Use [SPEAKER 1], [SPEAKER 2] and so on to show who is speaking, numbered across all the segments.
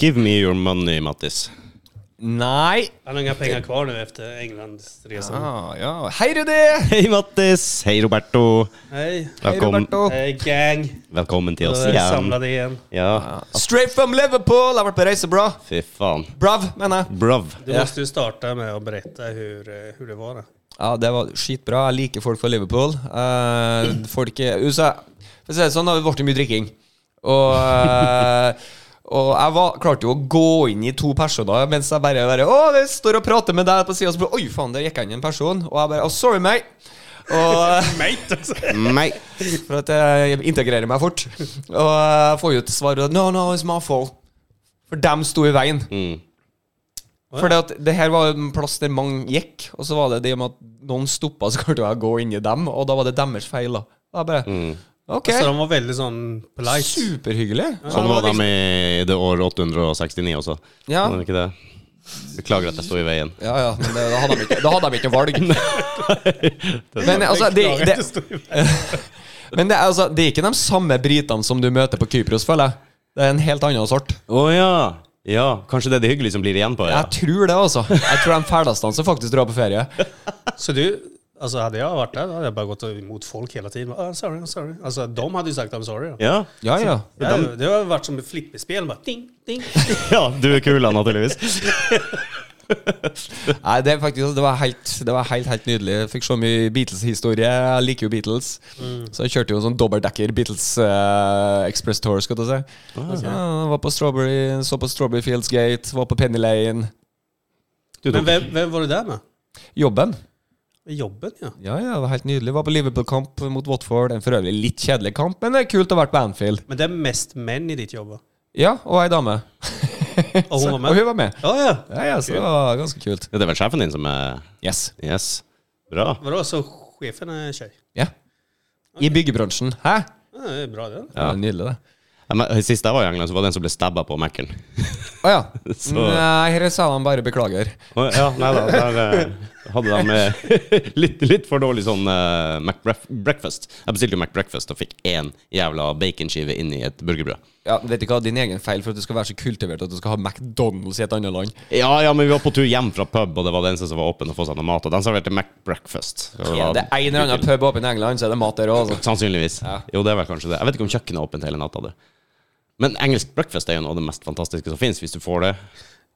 [SPEAKER 1] Give me your money, Mattis.
[SPEAKER 2] Nei!
[SPEAKER 3] Han har inga pengar kvar nu efter Englandsresan.
[SPEAKER 2] Ah, ja. Hei, Rudi!
[SPEAKER 1] Hei, Mattis. Hei, Roberto.
[SPEAKER 3] Hej.
[SPEAKER 1] Velkommen,
[SPEAKER 2] Roberto.
[SPEAKER 3] Hej gang.
[SPEAKER 1] Velkommen til
[SPEAKER 3] Då
[SPEAKER 1] oss
[SPEAKER 3] är vi
[SPEAKER 1] igjen.
[SPEAKER 3] samlade igen.
[SPEAKER 1] Ja,
[SPEAKER 2] Straight from Liverpool! Har vært på reise, bra.
[SPEAKER 1] fy faen.
[SPEAKER 2] Brav, mener jeg.
[SPEAKER 1] Brav.
[SPEAKER 3] Du måste ju starta med att berätta hur, eh, hur det var. Då.
[SPEAKER 2] Ja, det var skitbra. Jeg liker folk fra Liverpool. Eh, folk i USA For å si det sånn, det har blitt mye drikking. Og, eh, og jeg var, klarte jo å gå inn i to personer mens jeg bare, bare Å, jeg står og prater med deg på sida, og så bare Oi, faen, der gikk jeg inn i en person. Og jeg bare Å, "Oh, sorry, mate. Og
[SPEAKER 3] Mate! alltså.
[SPEAKER 1] Nei.
[SPEAKER 2] For at jeg integrerer meg fort. Og jeg får jo til svar No, no, it's my fault. For dem sto i veien.
[SPEAKER 1] Mm.
[SPEAKER 2] For det, at det her var en plass der mange gikk, og så var det det med at noen stoppa, så klarte jeg å gå inn i dem, og da var det deres feil, da. Da bare OK.
[SPEAKER 3] Så Alltså, de var väldigt sån polite.
[SPEAKER 2] Superhyggelig.
[SPEAKER 1] Sånn var de i det år 869 også.
[SPEAKER 2] Ja.
[SPEAKER 1] Var det ikke det? Beklager at jeg sto i veien.
[SPEAKER 2] Ja, ja, men det, da hadde de ikke, da hadde de ikke valg. Men altså, det,
[SPEAKER 3] Beklagar
[SPEAKER 2] det,
[SPEAKER 3] att stod i-
[SPEAKER 2] men det, er altså, det er ikke de samme britene som du møter på Kypros, føler jeg. Det er en helt annen sort.
[SPEAKER 1] Å ja. Ja, kanskje det er det hyggelige som blir igjen på det.
[SPEAKER 2] Jeg
[SPEAKER 1] da.
[SPEAKER 2] tror det, altså. Jeg tror de ferdeste som faktisk drar på ferie.
[SPEAKER 3] Så du, alltså hade jag varit där, då hade jag bara gått emot folk hela tiden. Bara, "Ah, sorry, I'm sorry. Alltså de hade ju sagt I'm sorry. Då.
[SPEAKER 1] Ja.
[SPEAKER 2] Ja, ja.
[SPEAKER 3] Ja, det har varit som ett flipperspel. Bara, ding, ding.
[SPEAKER 1] ja, du er kul, da, naturligvis.
[SPEAKER 2] Nei, det, er faktisk, det var, helt, det var helt, helt nydelig. Jeg fikk så mye Beatles-historie. Jeg liker jo Beatles. Så jeg kjørte jo en sånn dobbeltdekker Beatles eh, Express Tour. skal du si. Så jeg var på Strawberry, så på Strawberry Fields Gate, var på Penny Lane.
[SPEAKER 1] Du
[SPEAKER 3] Men
[SPEAKER 1] tok
[SPEAKER 3] vem, vem var du där med?
[SPEAKER 2] Jobben.
[SPEAKER 3] Med jobben ja.
[SPEAKER 2] Ja, ja, det var helt nydelig. Var på Liverpool-kamp mot Watford. En for øvrig litt kjedelig kamp, men det er kult å ha vært på Anfield.
[SPEAKER 3] Men det är mest män i ditt jobb. va?
[SPEAKER 2] Ja, og ei dame.
[SPEAKER 3] Och
[SPEAKER 2] Og
[SPEAKER 3] hon var med?
[SPEAKER 2] hun var med.
[SPEAKER 3] Ja, ja.
[SPEAKER 2] Ja, ja, så det var ganske kult.
[SPEAKER 1] Ja, det er vel sjefen din som er
[SPEAKER 2] Yes.
[SPEAKER 1] Yes. Bra.
[SPEAKER 3] Vadå, så chefen är tjej?
[SPEAKER 2] Ja. I byggebransjen. Hæ?
[SPEAKER 3] Ja, det är bra det.
[SPEAKER 2] Ja. Det var nydelig, det.
[SPEAKER 1] Ja, men Sist jeg var i England, så var det en som ble stabba på Mac-en.
[SPEAKER 2] Å ja.
[SPEAKER 1] Så-
[SPEAKER 2] Nei, her sa han bare beklager.
[SPEAKER 1] Å, Ja, nei da, der eh, hadde de eh, litt, litt for dårlig sånn eh, McBreakfast. breakfast Jeg bestilte jo McBreakfast og fikk én jævla baconskive inni et burgerbrød.
[SPEAKER 2] Ja, Vet du hva, din egen feil for at du skal være så kultivert at du skal ha McDonald's i et annet land.
[SPEAKER 1] Ja, ja, men vi var på tur hjem fra pub, og det var den som var åpen og få seg noe mat, og den serverte McBreakfast. Og
[SPEAKER 2] Ja, det er en eller annen pub oppe i England, så er det mat der òg.
[SPEAKER 1] Sannsynligvis. Jo, det er vel kanskje det. Jeg vet ikke om kjøkkenet er åpent hele natta. det. Men engelsk breakfast er jo noe av det mest fantastiske som fins, hvis du får det.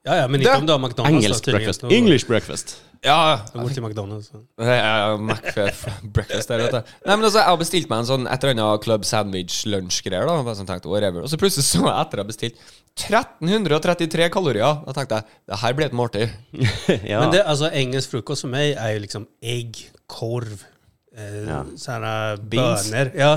[SPEAKER 3] Ja, ja, men inte
[SPEAKER 2] Det-
[SPEAKER 3] om du har McDonalds då,
[SPEAKER 1] Engelsk
[SPEAKER 3] tydligen.
[SPEAKER 1] breakfast.
[SPEAKER 3] Då-
[SPEAKER 1] English breakfast.
[SPEAKER 2] Ja,
[SPEAKER 3] då går till McDonalds. så.
[SPEAKER 2] ja, Mac eh, breakfast der, vet du. Nei, men altså, Jeg har bestilt meg en sånn et eller annet club sandwich-lunsj-greier. da Bare sånn tenkte, whatever Og så plutselig så jeg etter jeg har bestilt 1333 kalorier. Da tenkte jeg det her blir et måltid.
[SPEAKER 1] ja.
[SPEAKER 3] Men det, alltså engelsk frukost för mig är ju liksom ägg, korv, eh,
[SPEAKER 1] Ja. Mm.
[SPEAKER 3] sådana
[SPEAKER 2] Beans.
[SPEAKER 3] bönor. Ja.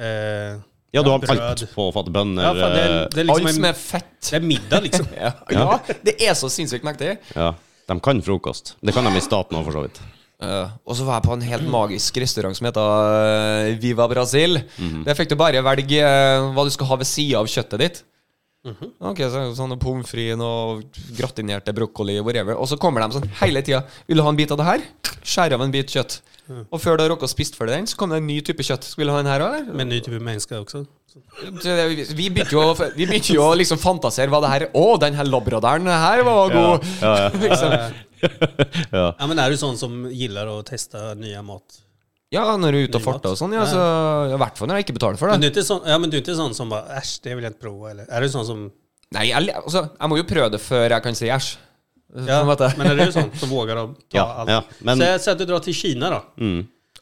[SPEAKER 3] Eh,
[SPEAKER 1] ja, du har
[SPEAKER 3] bröd.
[SPEAKER 1] alt på fatet bønner. eh,
[SPEAKER 3] Ja, fan, det, är- det är liksom
[SPEAKER 2] Alt som
[SPEAKER 3] en,
[SPEAKER 2] er fett.
[SPEAKER 3] det är middag liksom.
[SPEAKER 2] Ja, ja det er så sinnssykt mektig.
[SPEAKER 1] Ja, de kan frokost. Det kan de i staten òg, for så vidt.
[SPEAKER 2] Eh, og så var jeg på en helt magisk restaurant som heter eh, Viva Brasil. Der fikk du bare velge eh, hva du skal ha ved sida av kjøttet ditt. Ok, så sånn Pommes frites og gratinerte brokkoli whatever. Og så kommer de sånn hele tida. 'Vil du ha en bit av det her?' Skjær av en bit kjøtt. Og før du har rukket å spist ferdig den, så kommer det en ny type kjøtt. 'Vil du ha den her òg?'
[SPEAKER 3] Men ny typ av människa också.
[SPEAKER 2] Vi begynte jo, vi begynte jo å liksom fantasere hva det her 'Å, den her labraderen her var god'.
[SPEAKER 1] Ja, ja.
[SPEAKER 2] liksom.
[SPEAKER 3] Ja, men är du sån som gillar att testa nya mat?
[SPEAKER 2] Ja, når du er ute og farter og sånn, ja, så I hvert fall når jeg ikke betaler for det.
[SPEAKER 3] Men du är inte sån, ja, men du är inte sån som bara äsch, det vill jag inte prova. Eller är du sån som...
[SPEAKER 2] Nei, jeg, le- altså, jeg må jo prøve det før jeg kan si æsj.
[SPEAKER 3] Ja,
[SPEAKER 2] På en måte.
[SPEAKER 3] men är du sån som vågar att ta
[SPEAKER 1] Ja,
[SPEAKER 3] allt?
[SPEAKER 1] ja, men- Mm.
[SPEAKER 3] Säg, säg att du drar till Kina då.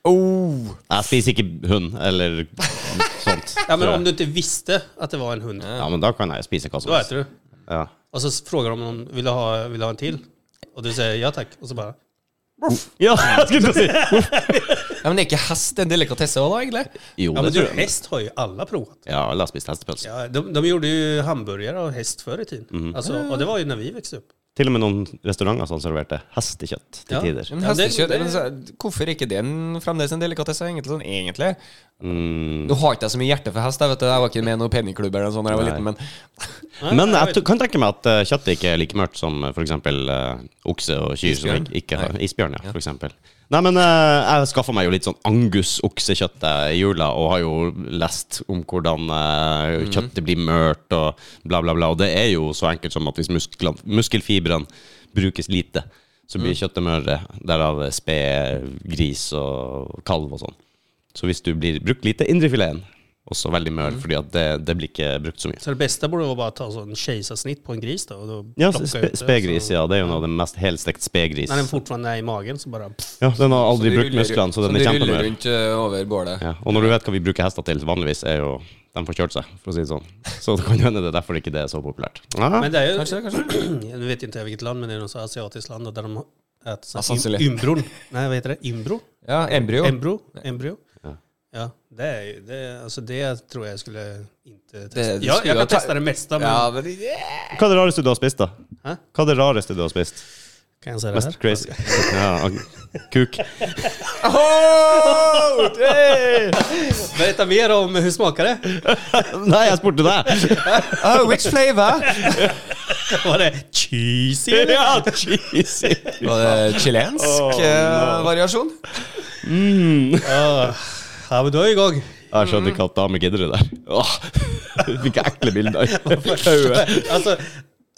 [SPEAKER 2] Oh.
[SPEAKER 1] Jeg spiser ikke hund eller sånt.
[SPEAKER 3] Ja, men
[SPEAKER 1] tror jeg.
[SPEAKER 3] om du inte visste att det var en hund,
[SPEAKER 1] ja, men da kan jeg spise hva som
[SPEAKER 3] då äter du.
[SPEAKER 1] Ja.
[SPEAKER 3] Och så frågar de om någon vill du ha, vill du ha en till. Och du säger ja tack. Och så bara...
[SPEAKER 1] ja, jeg skulle til å si
[SPEAKER 2] Ja, men er ikke hest en delikatesse òg, da, egentlig?
[SPEAKER 1] Jo,
[SPEAKER 3] Ja, men
[SPEAKER 1] det
[SPEAKER 3] du,
[SPEAKER 1] tror jeg.
[SPEAKER 3] häst har ju alla provat.
[SPEAKER 1] Ja, alle har spist hestepølse.
[SPEAKER 3] Ja, de, de gjorde ju hamburgare av häst förr i tiden. Alltså, och det var ju när vi växte upp.
[SPEAKER 1] Til og med noen restauranter som serverte hestekjøtt til
[SPEAKER 3] Ja.
[SPEAKER 1] tider.
[SPEAKER 2] Men
[SPEAKER 3] Ja, det-
[SPEAKER 2] hestekjøtt,
[SPEAKER 3] det-
[SPEAKER 2] men så- hvorfor er ikke det en, fremdeles en delikatesse, egentlig? Sånn, egentlig?
[SPEAKER 1] Mm.
[SPEAKER 2] Nå har ikke jeg så mye hjerte for hest, jeg, vet du. Jeg var ikke med i noen pennyklubb eller noe sånt da jeg var
[SPEAKER 1] Nei.
[SPEAKER 2] liten, men
[SPEAKER 3] Nej,
[SPEAKER 1] Men
[SPEAKER 3] jag
[SPEAKER 1] jeg
[SPEAKER 3] vet
[SPEAKER 1] t- kan tenke meg at eh, kjøttet ikke er like mørkt som f.eks. Uh, okse og kyr. Som
[SPEAKER 2] Isbjørn?
[SPEAKER 1] ikke, ikke har,
[SPEAKER 2] Nei.
[SPEAKER 1] isbjørn, ja, for eksempel. Nei, men eh, jeg skaffa meg jo litt sånn Angus-oksekjøtt eh, i jula, og har jo lest om hvordan eh,
[SPEAKER 3] Mm.
[SPEAKER 1] kjøttet blir mørt og bla, bla, bla. Og det er jo så enkelt som at hvis muskler, muskelfibrene brukes lite, så
[SPEAKER 3] Mm.
[SPEAKER 1] blir kjøttet mørere. Derav sped, gris og kalv og sånn. Så hvis du blir brukt lite, indrefileten også veldig mør,
[SPEAKER 3] Mm.
[SPEAKER 1] fordi at det, det blir ikke brukt så mye.
[SPEAKER 3] Så det bästa borde vara bara att ta så en kejsarsnitt på en gris då. Och då
[SPEAKER 1] Ja,
[SPEAKER 3] plocka ut
[SPEAKER 1] spe,
[SPEAKER 3] det,
[SPEAKER 1] spegris,
[SPEAKER 3] så-
[SPEAKER 1] ja. Det er jo noe av det mest helstekt spegris.
[SPEAKER 3] När den fortfarande är i magen så bara... Pff,
[SPEAKER 1] Ja, den har aldri
[SPEAKER 2] de
[SPEAKER 1] brukt
[SPEAKER 2] ruller-
[SPEAKER 1] musklene, så
[SPEAKER 2] som
[SPEAKER 1] den er
[SPEAKER 2] de ruller
[SPEAKER 1] kjempemør.
[SPEAKER 2] rundt ø, over bålet.
[SPEAKER 1] Ja, og når du vet hva vi bruker hester til vanligvis, er jo de får kjørt seg, for å si det sånn. Så det kan hende det er derfor ikke det er så populært. Ja,
[SPEAKER 3] men det är ju...
[SPEAKER 2] Kanskje det, kanskje
[SPEAKER 3] Nu vet jag inte vilket land, men det är något så asiatiskt land och där de äter
[SPEAKER 2] Ja,
[SPEAKER 3] sån
[SPEAKER 2] sannsynlig.
[SPEAKER 3] ymbron. Nej, vad heter det? Imbro?
[SPEAKER 2] Ja, embryo.
[SPEAKER 3] Embro? Embryo?
[SPEAKER 1] Ja.
[SPEAKER 3] Ja, det är ju... Det, alltså det tror jag skulle inte testa.
[SPEAKER 2] det skulle
[SPEAKER 3] ja, jag kan
[SPEAKER 2] jag ta-
[SPEAKER 3] testa det mesta, men...
[SPEAKER 2] Ja, men yeah.
[SPEAKER 1] hva er det rareste du har spist, da?
[SPEAKER 3] Hæ?
[SPEAKER 1] Hva er det rareste du har spist?
[SPEAKER 3] Kan jag säga det här?
[SPEAKER 1] Mest crazy? Ja, kuk.
[SPEAKER 2] oh, hey.
[SPEAKER 3] Berätta mer om hur smakar det?
[SPEAKER 1] Nei, jeg spurte deg!
[SPEAKER 2] oh, which flavor?
[SPEAKER 3] Var det cheesy? eller?
[SPEAKER 1] Ja, cheesy!
[SPEAKER 2] Var det chilensk
[SPEAKER 1] Oh,
[SPEAKER 2] eh,
[SPEAKER 1] no.
[SPEAKER 2] variasjon?
[SPEAKER 3] Ja, ja, men du är ju igång.
[SPEAKER 1] Jeg skjønner ikke at damer gidder det der. Åh, Fikk jeg ekle bilder i hodet.
[SPEAKER 3] Alltså,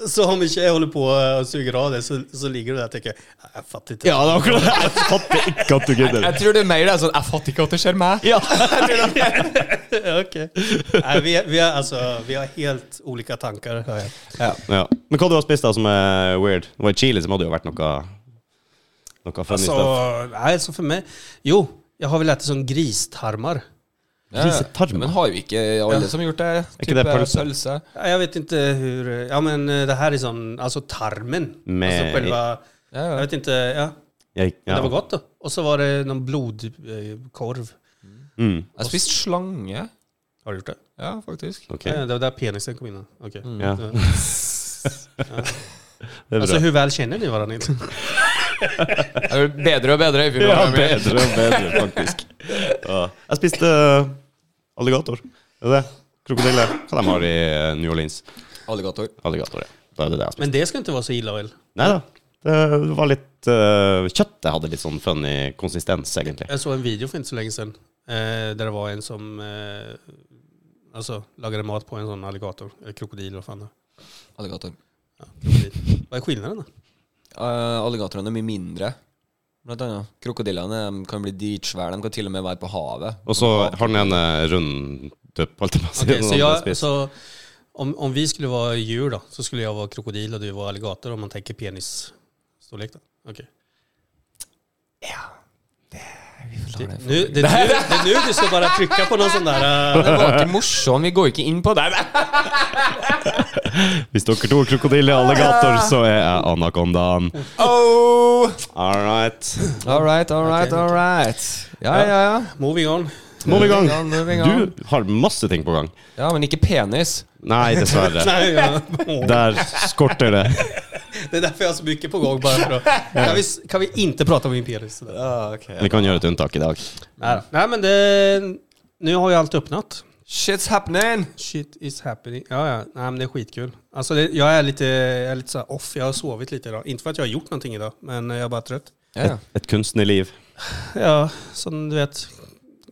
[SPEAKER 3] så om en tjej håller på och suger av det så, så ligger du där och tänker, "Nej, jag fattar inte.
[SPEAKER 1] Ja, det var akkurat det. Jeg fatter ikke at du gidder.
[SPEAKER 2] Jeg tror det er mer det er sånn Jeg fatter ikke at det skjer meg.
[SPEAKER 1] Ja.
[SPEAKER 3] Okej. Nej, vi, vi, har, alltså, vi har helt olika tankar. hör jag.
[SPEAKER 1] Ja. Men hva du har spist da som er weird? Det var I Chile så må det jo ha vært noe Noe funny
[SPEAKER 3] Alltså,
[SPEAKER 1] stuff.
[SPEAKER 3] nej, så för mig, jo, jag har väl ätit som gristarmar.
[SPEAKER 2] Ja.
[SPEAKER 1] Grisetarmer.
[SPEAKER 2] Men har jo ikke alle som har gjort det?
[SPEAKER 1] Er ikke det
[SPEAKER 2] Type
[SPEAKER 1] pølse?
[SPEAKER 2] pølse?
[SPEAKER 3] Ja, Jag vet inte hur, ja men eh, det här är sån, alltså tarmen.
[SPEAKER 1] Med-
[SPEAKER 3] Alltså själva,
[SPEAKER 2] Ja,
[SPEAKER 3] jag
[SPEAKER 2] ja.
[SPEAKER 3] vet inte, ja.
[SPEAKER 1] Jeg, ja.
[SPEAKER 3] Men det var gott då. Och så var det någon blodkorv.
[SPEAKER 1] Mm,
[SPEAKER 2] Jeg spiste slange.
[SPEAKER 3] Har du gjort det?
[SPEAKER 2] Ja, faktisk.
[SPEAKER 1] ok.
[SPEAKER 3] Ja, det var där penisen kom in. Okej.
[SPEAKER 1] Ja,
[SPEAKER 3] Ja.
[SPEAKER 1] det er
[SPEAKER 3] Alltså
[SPEAKER 1] bra.
[SPEAKER 3] hur väl känner ni varandra inte?
[SPEAKER 2] Det er jo bedre og bedre. Vi
[SPEAKER 1] Ja,
[SPEAKER 2] må-
[SPEAKER 1] bedre og bedre, faktisk. Ja. Jeg spiste eh, alligator. Er det det? Krokodille. Hva de har i eh, New Orleans?
[SPEAKER 2] Alligator.
[SPEAKER 1] Alligator, ja. Da er det det jeg spiste.
[SPEAKER 3] Men det ska inte vara så illa väl?
[SPEAKER 1] Nei da. Det var litt eh, Kjøttet hadde litt sånn funny konsistens, egentlig.
[SPEAKER 3] Jag såg en video för inte så länge sedan. Eh, där det var en som eh, alltså, lagade mat på en sån alligator. Eller krokodil, vad fan det är.
[SPEAKER 2] Alligator.
[SPEAKER 3] ja, krokodil. Vad är skillnaden då?
[SPEAKER 2] Eh, alligatorene er mye mindre. Blant annet. Krokodillene de kan bli dritsvære. De kan til og med være på havet.
[SPEAKER 1] Og så har den ene rund tupp, holdt jeg på å si.
[SPEAKER 3] Okej,
[SPEAKER 1] den
[SPEAKER 3] så
[SPEAKER 1] andre
[SPEAKER 3] jag,
[SPEAKER 1] spist.
[SPEAKER 3] så, om, om vi skulle vara djur då, så skulle jag vara krokodil och du var alligator om man tänker penisstorlek då? Okej. Det, nu, det, är nu, det är nu du ska bara trycka på någon sån där... eh,
[SPEAKER 2] Det var ikke morsom. Vi går ikke inn på det.
[SPEAKER 1] Hvis dere tror krokodille er alligator, så er jeg anakondaen.
[SPEAKER 2] Oh.
[SPEAKER 1] All right.
[SPEAKER 2] All right, all right, all right. Ja, ja, ja.
[SPEAKER 3] Moving on.
[SPEAKER 1] Moving on.
[SPEAKER 2] Moving on, moving on.
[SPEAKER 1] Du har masse ting på gang.
[SPEAKER 2] Ja, men ikke penis.
[SPEAKER 1] Nei, dessverre.
[SPEAKER 3] Nej, ja.
[SPEAKER 1] Der skorter det.
[SPEAKER 3] Det är därför jag har så mycket på gång bara för att... Kan vi, kan vi inte prata om min penis? sådär?
[SPEAKER 1] Vi kan gjøre et unntak i dag.
[SPEAKER 3] Nej, då. Nej men det... Nu har ju allt öppnat.
[SPEAKER 2] Shit's happening!
[SPEAKER 3] Shit is happening. Ja, ja. Nej, men det är skitkul. Alltså, det, jag är lite, jag är lite så här off. Jag har sovit lite idag. Inte för att jag har gjort någonting idag, men jag är bara trött.
[SPEAKER 2] Ja, ja.
[SPEAKER 1] Et kunstnerliv.
[SPEAKER 3] Ja, som du vet.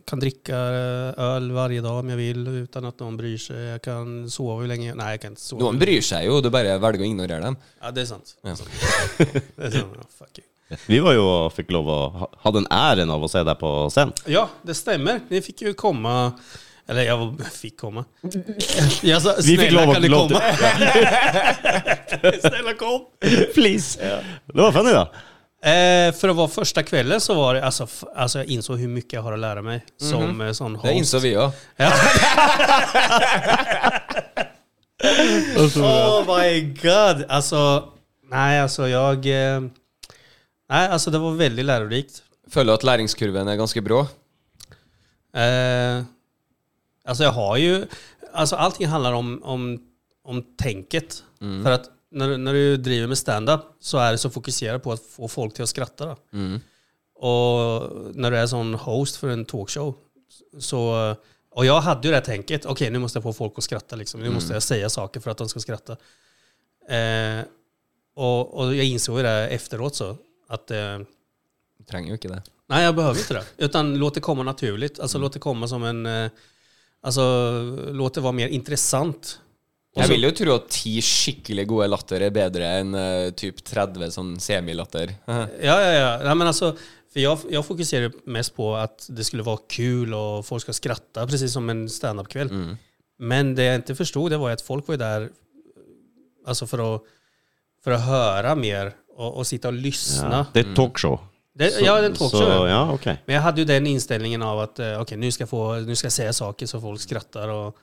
[SPEAKER 3] Kan dricka eh, öl varje dag om jag vill utan att någon bryr sig. Jag kan sova hur länge... Nej, jag kan inte sova.
[SPEAKER 2] Noen bryr seg jo, du bare velger å ignorere dem.
[SPEAKER 3] Ja, det är sant.
[SPEAKER 2] Ja.
[SPEAKER 3] Det är sant. Ja, fuck you.
[SPEAKER 1] Vi var jo og fikk lov å ha ha den æren av å se deg på scenen.
[SPEAKER 3] Ja, det stämmer. Ni fick ju komma... Eller jag var- fick komma. Jag sa,
[SPEAKER 1] Vi fick
[SPEAKER 3] "Snälla,
[SPEAKER 1] lov att-
[SPEAKER 3] kan ni
[SPEAKER 1] lov till-
[SPEAKER 3] komma? Snälla kom!
[SPEAKER 1] Please. Det var funny, da.
[SPEAKER 3] Eh, för att vara första kvällen så var det, alltså, f- alltså jag insåg hur mycket jag har att lära mig
[SPEAKER 1] Mhm.
[SPEAKER 3] som eh, sån host.
[SPEAKER 2] Det innså vi òg.
[SPEAKER 3] Oh my god! Alltså, nej alltså jag... Eh, nej alltså det var väldigt lärorikt.
[SPEAKER 2] Føler du at læringskurven är ganska bra?
[SPEAKER 3] Eh, alltså jag har ju, alltså allting handlar om, om, om tänket. För att när, när du driver med stand-up så är du så fokuserad på att få folk till att skratta. Då. Och när du är sån host för en talkshow, så, och jag hade ju det här tänket, okej nu måste jag få folk att skratta, liksom. nu måste jag säga saker för att de ska skratta. Eh, och, och jag insåg ju det här efteråt så, att eh,
[SPEAKER 2] Du trenger jo ikke det.
[SPEAKER 3] Nej, jag behöver inte det. Utan låt det komma naturligt. Alltså låt det komma som en... eh, Alltså låt det vara mer intressant.
[SPEAKER 2] Jeg vil jo tro at ti skikkelig gode latter er bedre enn eh, typ 30 sånn semilatter.
[SPEAKER 3] Ja, ja, ja. Nej, men alltså, för jag, jag fokuserar ju mest på att det skulle vara kul och folk ska skratta, precis som en standup-kväll.
[SPEAKER 1] Mm.
[SPEAKER 3] Men det jag inte förstod det var ju att folk var ju där alltså för, att, för att höra mer och, och sitta och lyssna.
[SPEAKER 1] Ja. Det er et talkshow.
[SPEAKER 3] Det, ja, det är en talkshow.
[SPEAKER 1] Så,
[SPEAKER 3] ja.
[SPEAKER 1] ja, ok.
[SPEAKER 3] Men jag hade ju den inställningen av att eh, okej, nu, ska jag få, nu ska jag säga saker så folk skrattar. Och,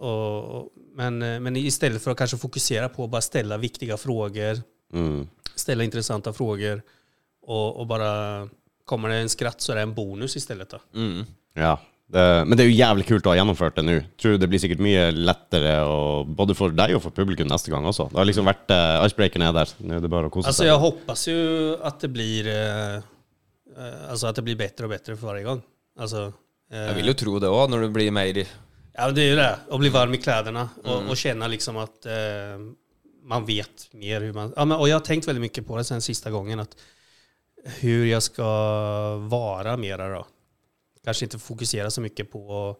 [SPEAKER 3] och, och- men, eh, men istället för att kanske fokusera på att bara ställa viktiga frågor,
[SPEAKER 1] Mm.
[SPEAKER 3] ställa intressanta frågor och, och bara kommer det en skratt så är det en bonus istället. Då.
[SPEAKER 1] Ja. Det, men det er jo jævlig kult å ha gjennomført det nå. Tror Det blir sikkert mye lettere, og, både for deg og for publikum neste gang også. Det har liksom vært uh, Icebreakeren er der. Nå er det bare å kose
[SPEAKER 3] Alltså
[SPEAKER 1] seg.
[SPEAKER 3] jag hoppas ju att det blir eh, eh, Alltså att det blir bättre och bättre för varje gång. Alltså, eh,
[SPEAKER 2] Jeg vil jo tro det òg, når du blir mer
[SPEAKER 3] Ja, men det är ju det. Att bli varm i kläderna och, och känna liksom att eh, man vet mer hur man... Ja, men, och jag har tänkt väldigt mycket på det sen sista gången. Att hur jeg skal vara mera då. Kanske inte fokusera så mycket på att-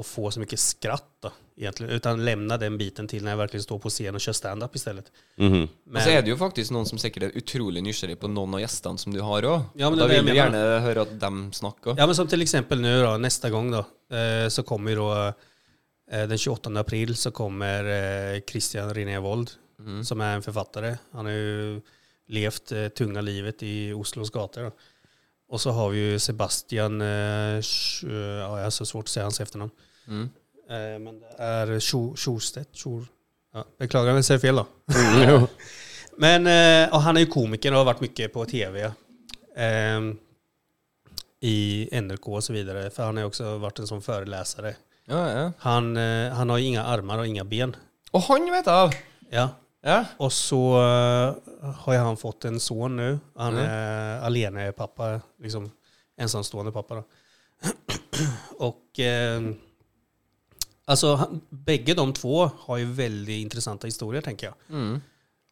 [SPEAKER 3] att få så mycket skratt då, egentligen. Utan lämna den biten till när jag verkligen står på scen och kör stand-up istället.
[SPEAKER 1] Mhm.
[SPEAKER 2] Men så er det jo faktisk noen som sikkert er utrolig nysgjerrig på noen av gjestene som du har òg.
[SPEAKER 3] Ja, men
[SPEAKER 2] da
[SPEAKER 3] det er det
[SPEAKER 2] vil du
[SPEAKER 3] jeg
[SPEAKER 2] gjerne høre at dem snakker.
[SPEAKER 3] Ja, men som till exempel nu då, nästa gång då, eh, så kommer ju då eh, den 28 april så kommer eh, Christian René Wold, som är en författare. Han har ju levt eh, tunga livet i Oslos gator. Då. Och så har vi ju Sebastian, eh, Sch- eh, ja, jag har så svårt att säga hans efternamn.
[SPEAKER 2] Mm.
[SPEAKER 3] Eh, men det är Scho- Schorstedt. Schor. Ja, beklagar om jag säger fel då. men eh, och han är ju komiker och har varit mycket på tv. ehm, i NRK och så vidare. För han har ju også varit en sån föreläsare.
[SPEAKER 2] Ja, ja.
[SPEAKER 3] Han, eh, han har ju inga armar och inga ben.
[SPEAKER 2] Og han vet jeg av!
[SPEAKER 3] Ja.
[SPEAKER 2] Ja.
[SPEAKER 3] Och så eh, har ju han fått en son nu. Han är alene pappa, liksom ensamstående pappa. Då. och eh, alltså, han, bägge de två har ju väldigt intressanta historier tänker jag.
[SPEAKER 2] Mm.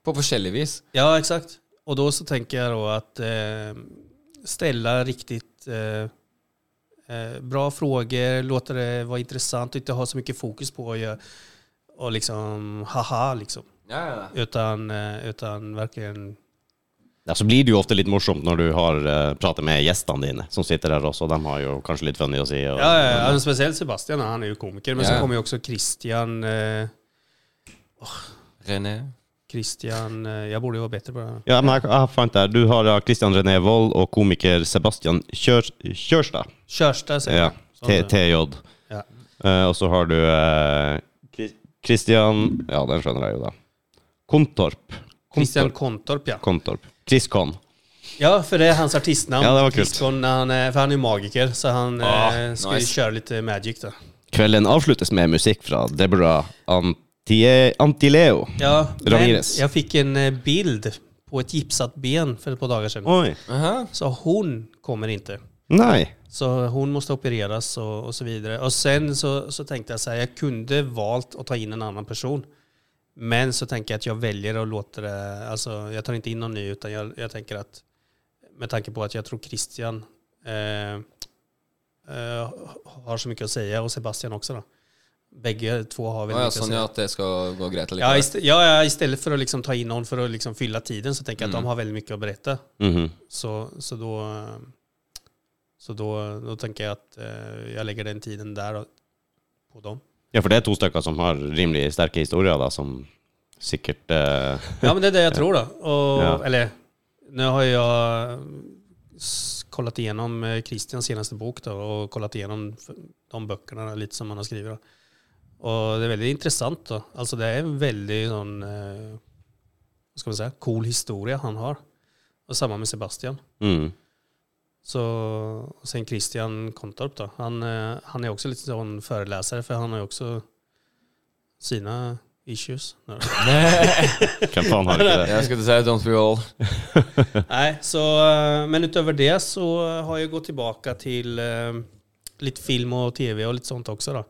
[SPEAKER 2] På forskjellig vis.
[SPEAKER 3] Ja, exakt. Och då så tänker jag då att eh, ställa riktigt eh, eh, bra frågor, låta det vara intressant och inte ha så mycket fokus på att göra och liksom haha liksom.
[SPEAKER 2] Ja, ja, ja.
[SPEAKER 3] Utan, eh, utan verkligen
[SPEAKER 1] Ja, så blir det jo ofte litt morsomt når du har eh, pratet med gjestene dine, som sitter her også. De har jo kanskje litt funny å si. Og,
[SPEAKER 3] Ja, ja, ja. men Speciellt Sebastian, han är ju komiker. Men
[SPEAKER 2] Ja.
[SPEAKER 3] så kommer ju också Christian. Eh,
[SPEAKER 2] René.
[SPEAKER 3] Christian, eh, jag borde ju vara bättre på det här.
[SPEAKER 1] Ja, men jeg, jeg fant det. her. Du har ja, Christian René Wold og komiker Sebastian Kjør, Kjørstad.
[SPEAKER 3] Körsta säger
[SPEAKER 1] Ja,
[SPEAKER 3] jag. Sån,
[SPEAKER 1] T-
[SPEAKER 3] eh,
[SPEAKER 1] TJ.
[SPEAKER 3] Ja.
[SPEAKER 1] Eh, og så har du eh, Chris- Christian Ja, den skjønner jeg jo, da. Kontorp.
[SPEAKER 3] Christian
[SPEAKER 1] Kontorp.
[SPEAKER 3] Kontorp, ja.
[SPEAKER 1] Kontorp. Chris Con.
[SPEAKER 3] Ja, för det är hans artistnamn.
[SPEAKER 1] Ja, det var kul.
[SPEAKER 3] Chriscon, när han, är- för han är ju magiker, så han
[SPEAKER 2] Ah,
[SPEAKER 3] eh, ska ju
[SPEAKER 2] nice.
[SPEAKER 3] köra lite magic då.
[SPEAKER 1] Kvelden avsluttes med musikk fra Deborah Antie, Antileo.
[SPEAKER 3] Ja, men
[SPEAKER 1] Ramirez.
[SPEAKER 3] jag fick en eh, bild på ett gipsat ben för ett par dagar sedan.
[SPEAKER 1] Oi.
[SPEAKER 2] Aha.
[SPEAKER 3] Så hon kommer inte.
[SPEAKER 1] Nei.
[SPEAKER 3] Så hon måste opereras och, och så vidare. Och sen så, så tänkte jag så här, jag kunde valt att ta in en annan person. Men så tänker jag att jag väljer att låta det, alltså jag tar inte in någon ny utan jag, jag tänker att med tanke på att jeg tror Christian eh, eh, har så mycket att säga och Sebastian också då. Bägge två har
[SPEAKER 2] Å
[SPEAKER 3] väldigt
[SPEAKER 2] ja,
[SPEAKER 3] mycket att
[SPEAKER 2] sånn
[SPEAKER 3] säga.
[SPEAKER 2] ja, at det skal gå greit
[SPEAKER 3] Ja,
[SPEAKER 2] likevel.
[SPEAKER 3] ist- ja, ja, istället för att liksom ta in någon för att liksom fylla tiden så tänker jag
[SPEAKER 2] Mm.
[SPEAKER 3] att de har väldigt mycket att berätta.
[SPEAKER 1] Mhm.
[SPEAKER 3] Så, så då eh, Så då, då tänker jag att eh, jag lägger den tiden där och- på dem.
[SPEAKER 1] Ja, for det er to stykker som har rimelig sterke historier, da, som sikkert eh,
[SPEAKER 3] Ja men det är det jag tror då. Och,
[SPEAKER 1] Ja.
[SPEAKER 3] Eller nu har jag s- kollat igenom eh, Christians senaste bok då och kollat igenom f- de böckerna lite som han har skrivit. Då. Och det är väldigt intressant då. Alltså det är en väldigt sån, eh, vad ska man säga, cool historia han har. Och samma med Sebastian.
[SPEAKER 1] mm.
[SPEAKER 3] Så, och sen Christian Kontorp då, han, eh, han är också lite sån föreläsare för han har ju också sina issues.
[SPEAKER 1] Hvem faen har ikke det?
[SPEAKER 2] Jeg skulle si don't we all.
[SPEAKER 3] Nej, så, eh, men utöver det så har jag gått tillbaka till eh, lite film och tv och lite sånt också då.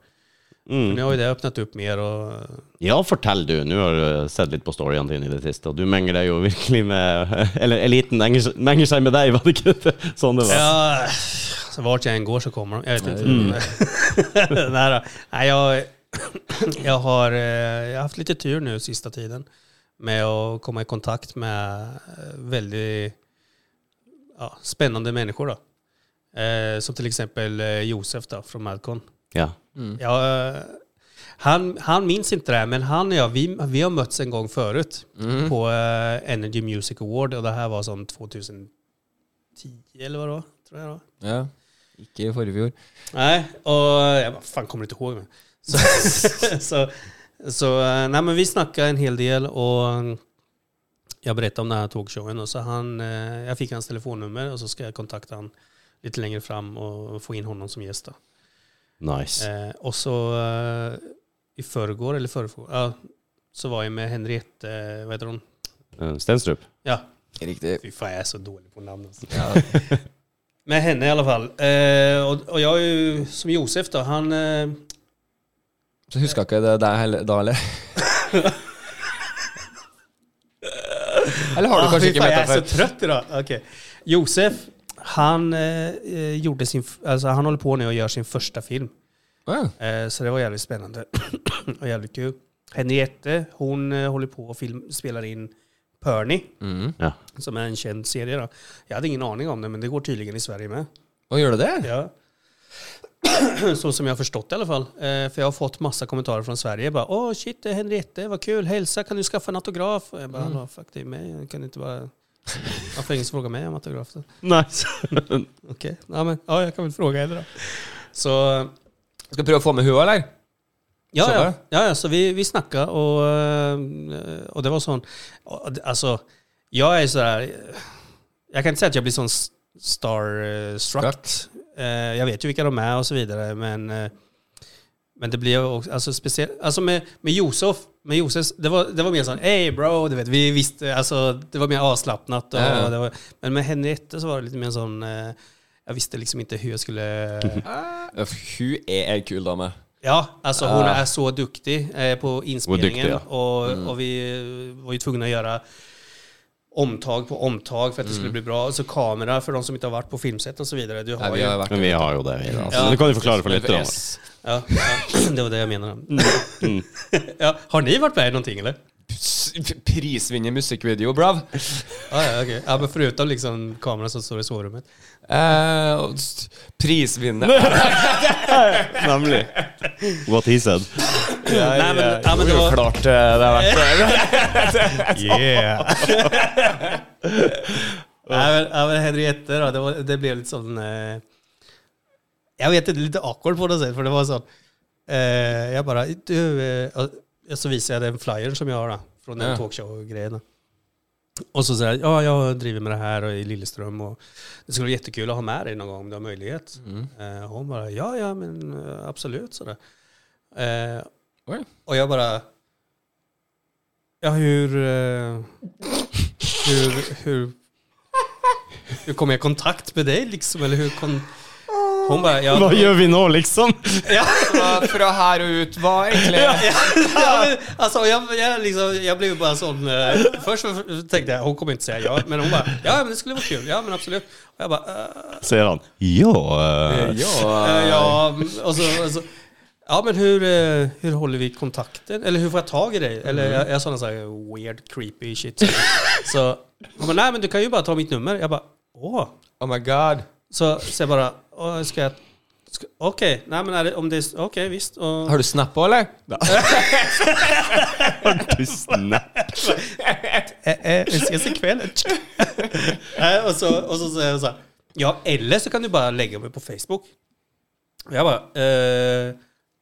[SPEAKER 3] Men nu har ju det öppnat upp mer och eh,
[SPEAKER 1] Ja, fortell du. Nå har du sett litt på storyene dine i det siste, og du menger deg jo virkelig med Eller eliten menger seg- menger seg med deg, var det ikke det? sånn det var?
[SPEAKER 3] Ja, så vart jag än går så kommer de. Jag vet inte. Nej, då. Nej, jag, jag, har, eh, jag har haft lite tur nu sista tiden med att komma i kontakt med eh, väldigt ja, spännande människor. Då. Eh, som till exempel eh, Josef då, från Malcolm.
[SPEAKER 1] Ja.
[SPEAKER 3] Ja, eh, han, han minns inte det här, men han och jag, vi, vi har mötts en gång förut på eh, Energy Music Award och det här var som 2010 eller vad det var, tror jag det var.
[SPEAKER 2] Ja. Ikke i forrige fjor.
[SPEAKER 3] Nej, och jag bara, fan kommer inte ihåg. Men. Så, så, så eh, nej, men vi snackade en hel del och mm, jag berättade om den här talkshowen och så han, eh, jag fick hans telefonnummer och så ska jag kontakta han lite längre fram och få in honom som gäst. Då.
[SPEAKER 1] Nice.
[SPEAKER 3] Eh, och så eh, i förrgår, eller förrgår, ja, så var jag med Henriette, eh, vad heter hon?
[SPEAKER 1] Eh, Stenstrup?
[SPEAKER 3] Ja,
[SPEAKER 2] Riktig.
[SPEAKER 3] fy fan jag är så dålig på namn alltså. Med henne i alla fall. Eh, og, og jeg er jo som Josef, da. Han eh,
[SPEAKER 2] Så huska ikke det deg heller, da, eller? eller har du
[SPEAKER 3] ah,
[SPEAKER 2] kanskje
[SPEAKER 3] fy
[SPEAKER 2] ikke
[SPEAKER 3] fan,
[SPEAKER 2] møtt
[SPEAKER 3] Jeg
[SPEAKER 2] deg
[SPEAKER 3] er så
[SPEAKER 2] før?
[SPEAKER 3] trøtt i dag. Ok. Josef, han eh, gjorde sin f- altså, Han holder på nå og gjør sin første film.
[SPEAKER 2] Å, ja.
[SPEAKER 3] Eh, så det var jävligt spännande och jävligt kul. Henriette, hon eh, håller på och film, spelar in Perny,
[SPEAKER 2] Mm.
[SPEAKER 1] Ja.
[SPEAKER 3] som är en känd serie. Då. Jag hade ingen aning om det, men det går tydligen i Sverige med.
[SPEAKER 2] Å, gjør du det?
[SPEAKER 3] Ja. Så som jag har förstått i alla fall. Eh, för jag har fått massa kommentarer från Sverige. Bara, Åh shit, det är Henriette, vad kul, hälsa, kan du skaffa en autograf? Och jag bara, "Hallå, fuck det är mig, jag kan inte bara... Varför har ingen som frågar mig om autograf? Då?
[SPEAKER 1] Nice.
[SPEAKER 3] Okej, ja, men, ja, jag kan väl fråga henne då. Så
[SPEAKER 2] Skal vi prøve å få med henne, eller?
[SPEAKER 3] Ja,
[SPEAKER 2] Så
[SPEAKER 3] ja.
[SPEAKER 2] bra.
[SPEAKER 3] ja, ja så vi, vi snacka och, eh, och det var sån... och det- Alltså, jag är sådär... Jag kan inte säga att jag blir sån s- starstruck. Eh, Jag vet ju vilka de är och så vidare, men... eh, Men det blev också, alltså speciellt, alltså med, med Josef, med Josef, det var, det var mer sån, hey bro, du vet, vi visste, alltså det var mer avslappnat och,
[SPEAKER 2] Ja, ja.
[SPEAKER 3] det var, men med Henriette så var det lite mer sån, eh, jag visste liksom inte hur jag skulle
[SPEAKER 2] Øff, Hun er ei kul dame.
[SPEAKER 3] Ja, alltså hon
[SPEAKER 2] Ja.
[SPEAKER 3] är så duktig eh, på inspelningen.
[SPEAKER 1] Vad duktig,
[SPEAKER 3] och,
[SPEAKER 2] Mm.
[SPEAKER 3] och vi eh, var ju tvungna att göra omtag på omtag för att det skulle bli bra. Alltså kamera för de som inte har varit på filmset och så vidare. Du har
[SPEAKER 2] Nei, Mm. vi
[SPEAKER 3] ju...
[SPEAKER 2] har vært
[SPEAKER 1] Men vi har jo det. vi, da. Så
[SPEAKER 3] Ja.
[SPEAKER 1] Du kan jo forklare for lytterne.
[SPEAKER 2] Yes.
[SPEAKER 3] ja, ja, det var det jeg menade. ja, har ni varit med i någonting eller?
[SPEAKER 2] P- Prisvinner musikkvideo, brav.
[SPEAKER 3] Ja, ja, okej. ja, men förutom liksom kameran som står i sovrummet.
[SPEAKER 2] Eh, og s- prisvinner
[SPEAKER 1] Nemlig. What he said.
[SPEAKER 3] Nej, men, ja, men det
[SPEAKER 2] Jo, jo,
[SPEAKER 3] var...
[SPEAKER 2] klart eh, det har vært
[SPEAKER 3] Yeah! Nej, men, ja, men Henriette då, det, var, det blev lite sån... Eh, jag vet inte, lite awkward på något sätt, för det var sån... Eh, jag bara, du... Eh, och så visade jag den flyern som jag har då, från den
[SPEAKER 2] Ja.
[SPEAKER 3] talkshow-grejen. då. Och så säger jag, ja, jag driver med det här och i Lilleström och det skulle vara jättekul att ha med dig någon gång om du har möjlighet. Eh, hon bara, ja, ja, men eh, absolut sådär. Eh,
[SPEAKER 2] Oj.
[SPEAKER 3] och jag bara, ja hur, eh, hur, hur, hur kom jag i kontakt med dig liksom? Eller hur kon... Hon bara, ja,
[SPEAKER 1] Hva gjør vi nå, liksom?
[SPEAKER 2] Fra- Fra her og ut var egentlig
[SPEAKER 3] ja, men, alltså, jag, jag, liksom, jag blev bara sån... Eh, först tänkte jag, hon kommer inte säga ja. Men hon bara, ja men det skulle vara kul. Ja men absolut. Och jag bara, eh,
[SPEAKER 1] Sier han. Ja. eh,
[SPEAKER 2] Ja.
[SPEAKER 3] Eh, Ja, och så, och så, ja men hur, eh, hur håller vi kontakten? Eller hur får jag tag i dig? Eller
[SPEAKER 2] Mm.
[SPEAKER 3] jag, jag sa någon sån här weird, creepy shit. Så hon bara, nej men du kan ju bara ta mitt nummer. Jag bara, åh.
[SPEAKER 2] Oh my god.
[SPEAKER 3] Så, så jag bara, åh, ska jag... ska- Okej, nej men är det, om det är... Okej, visst. Och,
[SPEAKER 2] Har du snappa, eller?
[SPEAKER 1] Tusen takk.
[SPEAKER 3] eh, eh, vi ses ikväll. Nej, och, så, och så säger jag så här, ja eller så kan du bara lägga mig på Facebook. Och jag bara, eh,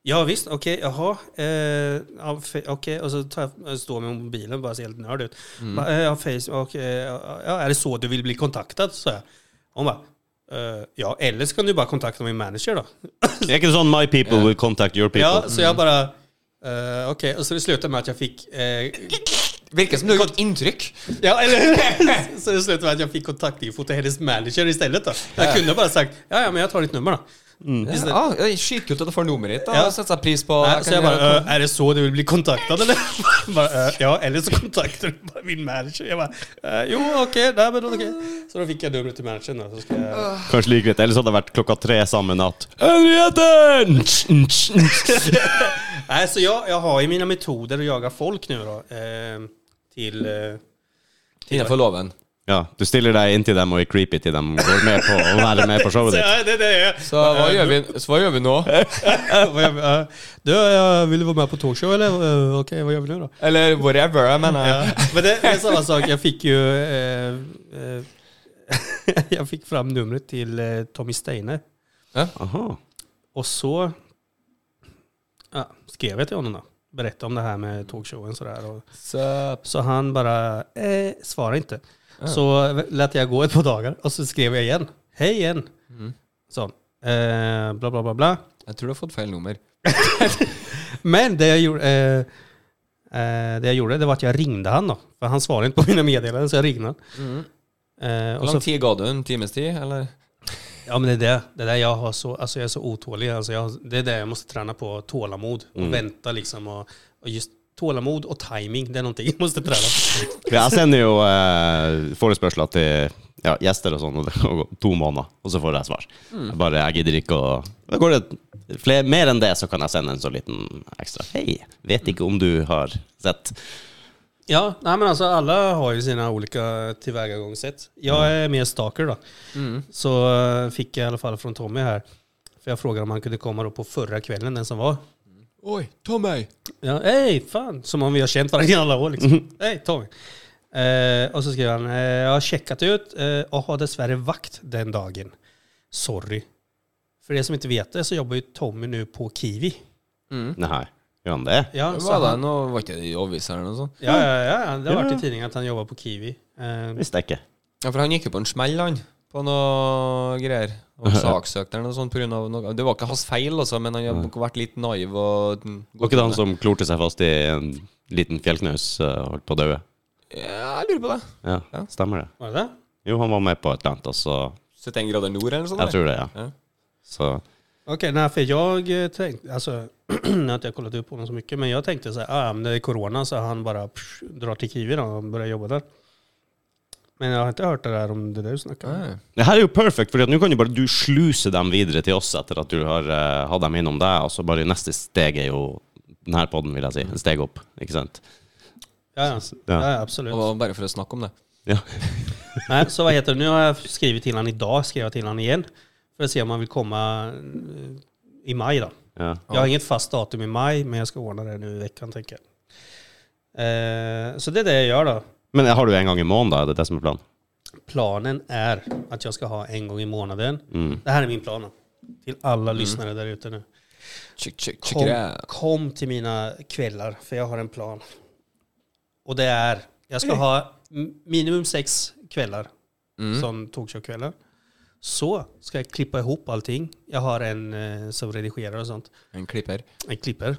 [SPEAKER 3] ja visst, okej, jaha, eh, ja, fe- okej, och så tar jag, jag står med mobilen och bara ser helt nörd ut. Bara, eh, ja, Facebook, eh, ja, är det så du vill bli kontaktad? Så här. Hon bara, Eh, ja, eller så kan du bara kontakta min manager då.
[SPEAKER 1] Er ikke det sånn My people will contact your people?
[SPEAKER 3] Ja, så jag bara, eh, okej, och så det slutade med att jag fick eh,
[SPEAKER 2] Virker som du har gjort inntrykk.
[SPEAKER 3] Ja, eller Så det slutade med att jag fick kontaktinfo till hennes manager istället då. Jag kunde bara sagt, ja, ja men jeg tar ditt nummer då.
[SPEAKER 2] Ja, ah, Skitkult at du får nummeret ditt.
[SPEAKER 3] Ja.
[SPEAKER 2] Da. Setter seg pris på
[SPEAKER 3] Nej,
[SPEAKER 2] Jeg
[SPEAKER 3] så
[SPEAKER 2] kan
[SPEAKER 3] jag bara,
[SPEAKER 2] gjøre-
[SPEAKER 3] "Eh, är det så du vill bli kontaktad eller? bara, "Eh, ja, eller så kontaktar du bara min manager. Jag bara, eh, jo okej, nej men okej. Så då fick jag numret till managern då. Så ska jag...
[SPEAKER 1] Kanskje like greit. Ellers hadde det vært klokka tre samme natt. Henriette!
[SPEAKER 3] Nej, så jag, jag har ju mina metoder att jaga folk nu då. Eh, till... Eh,
[SPEAKER 2] Innenfor loven.
[SPEAKER 1] Ja, du stiller deg inntil dem og er creepy til dem. Går med på å være med på showet
[SPEAKER 3] så,
[SPEAKER 1] ditt.
[SPEAKER 3] ja, det, det, är-
[SPEAKER 2] Så hva gjør vi, så hva gjør vi nå?
[SPEAKER 3] Vad gör vi? Eh, Du, jag vill vara med på talkshow eller? Eh, Okej, vad gör vi nu då?
[SPEAKER 2] Eller whatever, jeg mener.
[SPEAKER 3] Ja. Men det, det är samma sak, jag fick ju... Eh, eh, jag fick fram numret till eh, Tommy Steiner.
[SPEAKER 1] Aha.
[SPEAKER 3] Och så ja, skrev jag till honom då. Berättade om det här med talkshowen sådär. Och,
[SPEAKER 2] Sup.
[SPEAKER 3] så han bara, eh, svarar inte. Så lät jag gå ett par dagar och så skrev jag igen. Hej igen!
[SPEAKER 2] Mm.
[SPEAKER 3] Så, eh, bla bla bla bla.
[SPEAKER 2] Jeg tror du har fått feil nummer.
[SPEAKER 3] Men det jag gjorde, eh, eh, det, jag gjorde det var att jag ringde han då. För han svarade inte på mina meddelanden så jag ringde han. Eh, och
[SPEAKER 2] Hvor
[SPEAKER 3] så,
[SPEAKER 2] lang tid ga du? En times tid, eller?
[SPEAKER 3] ja men det är det. Det där jag har så, alltså jag är så otålig. Alltså jag, har- det är det jag måste träna på, tålamod. Och vänta liksom. Och, och just tålamod och timing det är någonting jag måste träna på.
[SPEAKER 1] Ja, Jeg sender jo eh, forespørsler til ja, gjester og sånn, og det går to måneder, og så får jeg svar. Jeg bare, jeg gidder ikke å Da går det flere, mer enn det, så kan jeg sende en sånn liten ekstra. Hei, vet ikke om du har sett.
[SPEAKER 3] Ja, nej, men alltså alla har ju sina olika tillvägagångssätt. Jag är mer stalker då.
[SPEAKER 2] Mm.
[SPEAKER 3] Så eh, fick jag i alla fall från Tommy här. För jag frågade om han kunde komma då på förra kvällen, den som var.
[SPEAKER 2] Oi, ta meg!
[SPEAKER 3] Ja, hej, fan. Som om vi har känt varandra i alla år liksom.
[SPEAKER 1] Mm-hmm.
[SPEAKER 3] Hej, Tommy. Eh, och så skriver han, eh, jag har checkat ut eh, och har dessvärre vakt den dagen. Sorry. För er som inte vet det så jobbar ju Tommy nu på Kiwi.
[SPEAKER 1] Nei, gjør han det?
[SPEAKER 3] Ja, så
[SPEAKER 2] Mm. Var det
[SPEAKER 3] han,
[SPEAKER 2] noe, var ikke det i avisa eller noe sånt?
[SPEAKER 3] ja, ja, ja, det har varit
[SPEAKER 1] Ja.
[SPEAKER 3] i tidningen att han jobbar på Kiwi. Eh,
[SPEAKER 1] Visste jeg ikke.
[SPEAKER 2] Ja, for han gikk jo på en smell, han. På noe greier. Og saksøkte eller noe sånt på grunn av noe. Det var ikke hans feil, altså, men han har nok vært litt naiv og
[SPEAKER 1] Var ikke det han som klorte seg fast i en liten fjellknaus eh, og holdt på å daue?
[SPEAKER 2] Ja, jeg lurer på det.
[SPEAKER 1] Ja, stemmer det.
[SPEAKER 3] var det det?
[SPEAKER 1] Jo, han var med på et eller annet, og så
[SPEAKER 2] 71 grader nord eller noe sånt?
[SPEAKER 1] Jeg tror det,
[SPEAKER 2] Ja.
[SPEAKER 1] ja. Så
[SPEAKER 3] Okej, nej, för jag eh, tänkte, alltså, nu har inte jag kollat upp honom så mycket, men jag tänkte så här, ah, men det är corona så han bara psh, drar till Kiwi då och börjar jobba där. Men jag har inte hört det där om det du snackar om.
[SPEAKER 2] Nei.
[SPEAKER 1] Det her er jo perfekt, for nå kan du bare du sluse dem videre til oss etter at du har eh, hatt dem innom deg, og så bare neste steg er jo denne podden, vil jeg si. En steg opp, ikke sant?
[SPEAKER 3] Ja, ja, s- ja. ja absolut.
[SPEAKER 2] Det var bare for å snakke om det.
[SPEAKER 1] Ja.
[SPEAKER 3] Nej, så vad heter det, nu har jag skrivit till honom idag, skrev jag till honom igen. För att se om han vill komma eh, i maj då.
[SPEAKER 1] ja.
[SPEAKER 3] Jag har inget fast datum i maj, men jag ska ordna det nu i veckan tänker jag. Eh, så det är det jag gör då.
[SPEAKER 1] Men har du en gang i måneden, da? Er det det som er planen?
[SPEAKER 3] Planen är att jag ska ha en gång i månaden. Det här är min plan. då. Till alla lyssnare där ute nu.
[SPEAKER 2] Tjekk, tjekk, tjekk det.
[SPEAKER 3] Kom, kom till mina kvällar, för jag har en plan. Och det är, jag ska ha m- minimum sex kvällar som talkshowkvällar. Så ska jag klippa ihop allting. Jag har en eh, som redigerar och sånt.
[SPEAKER 2] En klipper.
[SPEAKER 3] En klipper.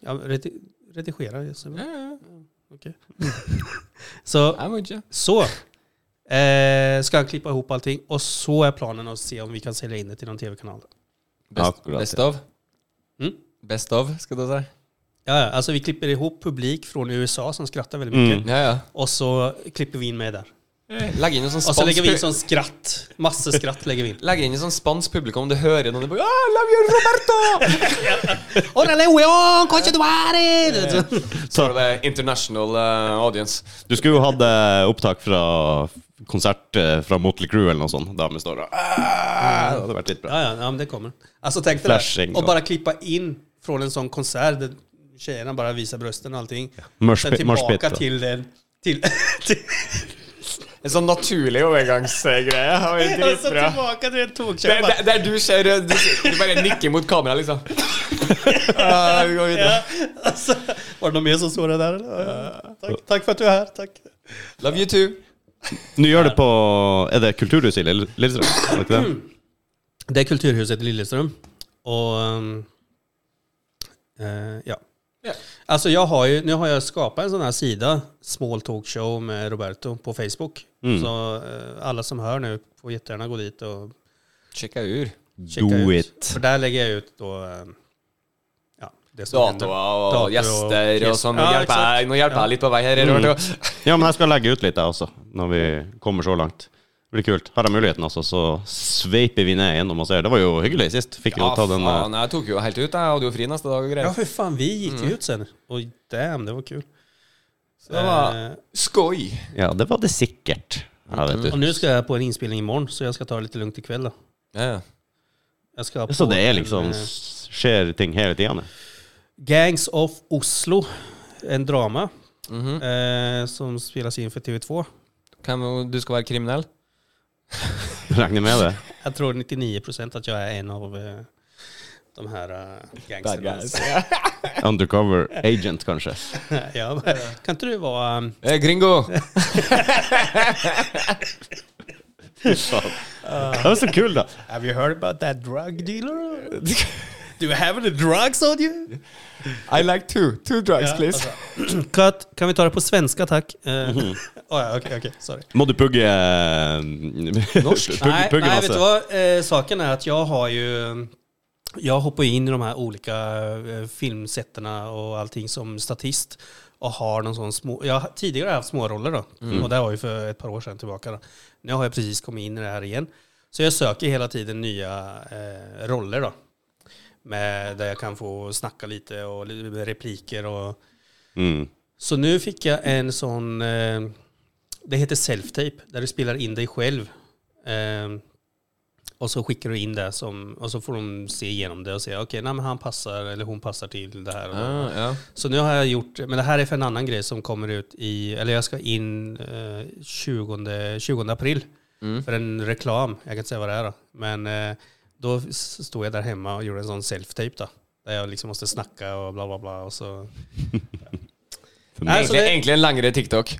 [SPEAKER 3] Ja, redi redigerar, jag säger. Okej. Så
[SPEAKER 2] Jeg må ikke.
[SPEAKER 3] så eh, ska jag klippa ihop allting och så är planen att se om vi kan sälja in det till någon tv-kanal.
[SPEAKER 2] Best,
[SPEAKER 1] Akkurat,
[SPEAKER 2] best
[SPEAKER 1] ja.
[SPEAKER 2] of.
[SPEAKER 3] Mm.
[SPEAKER 2] Best of, skal du si.
[SPEAKER 3] Ja, ja, alltså vi klipper ihop publik från USA som skrattar väldigt
[SPEAKER 1] Mm.
[SPEAKER 3] mycket
[SPEAKER 2] Ja, ja.
[SPEAKER 3] och så klipper vi in med där.
[SPEAKER 2] Legg inn en sånn
[SPEAKER 3] Och så lägger
[SPEAKER 2] spansk,
[SPEAKER 3] vi in
[SPEAKER 2] pu
[SPEAKER 3] sån skratt, massor skratt lägger vi in.
[SPEAKER 2] legg inn en sånn spansk publikum. Du hører noen du bare, ah, love you, Roberto!
[SPEAKER 3] Hola Leon, concha tu Eh, madre!
[SPEAKER 2] Så er det international eh, audience.
[SPEAKER 1] Du skulle jo hatt eh, opptak fra konsert eh, fra Motley Crue eller noe sånt. Damer står og "Ah!" Det hadde vært litt bra.
[SPEAKER 3] Ja, ja, ja, men det kommer. Alltså tänk dig det
[SPEAKER 1] Flashing
[SPEAKER 3] och
[SPEAKER 1] då.
[SPEAKER 3] bara klippa in från en sån konsert där tjejerna bara visar brösten och allting.
[SPEAKER 1] Mosh
[SPEAKER 3] Sen
[SPEAKER 1] pit- mosh pit
[SPEAKER 3] tillbaka
[SPEAKER 1] då.
[SPEAKER 3] till den, till, till
[SPEAKER 2] En sånn naturlig overgangsgreie. Det var
[SPEAKER 3] och så
[SPEAKER 2] dritbra.
[SPEAKER 3] alltså, tillbaka till en talkshow.
[SPEAKER 2] Der, der, der du ser eh, du, du bara nikker mot kamera, liksom. Ja, vi går videre.
[SPEAKER 3] Alltså, var det någon mer som såg det där? eller? Ja, ja. Tack, tack för att du är här. Tack.
[SPEAKER 2] Love you too.
[SPEAKER 1] Nå gjør det på Er det Kulturhuset i Lill- Lillestrøm? Er det ikke det?
[SPEAKER 3] Det er Kulturhuset i Lillestrøm. Og ehm, eh, ja.
[SPEAKER 2] Ja.
[SPEAKER 3] Alltså jag har ju, nu har jag skapat en sån här sida, Small Talk Show med Roberto på Facebook.
[SPEAKER 1] Mm.
[SPEAKER 3] Så eh, alla som hör nu får jättegärna gå dit och
[SPEAKER 2] Sjekka ur.
[SPEAKER 3] checka
[SPEAKER 1] Do
[SPEAKER 3] ut.
[SPEAKER 1] it.
[SPEAKER 3] För där lägger jag ut då, eh, ja, det som
[SPEAKER 2] Datoer
[SPEAKER 3] händer.
[SPEAKER 2] og
[SPEAKER 3] Datoer og
[SPEAKER 2] gjester og sånn. Nå
[SPEAKER 3] Ja,
[SPEAKER 2] hjelper jeg, nå hjelper jeg litt på vei her. Robert, jo.
[SPEAKER 1] Ja, men jeg skal legge ut litt, jeg også, når vi kommer så langt. Det blir kult. Har jeg muligheten, altså, så sveiper vi ned gjennom og ser. Det var jo hyggelig sist. Fikk jo
[SPEAKER 2] Ja,
[SPEAKER 1] ta den eh,
[SPEAKER 2] faen, jeg tok jo helt ut. Jeg hadde jo fri neste dag og
[SPEAKER 3] Ja,
[SPEAKER 2] greier.
[SPEAKER 3] hur fan, vi gick
[SPEAKER 1] Mm.
[SPEAKER 3] ju ut sen. Och damn, det var kul.
[SPEAKER 2] Så det var
[SPEAKER 3] Eh,
[SPEAKER 2] skoj.
[SPEAKER 1] Ja, det var det sikkert. Ja, vet
[SPEAKER 3] och
[SPEAKER 1] du.
[SPEAKER 3] nu ska jag på en inspelning imorgon, så jag ska ta det lite lugnt ikväll då.
[SPEAKER 2] Ja, ja.
[SPEAKER 3] Jag ska
[SPEAKER 1] Så
[SPEAKER 3] på
[SPEAKER 1] det er
[SPEAKER 3] en,
[SPEAKER 1] liksom
[SPEAKER 3] eh,
[SPEAKER 1] Skjer ting hele tida?
[SPEAKER 3] Gangs of Oslo, en drama eh, som spelas in för TV2.
[SPEAKER 2] Hvem- Du skal være kriminell?
[SPEAKER 1] Regner med det.
[SPEAKER 3] Jag tror 99% att jag är en av eh, de här eh,
[SPEAKER 2] Bad
[SPEAKER 3] gangsterna.
[SPEAKER 2] guys.
[SPEAKER 1] Undercover agent, kanskje.
[SPEAKER 3] ja, men, kan ikke du vara... Um,
[SPEAKER 2] Eh, Gringo!
[SPEAKER 1] Det var så kul, da.
[SPEAKER 3] Have you heard about that drug dealer? Do you have any drugs on you?
[SPEAKER 2] I like two. Two drugs,
[SPEAKER 3] Ja, alltså.
[SPEAKER 2] please.
[SPEAKER 3] Cut. Kan vi ta det på svenska tack? Eh, oh, ja, Okej, okej, sorry.
[SPEAKER 1] Må du pugge eh,
[SPEAKER 2] Norsk?
[SPEAKER 1] Pugge,
[SPEAKER 3] nej,
[SPEAKER 1] pugge
[SPEAKER 3] nej, vet du
[SPEAKER 1] masse.
[SPEAKER 3] vad? Eh, saken är att jag har ju... Jag hoppar ju in i de här olika eh, filmsätterna och allting som statist. Och har någon sån små... Jag har tidigare haft småroller då. Och det var ju för ett par år sedan tillbaka. Då. Nu har jag precis kommit in i det här igen. Så jag söker hela tiden nya eh, roller då. Med, där jag kan få snacka lite och li- repliker och...
[SPEAKER 1] Mm.
[SPEAKER 3] Så nu fick jag en sån, eh, det heter self-tape, där du spelar in dig själv. Eh, och så skickar du in det som, och så får de se igenom det och säga okej, nej men han passar eller hon passar till det här.
[SPEAKER 2] Ah, ja.
[SPEAKER 3] Så nu har jag gjort, men det här är för en annan grej som kommer ut i, eller jag ska in eh, 20, 20 april
[SPEAKER 2] Mm.
[SPEAKER 3] för en reklam, jag kan inte säga vad det är då. Men eh, då s- stod jag där hemma och gjorde en sån self-tape då. Där jag liksom måste snacka och bla bla bla och så. Nej, så
[SPEAKER 2] Egentlig,
[SPEAKER 3] det-
[SPEAKER 2] egentlig en lengre TikTok.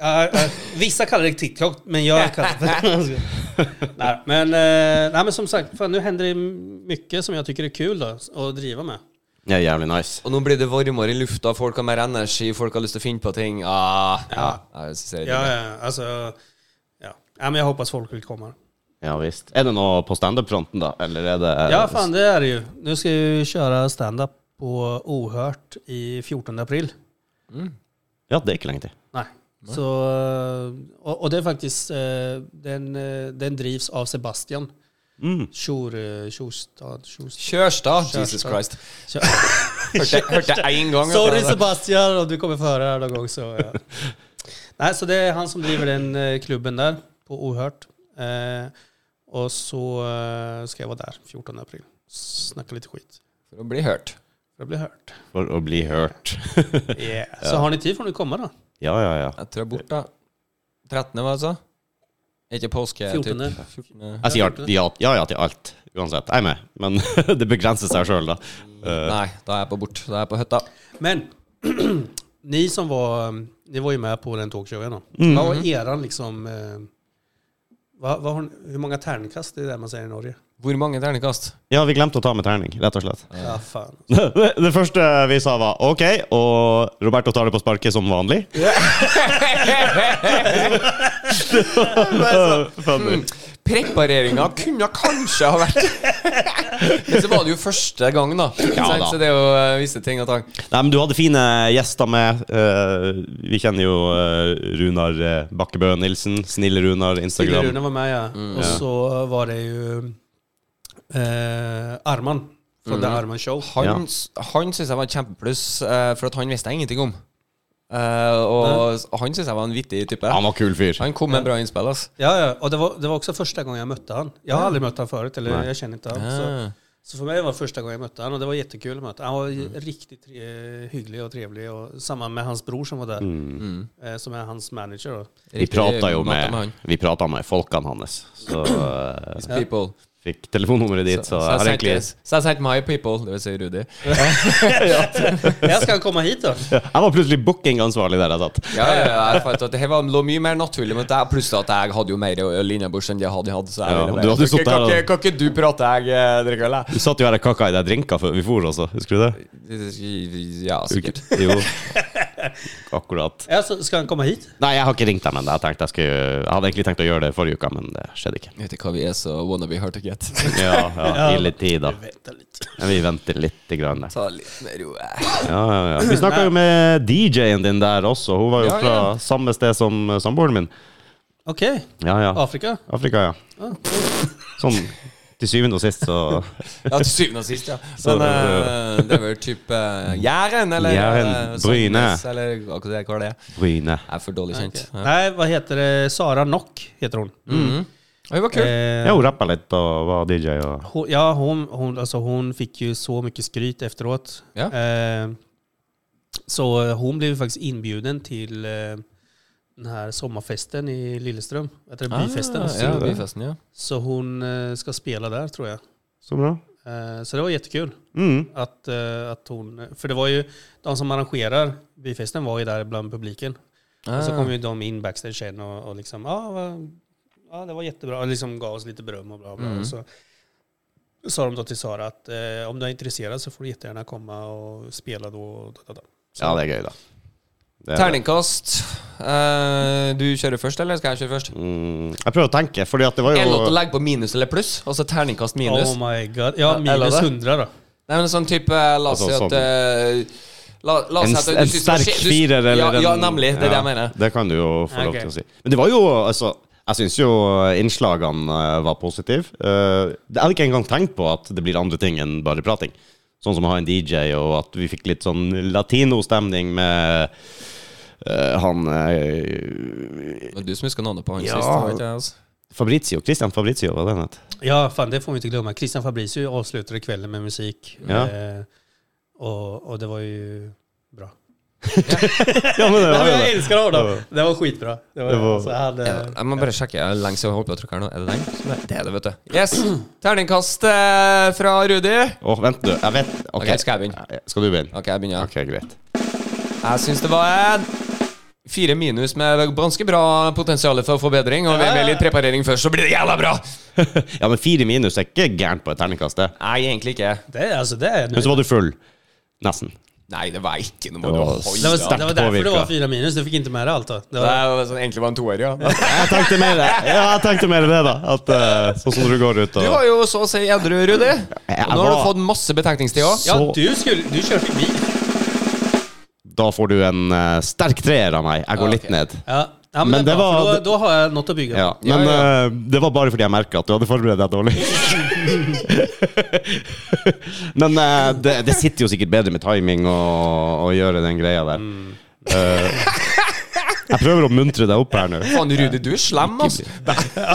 [SPEAKER 3] Ja, ja, vissa kallar det TikTok, men jag kallar det för nej, men, eh, nej, men som sagt, fan, nu händer det mycket som jag tycker är kul då, att driva med.
[SPEAKER 1] Ja, jævlig nice.
[SPEAKER 2] Og nå blir det varmere i lufta, folk har mer energi, folk har lyst til å finne på ting. Ah, ja. Ja, jeg synes det er
[SPEAKER 3] Ja,
[SPEAKER 2] digg.
[SPEAKER 3] ja, alltså, ja. ja men jag hoppas folk vill komma.
[SPEAKER 1] Ja visst. Er det noe på standup-fronten, da? Eller er det
[SPEAKER 3] Ja, fan det är det ju. Nu ska jag ju köra stand-up på Ohört i 14 april.
[SPEAKER 1] Ja, det er ikke lenge til.
[SPEAKER 3] Nej. Så, och, och det är faktiskt, eh, den, eh, den drivs av Sebastian.
[SPEAKER 1] Mm.
[SPEAKER 3] Tjor, eh, Tjorstad, Tjorstad.
[SPEAKER 2] Kjørstad!
[SPEAKER 3] Kjørstad.
[SPEAKER 2] Jesus Christ.
[SPEAKER 3] Kjør-
[SPEAKER 2] Hørte, hørte jeg én gang.
[SPEAKER 3] Sorry
[SPEAKER 2] vet du.
[SPEAKER 3] Sebastian om du kommer före här någon gång. Så, ja. Nej, så det är han som driver den eh, klubben där på Ohört. Eh, och så eh, ska jag vara där 14 april. Snacka lite skit.
[SPEAKER 2] For å bli hørt.
[SPEAKER 3] Jag blir hört.
[SPEAKER 1] For å bli hørt.
[SPEAKER 3] Yeah. Så har ni tid får ni komma då.
[SPEAKER 1] Ja, ja, ja.
[SPEAKER 2] Jeg tror jeg er borte. 13., hva jeg sa? Er Ikke påske?
[SPEAKER 3] 14..
[SPEAKER 2] Typ. 14.
[SPEAKER 1] Jeg sier alt, ja, ja, ja til alt, uansett. Jeg er med, men det begrenser seg sjøl, da. Eh,
[SPEAKER 2] Nei, da er jeg på bort. Da er jeg på hytta.
[SPEAKER 3] Men ni som var, ni var ju med på den talkshowen då. Vad var eran liksom, eh, vad, vad har, ni- hur många tärnkast, det är det man säger i Norge?
[SPEAKER 2] Hvor mange terningkast?
[SPEAKER 1] ja, vi glemte å ta med terning, rett og slett.
[SPEAKER 3] Ja, fan.
[SPEAKER 1] Det, det første vi sa, var OK, og Roberto tar det på sparket som vanlig. Funny.
[SPEAKER 2] Prepareringa kunne kanskje ha vært Men så var det jo første gang, da.
[SPEAKER 1] Ja, da.
[SPEAKER 2] Så det er jo eh, visse ting og tang.
[SPEAKER 1] Nei, men du hadde fine gjester med. eh, vi kjenner jo eh, Runar eh, Bakkebø Nilsen. Snille Runar,
[SPEAKER 3] Tigre
[SPEAKER 1] Instagram.
[SPEAKER 3] Rune var med ja. och så var det ju eh, Arman från The Arman Show.
[SPEAKER 2] Han, han syns jeg var et kjempepluss, eh, for at han visste jeg ingenting om. Eh, og han syns jeg var en vittig type.
[SPEAKER 1] Han var kul fyr.
[SPEAKER 2] Han kom med bra innspill, ass.
[SPEAKER 3] Ja, ja. Och det var, det var också första gången jag mötte han. Jag har aldrig mött han förut, eller
[SPEAKER 1] Nej.
[SPEAKER 3] jag känner inte han. Så,
[SPEAKER 2] Ah.
[SPEAKER 3] så för mig var det första gången jag mötte han och det var jättekul att möta Han var ju riktigt eh, hygglig och trevlig och samma med hans bror som var där,
[SPEAKER 1] Mm.
[SPEAKER 3] eh, som är hans manager. Då.
[SPEAKER 1] Vi prata jo
[SPEAKER 2] Riktig matte
[SPEAKER 1] med,
[SPEAKER 2] han.
[SPEAKER 1] vi prata med folkene hans. Så eh,
[SPEAKER 2] People.
[SPEAKER 1] fikk telefonnummeret ditt, så, jeg har
[SPEAKER 2] sendte-
[SPEAKER 1] egentlig
[SPEAKER 2] så jeg sendte my people, det vil si Rudi.
[SPEAKER 3] Jeg skal komme hit, da.
[SPEAKER 1] Jeg var plutselig bookingansvarlig der jeg satt.
[SPEAKER 2] Ja, ja, ja, jeg fant at det her var, lå mye mer naturlig, men det er plutselig at jeg hadde jo mer øl innebords enn jeg hadde hatt. Så jeg
[SPEAKER 1] Ja,
[SPEAKER 2] ville
[SPEAKER 1] du hadde
[SPEAKER 2] bare,
[SPEAKER 1] sittet
[SPEAKER 2] kan,
[SPEAKER 1] her
[SPEAKER 2] ikke- kan ikke du prate, jeg eh, drikker øl,
[SPEAKER 1] Du satt jo her og kakka i deg drinker før vi for også, husker du det?
[SPEAKER 2] jeg. Ja, sikkert.
[SPEAKER 1] Jo. Akkurat.
[SPEAKER 3] Ja, så skal han komme hit?
[SPEAKER 1] Nei, jeg har ikke ringt dem ennå. Jeg, tenkte jeg, skulle- jeg hadde egentlig tenkt å gjøre det forrige uke, men det skjedde ikke.
[SPEAKER 2] Vet du hva vi er, så wanna be hard to get.
[SPEAKER 1] Ja, ja, Gi litt tid, da.
[SPEAKER 3] Vent litt.
[SPEAKER 1] Men vi venter litt. Grann, der.
[SPEAKER 2] Ta litt med ro. eh.
[SPEAKER 1] ja, ja, ja. Vi snakka jo med DJ-en din der også. Hun var jo
[SPEAKER 2] Ja,
[SPEAKER 1] fra
[SPEAKER 2] ja.
[SPEAKER 1] samme sted som eh, samboeren min.
[SPEAKER 3] Ok.
[SPEAKER 1] Ja, ja.
[SPEAKER 3] Afrika?
[SPEAKER 1] Afrika, ja. Sånn til syvende og sist, så
[SPEAKER 2] Ja, til syvende og sist, ja.
[SPEAKER 1] Så,
[SPEAKER 2] Men eh, det er vel type eh, Jæren, eller
[SPEAKER 1] Jæren,
[SPEAKER 2] eh,
[SPEAKER 1] Bryne.
[SPEAKER 2] Sandnes, Eller akkurat det, hva er det?
[SPEAKER 1] Bryne.
[SPEAKER 2] Jeg er for dårlig kjent.
[SPEAKER 3] Ok. Nei, hva heter det? Sara Nock heter hon.
[SPEAKER 2] Oi, Mm. var kult.
[SPEAKER 1] Ja,
[SPEAKER 3] Eh,
[SPEAKER 1] hun rappa litt og var DJ og
[SPEAKER 3] hon, ja, hon, hon, alltså, hon fick ju så mycket skryt efteråt.
[SPEAKER 2] Ja.
[SPEAKER 3] Eh, så hon blev ju faktiskt inbjuden till eh, den här sommarfesten i Lilleström. Vad heter det? Byfesten.
[SPEAKER 2] Ah, ja, byfesten, ja.
[SPEAKER 3] Så hon eh, ska spela där tror jag.
[SPEAKER 1] Så bra.
[SPEAKER 3] Eh, så det var jättekul.
[SPEAKER 1] Mm.
[SPEAKER 3] Att, eh, att hon, för det var ju de som arrangerar byfesten var ju där bland publiken.
[SPEAKER 2] Ah.
[SPEAKER 3] Och så kom ju de in backstage sen och, och liksom, ja, vad- ja, det var jättebra. Och liksom gav oss lite beröm och bla bla.
[SPEAKER 2] Mm.
[SPEAKER 3] Och så sa de då till Sara att eh, om du är intresserad så får du jättegärna komma og spela då. och Da, da, da. Så,
[SPEAKER 1] Ja, det er gøy, da. Det er det.
[SPEAKER 2] Terningkast. Eh, du kjører først, eller skal jeg kjøre først?
[SPEAKER 1] Mm, jeg prøver å tenke, fordi at det var
[SPEAKER 2] Er det lov til å
[SPEAKER 1] jo
[SPEAKER 2] legge på minus eller pluss? Altså terningkast minus?
[SPEAKER 3] Oh my god.
[SPEAKER 2] Ja,
[SPEAKER 3] Ja,
[SPEAKER 2] eller
[SPEAKER 3] minus
[SPEAKER 2] det?
[SPEAKER 3] 100 då.
[SPEAKER 2] Nei, men sånn type eh, La oss
[SPEAKER 1] Altså,
[SPEAKER 2] si at
[SPEAKER 1] sånn-
[SPEAKER 2] eh, La, la oss
[SPEAKER 1] Alltså, en,
[SPEAKER 2] si at du
[SPEAKER 1] en
[SPEAKER 2] synes det var
[SPEAKER 1] sterk
[SPEAKER 2] skje- du-
[SPEAKER 1] firer, eller
[SPEAKER 2] ja,
[SPEAKER 1] en
[SPEAKER 2] ja, nemlig. Det er det
[SPEAKER 1] ja,
[SPEAKER 2] jeg mener.
[SPEAKER 1] Det kan du jo få lov
[SPEAKER 3] Ok.
[SPEAKER 1] til å si. Men det var jo altså jeg syns jo innslagene eh, var positive. Eh, Jeg hadde ikke engang tenkt på at det blir andre ting enn bare prating. Sånn som å ha en DJ, og at vi fikk litt sånn latinostemning med eh, han eh,
[SPEAKER 2] Det var du som husker navnet på han
[SPEAKER 1] Ja.
[SPEAKER 2] sist. det var ikke jeg, altså.
[SPEAKER 1] Fabrizio. Christian Fabrizio, var det han het?
[SPEAKER 3] Ja, fan det får vi inte glömma. Christian Fabriciu avslutade kvällen med musik.
[SPEAKER 1] Ja.
[SPEAKER 3] Eh, och, och det var ju bra.
[SPEAKER 1] Ja, men det
[SPEAKER 3] Ja,
[SPEAKER 1] var jo
[SPEAKER 3] men
[SPEAKER 1] det.
[SPEAKER 3] jag älskar honom. Det var skitbra. Det var,
[SPEAKER 1] Det var-
[SPEAKER 3] alltså, jag hade,
[SPEAKER 2] Jeg, jeg må bare sjekke. Jeg er lenge siden jeg holdt på å trykke her nå. Er det lenge? Det er det, vet du. Yes. Terningkast eh, fra Rudi.
[SPEAKER 1] Å, vent, du. Jeg vet Ok,
[SPEAKER 2] Ok, skal jeg begynne?
[SPEAKER 1] Skal du begynne?
[SPEAKER 2] OK, jeg begynner.
[SPEAKER 1] Ok, greit.
[SPEAKER 2] Jeg syns det var en fire minus med ganske bra potensial for forbedring. Og med, med litt preparering først, så blir det jævla bra!
[SPEAKER 1] Ja, men fire minus er ikke gærent på et terningkast, det.
[SPEAKER 2] Nei, egentlig ikke.
[SPEAKER 3] det, är- altså, det är
[SPEAKER 1] Men så var du full. Nesten.
[SPEAKER 2] Nei, det var ikke noe
[SPEAKER 1] Det
[SPEAKER 2] moro.
[SPEAKER 1] var
[SPEAKER 2] Oi,
[SPEAKER 3] Det var,
[SPEAKER 2] da.
[SPEAKER 1] sterkt
[SPEAKER 3] det var derfor det var
[SPEAKER 1] påvirket.
[SPEAKER 3] fyra minus, du fikk ikke med deg alt. da det
[SPEAKER 2] Det
[SPEAKER 3] var,
[SPEAKER 2] var sånn, egentlig var en toer, ja.
[SPEAKER 1] Jeg tenkte mer, ja, jeg tenkte mer det, da. At, eh, sånn som du går ut
[SPEAKER 2] Du
[SPEAKER 1] og
[SPEAKER 2] var jo så å si edru, Rudi. Og nå har du
[SPEAKER 1] var-
[SPEAKER 2] fått masse betenkningstid òg.
[SPEAKER 3] Ja,
[SPEAKER 1] så-
[SPEAKER 3] du, skulle, du kjørte forbi.
[SPEAKER 1] Da får du en eh, sterk treer av meg. Jeg går
[SPEAKER 2] Ja,
[SPEAKER 1] litt
[SPEAKER 2] ok.
[SPEAKER 1] ned.
[SPEAKER 3] Ja. Ja, men,
[SPEAKER 1] Men
[SPEAKER 3] det
[SPEAKER 1] det
[SPEAKER 3] er bra,
[SPEAKER 1] var-
[SPEAKER 3] for da, da har jeg noe å bygge.
[SPEAKER 1] Ja,
[SPEAKER 2] Ja,
[SPEAKER 1] men
[SPEAKER 2] ja.
[SPEAKER 1] eh, det var bare fordi jeg merka at du hadde forberedt deg dårlig. men eh, det, det sitter jo sikkert bedre med timing og, og gjøre den greia der.
[SPEAKER 2] Mm.
[SPEAKER 1] Eh, jeg prøver å muntre deg opp her nå.
[SPEAKER 2] Faen, Rudi, du er slem, altså.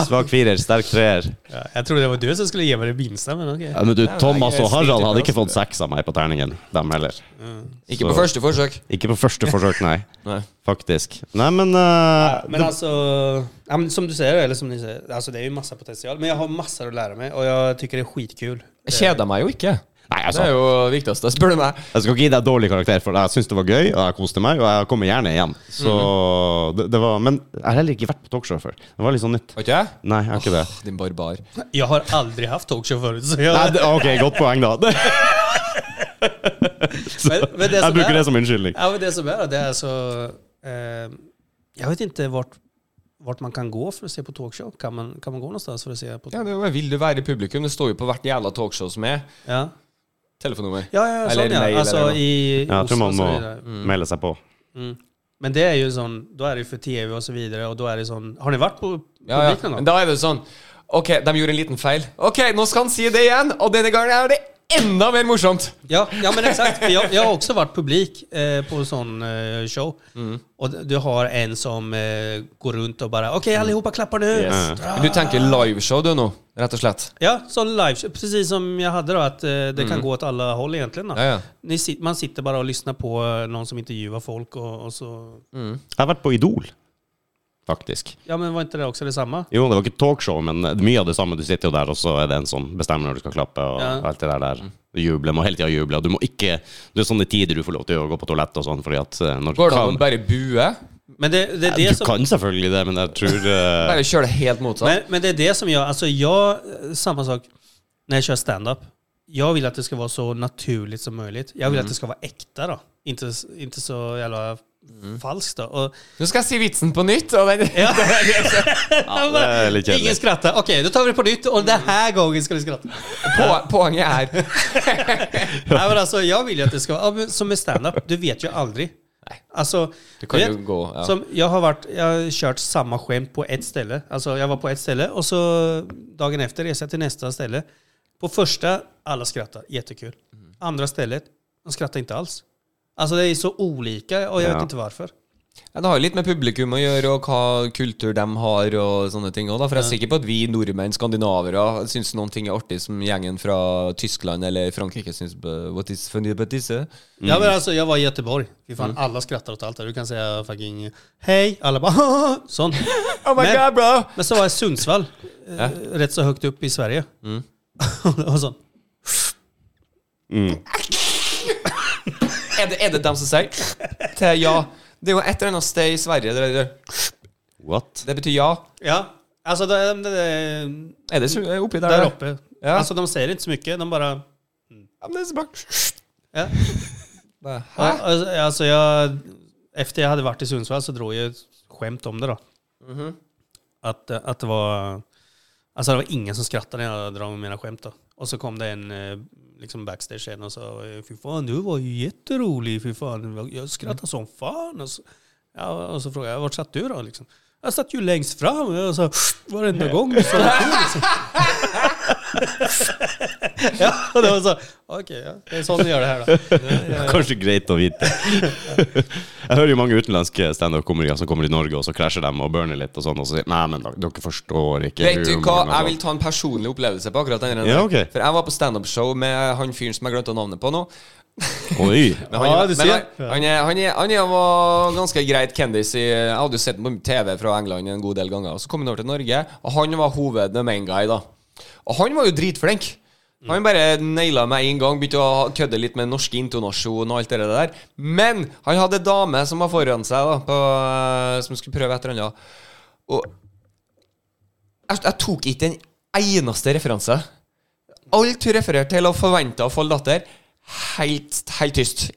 [SPEAKER 1] Svak firer, sterk treer.
[SPEAKER 3] Ja, jeg trodde det var du som skulle gi meg det minste, men ok.
[SPEAKER 1] Ja, men du, Thomas og Harald hadde ikke
[SPEAKER 2] styrer
[SPEAKER 1] fått seks av meg på terningen, dem heller.
[SPEAKER 2] Ikke
[SPEAKER 1] Så-
[SPEAKER 2] på første forsøk.
[SPEAKER 1] Ikke på første forsøk, nei.
[SPEAKER 2] Nei.
[SPEAKER 1] Faktisk. Nei, men, eh,
[SPEAKER 3] Men alltså- altså ja, men Som du sier, eller som ni sier, altså, det er jo masse potensial. Men jeg har masse å lære meg, og jeg syns det er skitkul.
[SPEAKER 2] Jeg kjeder meg jo ikke.
[SPEAKER 1] Nei,
[SPEAKER 2] Det
[SPEAKER 1] altså,
[SPEAKER 2] er jo det viktigste, spør du meg.
[SPEAKER 1] jeg skal ikke gi deg dårlig karakter, for jeg syns det var gøy, og jeg koste meg, og jeg kommer gjerne igjen. Så det, det var Men jeg har heller ikke vært på talkshow før. Det var litt sånn nytt.
[SPEAKER 2] Har ikke jeg?
[SPEAKER 1] Nei, jeg har ikke det.
[SPEAKER 2] Din barbar.
[SPEAKER 3] Jeg har aldri hatt talkshow før. Så jeg,
[SPEAKER 1] Nei, det ok, godt poeng, da. Det,
[SPEAKER 3] men, men det
[SPEAKER 1] jeg
[SPEAKER 3] som
[SPEAKER 1] bruker
[SPEAKER 3] er,
[SPEAKER 1] det som unnskyldning.
[SPEAKER 3] ja, men det som er, det er så eh, Jeg vet ikke vart, vart man kan gå for å se på talkshow. Kan man, kan man gå noe sted for å se på
[SPEAKER 2] Ja, det er jo, vil du være i publikum? Det står jo på hvert jævla talkshow som er.
[SPEAKER 3] Ja.
[SPEAKER 2] Telefonnummer.
[SPEAKER 3] Ja, ja,
[SPEAKER 2] Eller
[SPEAKER 3] sånn, ja.
[SPEAKER 2] mail,
[SPEAKER 3] altså,
[SPEAKER 2] eller noe.
[SPEAKER 3] i, i
[SPEAKER 1] Ja, jeg tror
[SPEAKER 3] Oslo
[SPEAKER 1] man
[SPEAKER 3] og så
[SPEAKER 1] må
[SPEAKER 3] videre.
[SPEAKER 1] melde seg på.
[SPEAKER 3] Mm. Men det er jo sånn, da er det jo for TV og så videre, og da er det sånn Har dere vært på
[SPEAKER 2] Ja, ja.
[SPEAKER 3] publik
[SPEAKER 2] Men
[SPEAKER 3] noen gang?
[SPEAKER 2] da er det jo sånn Ok, de gjorde en liten feil. Ok, nå skal han si det igjen, og denne gangen er det enda mer morsomt.
[SPEAKER 3] Ja, ja, men exakt. Jeg, jeg har også vært publik eh, på sånn eh, show.
[SPEAKER 2] Mm.
[SPEAKER 3] Og du har en som eh, går rundt og bare OK,
[SPEAKER 2] Mm.
[SPEAKER 3] allihopa klapper nå!
[SPEAKER 1] Yes.
[SPEAKER 2] Men du tenker liveshow du nå, rett og slett?
[SPEAKER 3] Ja, sånn live, precis som jeg hadde, da, at eh, det kan gå åt alle hold, egentlig. Da.
[SPEAKER 2] Mm. Ja, ja.
[SPEAKER 3] Ni sit, man sitter bare og lytter på eh, noen som intervjuer folk, og, og så
[SPEAKER 1] Jeg har vært på Idol. faktisk.
[SPEAKER 3] Ja, men var inte det också detsamma?
[SPEAKER 1] Jo, det var ikke talkshow, men mye av det samme. Du sitter jo der, og så er det en som bestemmer når du skal klappe, og
[SPEAKER 3] Ja.
[SPEAKER 1] alt det der der.
[SPEAKER 2] Mm.
[SPEAKER 1] Du jubler, må hele tida juble. Og du må ikke Det er sånne tider du får lov til å gå på toalettet og sånn, fordi at eh, når
[SPEAKER 2] Går det an
[SPEAKER 1] kan-
[SPEAKER 2] å bare bue?
[SPEAKER 3] Men det, det är
[SPEAKER 1] Du
[SPEAKER 3] det som...
[SPEAKER 1] kan selvfølgelig det, men jeg tror eh,
[SPEAKER 2] Bare kjøre det helt motsatt?
[SPEAKER 3] Men, men det är det som jag... Alltså jag... eh, Samma sak när jag kör stand-up. Jag vill att det ska vara så naturligt som möjligt. Jag vill att det ska vara äkta då. Inte, s- inte så jävla falskt då. Och,
[SPEAKER 2] Nå skal jeg si vitsen på nytt. Og den,
[SPEAKER 3] ja.
[SPEAKER 1] det är lite
[SPEAKER 3] Ingen
[SPEAKER 1] jävligt.
[SPEAKER 3] skrattar. Okej, då tar vi det på nytt och den här gången ska ni skratta.
[SPEAKER 2] på, poenget er
[SPEAKER 3] Nej, men alltså, jag vill ju att det ska vara... ja, men Som med stand-up, du vet ju aldrig.
[SPEAKER 2] Nej.
[SPEAKER 3] Alltså,
[SPEAKER 2] Det kan
[SPEAKER 3] du vet-
[SPEAKER 2] jo gå ja.
[SPEAKER 3] Som jag har varit, jag har kört samma skämt på ett ställe. Alltså jag var på ett ställe och så dagen efter reser jag till nästa ställe. På första, alla skrattar, jättekul.
[SPEAKER 2] Mm.
[SPEAKER 3] Andra stället, de skrattar inte alls. Alltså det är så olika och jag
[SPEAKER 1] Ja.
[SPEAKER 3] vet inte varför.
[SPEAKER 2] Ja, Det har jo litt med publikum å gjøre, og hva kultur de har, og sånne ting. Også, da. For jeg er sikker på at vi nordmenn, skandinavere, syns noen ting er artig som gjengen fra Tyskland eller Frankrike syns på- What is funny about this? eh?
[SPEAKER 3] Ja, men alltså, jag var i Göteborg. Fy fan,
[SPEAKER 2] Mm.
[SPEAKER 3] alla skrattar åt allt. där. Du kan säga fucking hej, alla bara sånt.
[SPEAKER 2] Oh my
[SPEAKER 3] Men-
[SPEAKER 2] god, bro!
[SPEAKER 3] Men så var jag i Sundsvall, eh, rätt så högt upp i Sverige.
[SPEAKER 2] Mm.
[SPEAKER 3] och sånt.
[SPEAKER 2] Er det, er det dem som sier til ja? Det er jo et eller annet sted i Sverige der det der.
[SPEAKER 1] What?
[SPEAKER 2] Det betyr ja.
[SPEAKER 3] Ja, alltså det, det, det,
[SPEAKER 2] Er det så- eh, er det oppi der?
[SPEAKER 3] där
[SPEAKER 2] da?
[SPEAKER 3] uppe.
[SPEAKER 2] Ja.
[SPEAKER 3] Alltså de säger inte så mycket, de bara...
[SPEAKER 2] Ja, men det er så bra.
[SPEAKER 3] Ja.
[SPEAKER 2] Bare, Hæ?
[SPEAKER 3] Ja, alltså- Alltså jag, efter jag hade varit i Sundsvall så drog jag ett skämt om det då. Att, eh, att det var... Alltså det var ingen som skrattade när jag drog mina skämt då. Och så kom det en eh, liksom backstage sen och sa Fy fan, du var ju jätterolig. Fy fan, jag skrattade som fan. Och så, ja, och så frågade jag, vart satt du då? Liksom. Jag satt ju längst fram. Jag sa, varenda gång du sa det. Liksom. ja, och det var så. Okej, ja, det är sån ni gör det här då.
[SPEAKER 1] Kanskje greit å vite. Jeg hører jo mange utenlandske standup-komikere som kommer til Norge, og så krasjer dem og burner litt, og sånn, og så sier Nei, men da- dere forstår ikke
[SPEAKER 2] Vet du
[SPEAKER 1] humoren
[SPEAKER 2] hva,
[SPEAKER 1] og
[SPEAKER 2] jeg
[SPEAKER 1] sånn.»
[SPEAKER 2] vil ta en personlig opplevelse på akkurat den. der.
[SPEAKER 1] Ja, ok.
[SPEAKER 2] For jeg var på standup-show med han fyren som jeg glemte navnet på nå.
[SPEAKER 1] Oi!
[SPEAKER 2] Men han,
[SPEAKER 3] Ja, du
[SPEAKER 2] men
[SPEAKER 3] ser.
[SPEAKER 2] han, han, er- han, er- han er- var ganske greit kendis. I, jeg hadde jo sett ham på TV fra England en god del ganger. Og Så kom han over til Norge, og han var hoved the main guy, da. Og han var jo dritflink.
[SPEAKER 3] Mm.
[SPEAKER 2] Han bare naila meg en gang, begynte å kødde litt med norske intonasjon og alt det der. Men han hadde ei dame som var foran seg, da, på, eh, som skulle prøve et eller annet. Og jeg, jeg tok ikke en eneste referanse. Alt hun refererte til og forventa å få latter, helt, helt tyst.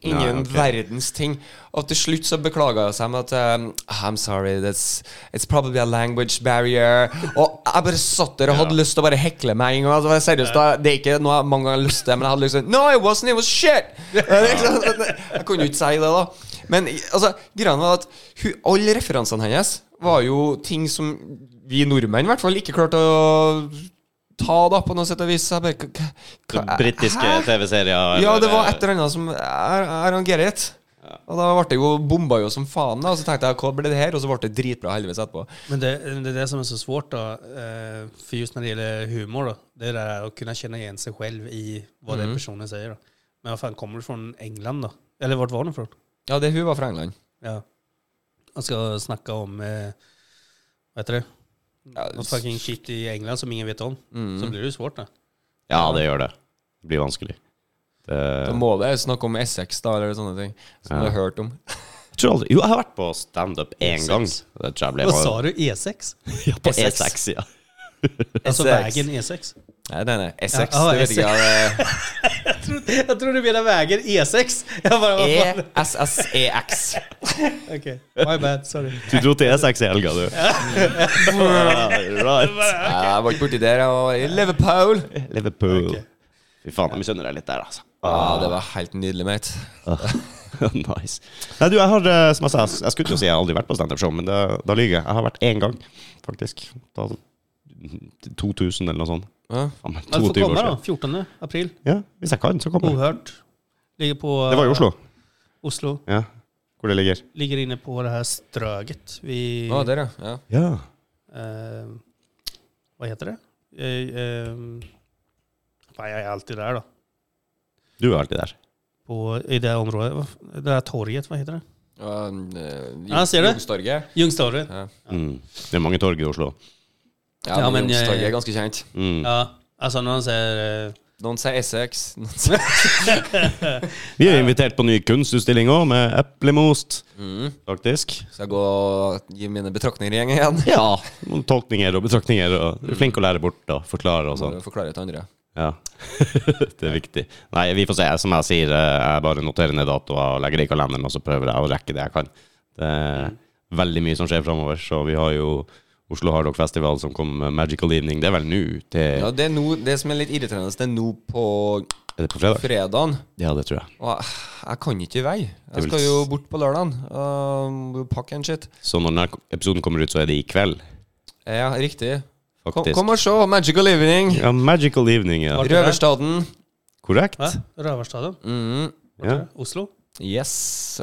[SPEAKER 1] Nei,
[SPEAKER 2] Ingen
[SPEAKER 1] ok.
[SPEAKER 2] verdens ting. Og til slutt så beklaga hun seg med at um, I'm sorry, that's, it's probably a language barrier. Og jeg bare satt der og hadde lyst til å bare hekle meg en gang. Altså, seriøst, da, det er ikke noe jeg mange ganger har lyst til, men jeg hadde liksom No, it wasn't, it was shit! Liksom, jeg kunne jo ikke si det, da. Men altså, greia var at hun, alle referansene hennes var jo ting som vi nordmenn i hvert fall ikke klarte å ta da, på noe sett og vis. Så Jeg bare, k- k- hva-
[SPEAKER 1] Britiske
[SPEAKER 2] Hæ?
[SPEAKER 1] TV-serier
[SPEAKER 2] Ja, det var
[SPEAKER 1] eller-
[SPEAKER 2] et eller annet som I I don't get it. Og da ble det jo bomba jo som faen, da. Og så tenkte jeg hva ble det her? Og så ble det dritbra heldigvis etterpå.
[SPEAKER 3] Men det, det är det som är så svårt då, eh, för just när det gäller humor då, det är det här att kunna känna igen sig själv i vad
[SPEAKER 1] Mm.
[SPEAKER 3] den personen säger då. Men vad fan, kommer du från England då? Eller vart var du ifrån?
[SPEAKER 2] Ja, det hun var fra England.
[SPEAKER 3] Ja. Jag ska snacka om, eh, vad heter det?
[SPEAKER 2] Ja,
[SPEAKER 3] Något fucking shit i England som ingen vet om.
[SPEAKER 1] Mm.
[SPEAKER 3] Så blir det ju svårt då.
[SPEAKER 1] Ja, det gjør det. Det blir vanskelig. Det...
[SPEAKER 2] Da må det snakke om Essex, da, eller sånne ting. Som du har hørt om.
[SPEAKER 1] Jeg tror aldri... Jo, jeg har vært på standup én
[SPEAKER 3] E6.
[SPEAKER 1] gang. Det tror jeg ble
[SPEAKER 3] Vad sa du? E6?
[SPEAKER 1] Ja, på
[SPEAKER 2] E6.
[SPEAKER 1] E6, ja.
[SPEAKER 3] Alltså
[SPEAKER 1] E
[SPEAKER 2] E6.
[SPEAKER 3] vägen E6?
[SPEAKER 2] Nei, nei, nei. Essex.
[SPEAKER 3] Ja, ah,
[SPEAKER 2] det vet jeg ikke.
[SPEAKER 3] Jag tror du menar vägen E6. Jag bara, vad
[SPEAKER 1] E-
[SPEAKER 3] fan?
[SPEAKER 2] jeg- ESSEX.
[SPEAKER 3] Okej, my bad, sorry.
[SPEAKER 1] Du dro til E6 i helga, du. right.
[SPEAKER 2] Ja, Jeg var ikke borti der. Jeg var i Liverpool.
[SPEAKER 1] Liverpool. Fy faen, jeg misunner deg litt der, altså.
[SPEAKER 2] Ja, det var helt nydelig, mate.
[SPEAKER 1] nice. Nei, du, jeg har eh, som jeg sa, jeg skulle til å si jeg har aldri vært på standup-show, men det, da lyver jeg. Jeg har vært én gang, faktisk. Da, 2000 eller noe sånt.
[SPEAKER 2] Ja.
[SPEAKER 1] Faen, men
[SPEAKER 3] Du
[SPEAKER 1] 22
[SPEAKER 3] får
[SPEAKER 1] år
[SPEAKER 3] komma då,
[SPEAKER 1] siden.
[SPEAKER 3] 14 april.
[SPEAKER 1] Ja, hvis jeg kan, så kommer jeg.
[SPEAKER 3] Ohört. Ligger på... eh,
[SPEAKER 1] Det var i Oslo.
[SPEAKER 3] Oslo.
[SPEAKER 1] Ja. Hvor det ligger.
[SPEAKER 3] Ligger inne på det här Ströget. Vid,
[SPEAKER 2] Å, der, ja. ja.
[SPEAKER 1] Ja.
[SPEAKER 3] eh, vad heter det? Eh, eh, fan, jag är alltid där då.
[SPEAKER 1] Du er alltid der.
[SPEAKER 3] På, I det här området. Vad f- Det här torget, vad heter det?
[SPEAKER 2] Ja,
[SPEAKER 3] Ja, ser du?
[SPEAKER 2] Youngstorget.
[SPEAKER 3] Ljungstorget.
[SPEAKER 2] Ja.
[SPEAKER 1] Mm. Det er mange torg i Oslo.
[SPEAKER 2] Ja,
[SPEAKER 3] Ja,
[SPEAKER 2] men
[SPEAKER 3] men, eh,
[SPEAKER 2] Youngstorget er ganske kjent.
[SPEAKER 1] Mm.
[SPEAKER 3] Ja. Alltså, Altså, når han sier eh,
[SPEAKER 2] Noen sier Essex. Noen sier
[SPEAKER 1] Vi er invitert på ny kunstutstilling òg, med eplemost, faktisk.
[SPEAKER 2] Skal jeg Mm. gå og gi mine betraktninger i gjengen igjen?
[SPEAKER 1] Ja. Noen tolkninger og betraktninger. Og du er flink å lære bort og forklare og sånn.
[SPEAKER 2] Må Forklare til andre.
[SPEAKER 1] Ja. det er viktig. Nei, vi får se. Som jeg sier, eh, jeg bare noterer ned datoer og legger det i kalenderen, og så prøver jeg å rekke det jeg kan. Det er veldig mye som skjer framover, så vi har jo Oslo Hard Rock Festival som kom med Magical Evening. Det er vel nå til
[SPEAKER 2] Ja, det, er nå- det som er litt irriterende, det er nå på
[SPEAKER 1] Er det på fredag?
[SPEAKER 2] fredagen.
[SPEAKER 1] Ja, det tror jeg.
[SPEAKER 2] Og jeg, jeg kan ikke i vei. Jeg
[SPEAKER 1] vil
[SPEAKER 2] skal
[SPEAKER 1] s-
[SPEAKER 2] jo bort på lørdagen. Uh, må jo pakke en shit.
[SPEAKER 1] Så når denne episoden kommer ut, så er det i kveld,
[SPEAKER 2] Ja, riktig. Kom,
[SPEAKER 1] faktisk.
[SPEAKER 2] kom og se Magical Evening.
[SPEAKER 1] Ja, Magical Evening, ja.
[SPEAKER 3] Var-
[SPEAKER 2] Røverstaden.
[SPEAKER 1] Korrekt.
[SPEAKER 3] Hæ? Røverstaden?
[SPEAKER 2] Mhm.
[SPEAKER 1] Ja.
[SPEAKER 3] Oslo?
[SPEAKER 2] Yes.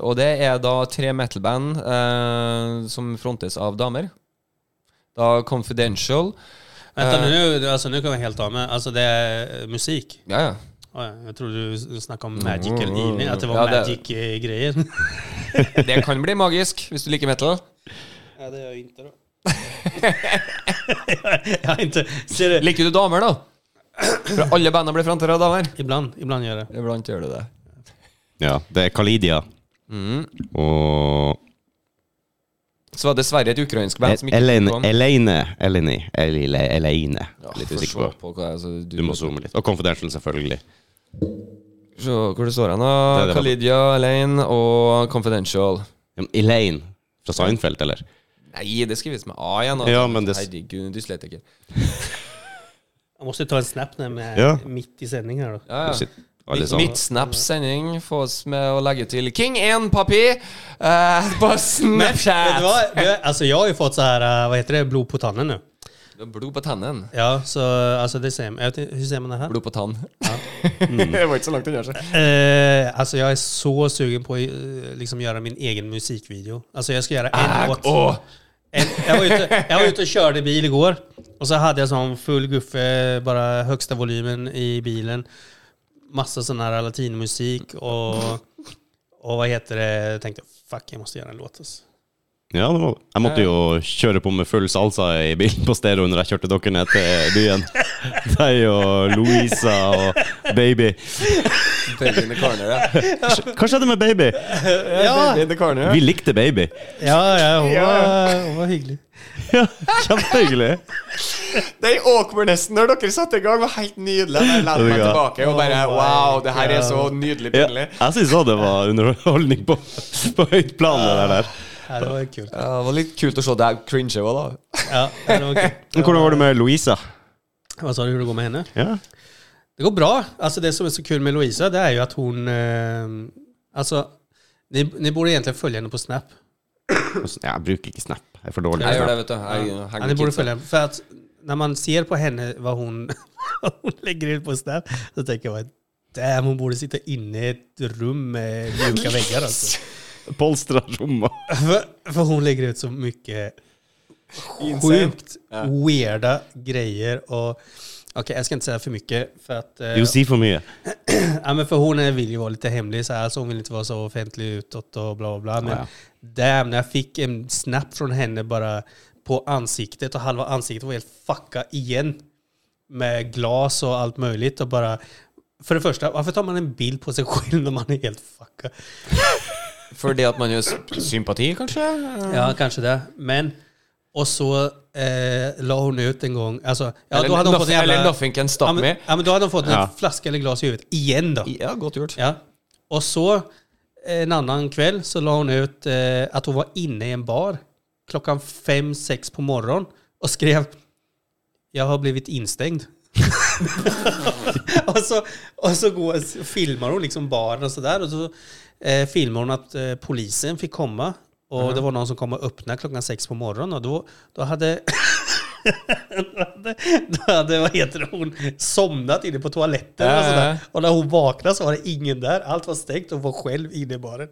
[SPEAKER 2] Og det er da tre metal-band eh, som frontes av damer. Da Confidential
[SPEAKER 3] Vänta
[SPEAKER 2] Eh.
[SPEAKER 3] nu, nu, alltså, nu kan jag helt av med. Alltså det är eh, musik.
[SPEAKER 2] Ja, ja.
[SPEAKER 3] Oh, ja. Jag trodde du s- snackade om magical evening, att det var
[SPEAKER 2] Mm,
[SPEAKER 3] eh,
[SPEAKER 2] Ja, det-
[SPEAKER 3] magic-grejer.
[SPEAKER 2] Det kan bli magisk hvis du liker metal.
[SPEAKER 3] ja, det gör jag inte då. jag har inte, ser du?
[SPEAKER 2] Liker du damer, da? For alle bandene blir frontet av damer.
[SPEAKER 3] Ibland, ibland gör jag det.
[SPEAKER 2] Iblant gjør du det.
[SPEAKER 1] Ja, det er Kalidia.
[SPEAKER 2] Mm.
[SPEAKER 1] Og
[SPEAKER 2] Så var det dessverre et ukrainsk band som ikke
[SPEAKER 1] Elaine
[SPEAKER 2] kom.
[SPEAKER 1] Elaine Elaine Elaine Elaine.
[SPEAKER 2] Ja,
[SPEAKER 1] Litt
[SPEAKER 2] får
[SPEAKER 1] usikker
[SPEAKER 2] se
[SPEAKER 1] på.
[SPEAKER 2] på hva jeg- så
[SPEAKER 1] Du må zoome litt. Og Confidential, selvfølgelig.
[SPEAKER 2] Se hvor det står hen, da.
[SPEAKER 1] Det er det.
[SPEAKER 2] Khalidia, Elaine og Confidential.
[SPEAKER 1] Ja, men Elaine fra Seinfeld, eller?
[SPEAKER 2] Nei, det skrives med A igjen. da.
[SPEAKER 1] Ja, men det-
[SPEAKER 2] Herregud, dyslektiker.
[SPEAKER 3] Jag måste ta en snap när jag är
[SPEAKER 1] Ja.
[SPEAKER 3] mitt i sändning här då.
[SPEAKER 2] Ja,
[SPEAKER 1] Du
[SPEAKER 2] ja.
[SPEAKER 1] sitter Alle
[SPEAKER 2] Mitt-
[SPEAKER 1] sammen.
[SPEAKER 2] Mitt Snap-sending fås med å legge til King 1 Papi eh, på
[SPEAKER 3] Vet du
[SPEAKER 2] Snapchat.
[SPEAKER 3] vad? Det- Alltså jag har ju fått så här, eh, vad heter det, blod på tannen nu.
[SPEAKER 2] Det er Blod på tennen.
[SPEAKER 3] Ja, så alltså det säger man. Jag vet inte, Hur säger man det här?
[SPEAKER 2] Blod på tann. det var ikke så langt unna. seg.
[SPEAKER 3] Eh, alltså jag är så sugen på att eh, liksom göra min egen musikvideo. Alltså jag ska göra en låt.
[SPEAKER 2] Ah, åh.
[SPEAKER 3] En, jag, var ute, jag var ute och körde bil igår och så hade jag sån full guffe, bara högsta volymen i bilen. Massa sån här latinmusik och, och vad heter det? Jag tänkte fuck, jeg måste göra en låt. Alltså.
[SPEAKER 1] Ja, det var, jeg måtte jo kjøre på med full salsa i bilen på stereo når jeg kjørte dere ned til byen. Deg og Louisa og baby.
[SPEAKER 2] Baby in the corner, ja.
[SPEAKER 1] Hva skjedde med baby?
[SPEAKER 2] Baby in the corner.
[SPEAKER 1] Vi likte baby.
[SPEAKER 3] Ja, ja, hon var, hon var hygglig.
[SPEAKER 1] Ja, Kjempehyggelig.
[SPEAKER 2] Den awkwardnessen når dere satte i gang, var helt nydelig. Jeg lente
[SPEAKER 1] meg tilbake
[SPEAKER 2] og bare
[SPEAKER 3] Oh wow, det her er så
[SPEAKER 2] nydelig
[SPEAKER 1] Ja, jeg syns òg det var underholdning på, på høyt plan. Det der.
[SPEAKER 3] Ja, det var kul.
[SPEAKER 2] Ja, det var litt kult å se deg cringe òg, da.
[SPEAKER 3] Ja, ja, det var kul.
[SPEAKER 1] Men Hvordan var det med Louisa?
[SPEAKER 3] Vad sa du hur det går med henne?
[SPEAKER 1] Ja.
[SPEAKER 3] Det går bra. Alltså det som är så kul med Louisa, det är ju att hon... Eh, alltså, ni, ni borde egentligen följa henne på Snap.
[SPEAKER 1] Jeg bruker ikke Snap. Jeg er for dårlig. på
[SPEAKER 2] Jeg gjør det,
[SPEAKER 1] Snap.
[SPEAKER 2] vet du. Jeg
[SPEAKER 3] Ja,
[SPEAKER 2] henger
[SPEAKER 3] ni
[SPEAKER 2] med
[SPEAKER 3] borde
[SPEAKER 2] kidsa.
[SPEAKER 3] följa henne. För att när man ser på henne vad hon, vad hon lägger ut på Snap, så tänker jag bara, damn, hon borde sitta inne i ett rum med mjuka väggar alltså.
[SPEAKER 1] Polstra rommet.
[SPEAKER 3] För, för hon lägger ut så mycket sjukt weirda grejer och Okej, jag ska inte säga for mycket. För, att, eh,
[SPEAKER 1] Jo, si for mye.
[SPEAKER 3] ja, men för hon eh, vill ju vara lite hemlig, så här, så hon vill inte vara så offentlig utåt och bla bla bla. Men
[SPEAKER 1] Ja,
[SPEAKER 3] damn, när jag fick en snap från henne bara på ansiktet och halva ansiktet var helt fucka igen. Med glas och allt möjligt och bara... För det första, varför tar man en bild på sig själv när man är helt fucka?
[SPEAKER 2] Fordi at man gjør s- sympati, kanskje?
[SPEAKER 3] Ja, kanske det. Men... Och så eh, la hon ut en gång, alltså, ja,
[SPEAKER 2] eller,
[SPEAKER 3] då hade hon fått
[SPEAKER 2] nothing,
[SPEAKER 3] en jävla...
[SPEAKER 2] eller nothing can stop
[SPEAKER 3] ja, men,
[SPEAKER 2] me.
[SPEAKER 3] ja, men då hade hon fått en
[SPEAKER 1] Ja.
[SPEAKER 3] flaska eller glas i huvudet igen då.
[SPEAKER 2] Ja, godt gjort.
[SPEAKER 3] Ja. Og så eh, en annen kveld så la hun ut eh, at hun var inne i en bar klokka fem-seks på morgenen og skrev 'Jeg har blitt innstengt'. og, så, og så går, så filmer hun liksom baren og så der, og så eh, filmer hun at eh, polisen fikk komme, og
[SPEAKER 2] Mm-hmm.
[SPEAKER 3] det var noen som kom og åpna klokka seks på morgenen, og da- da hadde da hade, då hade vad heter det, hon somnat inne på toaletten
[SPEAKER 2] Ja,
[SPEAKER 3] och, sådär.
[SPEAKER 2] ja.
[SPEAKER 3] och när hon vaknade så var det ingen där. Allt var stängt och hon var själv inne i baren.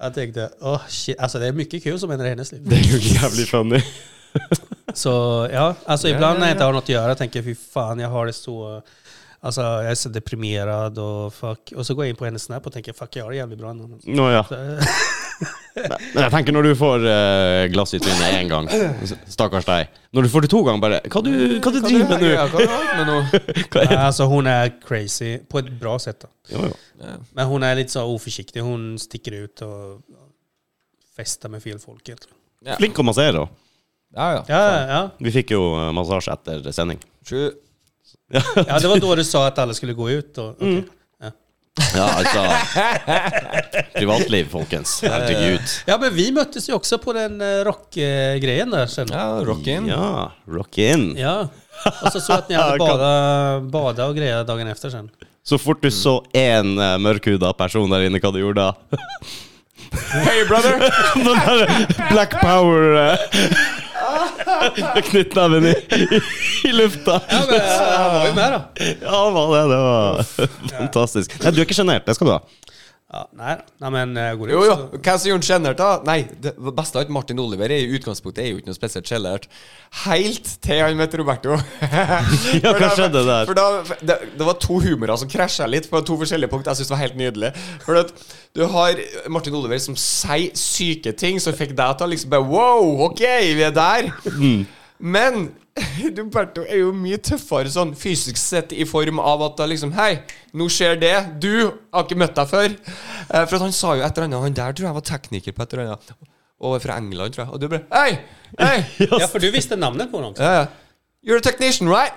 [SPEAKER 3] Jag tänkte, åh shit, alltså det är mycket kul som händer i hennes liv.
[SPEAKER 1] Det er jo jævlig funny.
[SPEAKER 3] Så ja, alltså ibland
[SPEAKER 2] ja,
[SPEAKER 3] när jag
[SPEAKER 2] ja.
[SPEAKER 3] inte har något att göra tänker jag, fy fan jag har det så, alltså jag är så deprimerad och fuck. Och så går jag in på hennes snap och tänker, fuck jag har det jävligt bra ändå.
[SPEAKER 1] Nå ja.
[SPEAKER 3] Så,
[SPEAKER 1] Men jeg tenker når du får eh, glass i trynet én gang, stakkars deg. Når du får det to ganger, bare Hva du, hva du
[SPEAKER 2] Hva
[SPEAKER 1] driver med nå?
[SPEAKER 2] Ja, hva du har med nå?
[SPEAKER 1] Hva er det?
[SPEAKER 3] Alltså hon är crazy på ett bra sätt. Då.
[SPEAKER 1] Jo, jo.
[SPEAKER 3] Men hon är lite så oförsiktig. Hon sticker ut och festar med fel folk egentligen.
[SPEAKER 2] Ja.
[SPEAKER 1] Flink å massere, da.
[SPEAKER 2] Ja, ja.
[SPEAKER 3] Ja, ja.
[SPEAKER 1] Vi fikk jo eh, massasje etter sending.
[SPEAKER 2] Sju.
[SPEAKER 3] ja, det var då du sa att alla skulle gå ut.
[SPEAKER 2] Mm.
[SPEAKER 3] Och, okej.
[SPEAKER 1] Ja, altså Privatliv, folkens. Herregud.
[SPEAKER 3] Ja, men vi möttes ju också på den eh, rockgrejen där sen. Ja.
[SPEAKER 2] Ja, rockin.
[SPEAKER 1] Ja, rock in.
[SPEAKER 3] Och så såg jag att ni hade
[SPEAKER 1] Ja, kan-
[SPEAKER 3] bada, bada och grejer dagen efter sen.
[SPEAKER 1] Så fort du
[SPEAKER 2] Mm.
[SPEAKER 1] så én eh, mørkhuda person der inne, hva du gjorde da?
[SPEAKER 2] Hey, brother!
[SPEAKER 1] Den der Black Power eh, knyttneven i, i, i lufta.
[SPEAKER 3] Ja, men eh, han var ju med då.
[SPEAKER 1] Ja, hva det, det var fantastisk. Nei, du er ikke sjenert, det skal du ha.
[SPEAKER 3] Ja, nej, nej, men eh, går det
[SPEAKER 2] Jo,
[SPEAKER 3] ut
[SPEAKER 2] jo.
[SPEAKER 3] så-
[SPEAKER 2] Hva som gjorde Kjennert, da? Nei, det beste av alt, Martin Oliver er i utgangspunktet er jo ikke noe spesielt Kjennert. Helt til han møtte Roberto. ja,
[SPEAKER 1] hva skjedde der?
[SPEAKER 2] For da, for det, det var to humorer som krasja litt på to forskjellige punkt. Jeg syns det var helt nydelig. For at du har Martin Oliver som sier syke ting som fikk deg til å liksom bare Wow, ok, vi er der. Men Roberto er jo mye tøffere sånn fysisk sett i form av at da liksom Hei, nå skjer det. Du har ikke møtt deg før. Eh, for at han sa jo et eller annet. Han der tror jeg var tekniker på et eller annet. Og var fra England, tror jeg. Og du bare Hei! Hei!
[SPEAKER 3] Ja, för du visste namnet på honom också.
[SPEAKER 2] Ja, ja. You're a technician, right?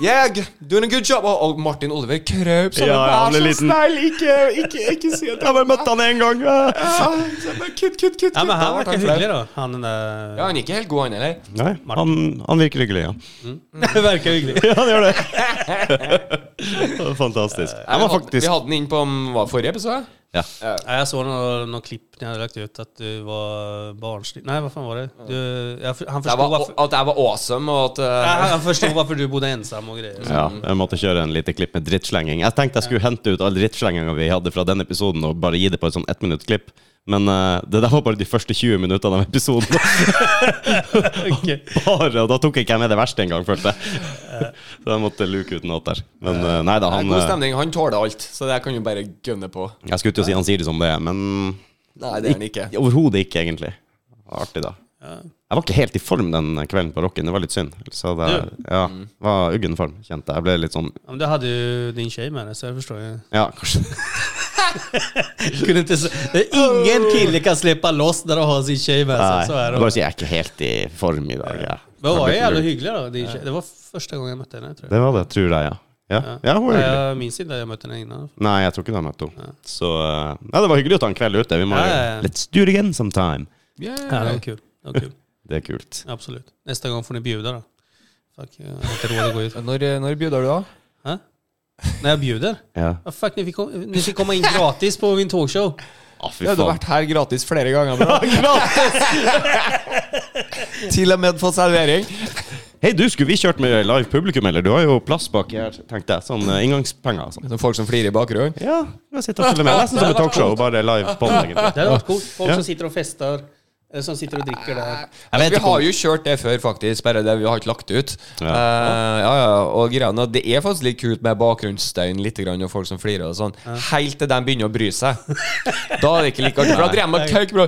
[SPEAKER 2] Yeah, g- doing a good job. Og, og Martin Oliver krøp sammen.
[SPEAKER 1] Ja, ja, han er
[SPEAKER 2] Vær så
[SPEAKER 1] liten.
[SPEAKER 2] snill, ikke, ikke, ikke si at
[SPEAKER 1] Jeg har bare møtt han én gang.
[SPEAKER 2] Ja, Ah, så jeg bare, Kutt, kutt, kutt.
[SPEAKER 3] Ja,
[SPEAKER 2] kutt.
[SPEAKER 3] men
[SPEAKER 2] Da
[SPEAKER 3] han
[SPEAKER 2] ble
[SPEAKER 3] verkar
[SPEAKER 2] flau.
[SPEAKER 3] hygglig då. Han den där...
[SPEAKER 2] Ja, han er ikke helt god, han heller.
[SPEAKER 1] Nei, han, han virker lykkelig, ja.
[SPEAKER 3] Det verkar hygglig.
[SPEAKER 1] Ja, han gjør det. Fantastisk. Jeg var
[SPEAKER 2] Vi
[SPEAKER 1] faktisk
[SPEAKER 2] hadde den inn på um, hva, forrige episode.
[SPEAKER 1] ja.
[SPEAKER 3] Ja, jag såg någon, någon klipp ni hade lagt ut att du var barnslig. Nej, vad fan var det? Du, jeg, han,
[SPEAKER 2] Det
[SPEAKER 3] förstod
[SPEAKER 2] var,
[SPEAKER 3] varför,
[SPEAKER 2] at jeg var awesome, og at
[SPEAKER 3] Ja,
[SPEAKER 2] uh,
[SPEAKER 3] han förstod varför du bodde ensam och grejer.
[SPEAKER 1] Ja, jeg måtte kjøre en lite klipp med drittslenging. Jeg tenkte jeg skulle hente ut all drittslenginga vi hadde fra den episoden, og bare gi det på et sånn ettminuttklipp. Men eh, det der var bare de første 20 minuttene av episoden.
[SPEAKER 3] Okej.
[SPEAKER 1] Bare, og da tok ikke jeg med det verste engang, følte jeg. Så jeg måtte luke ut noe der. Men eh, nei da,
[SPEAKER 2] det er
[SPEAKER 1] han
[SPEAKER 2] god
[SPEAKER 1] eh,
[SPEAKER 2] stemning. Han tåler alt, så det kan jo bare gønne på.
[SPEAKER 1] Jeg skulle til å si han sier det som det er, men
[SPEAKER 2] Nei, det er han ikke.
[SPEAKER 1] overhodet ikke, egentlig. Artig, da.
[SPEAKER 3] Ja.
[SPEAKER 1] Jeg var ikke helt i form den kvelden på Rocken, det var litt synd. Så det ja, var uggen form, kjente jeg. Jeg ble litt sånn
[SPEAKER 3] Ja, men du hade ju din tjej med dig, så jag förstår ju.
[SPEAKER 1] Ja, kanskje
[SPEAKER 3] Kunde inte, s- det är ingen kille kan släppa loss när de har sin tjej med
[SPEAKER 1] Nei,
[SPEAKER 3] sig. Alltså, Så är det.
[SPEAKER 1] bare si jeg er ikke helt i form i dag. Ja.
[SPEAKER 3] Men hon var
[SPEAKER 1] Jeg ble
[SPEAKER 3] ju jävla
[SPEAKER 1] litt lurt.
[SPEAKER 3] hygglig då, din tjej. Det var första gången jag mötte henne, tror jag.
[SPEAKER 1] Det var det, tror jeg, ja. Ja, ja hun er
[SPEAKER 3] Nej,
[SPEAKER 1] hyggelig.
[SPEAKER 3] jag minns inte att jag mötte henne innan.
[SPEAKER 1] Nei, jeg tror ikke du har møtt henne. Så eh, Nei, det var hyggelig å ta en kveld ute. Vi må
[SPEAKER 3] Ja, ja, ja.
[SPEAKER 1] Let's do it again sometime.
[SPEAKER 3] Ja, det var kul. Det var kul.
[SPEAKER 1] Det er kult.
[SPEAKER 3] Absolut. Nästa gång får ni bjuda då. Fuck, jag har inte råd att gå ut.
[SPEAKER 2] Når, når bjuder du, da?
[SPEAKER 3] Hä? När jag bjuder?
[SPEAKER 1] Ja.
[SPEAKER 3] Ja, fuck, ni fick, kom, ni fick komma in gratis på min talkshow.
[SPEAKER 1] Å, fy
[SPEAKER 2] Jeg hadde
[SPEAKER 1] faen.
[SPEAKER 2] vært her gratis flere ganger. Bra. Til og med fått servering.
[SPEAKER 1] Hei, du, skulle vi kjørt med live publikum, eller? Du har jo plass bak her, tenkte jeg. Sånn eh, inngangspenger og sånn.
[SPEAKER 2] Som folk som flirer i bakgrunnen.
[SPEAKER 1] Ja, vi sitter og følger med. Nesten som et talkshow, bare live på den, egentlig.
[SPEAKER 3] Det hade varit coolt. Folk
[SPEAKER 1] Ja.
[SPEAKER 3] som sitter och festar, eller som sitter och dricker där.
[SPEAKER 1] Jeg vet
[SPEAKER 2] Vi
[SPEAKER 1] ikke om-
[SPEAKER 2] har jo kjørt det før, faktisk, bare det vi har ikke lagt ut.
[SPEAKER 1] Ja.
[SPEAKER 2] Ja. ja, ja, og greiene, det er faktisk litt kult med bakgrunnsstøyen litt grann, og folk som flirer og sånn, helt til de begynner å bry seg. da er det ikke like artig. for Da driver de og tauker, bro.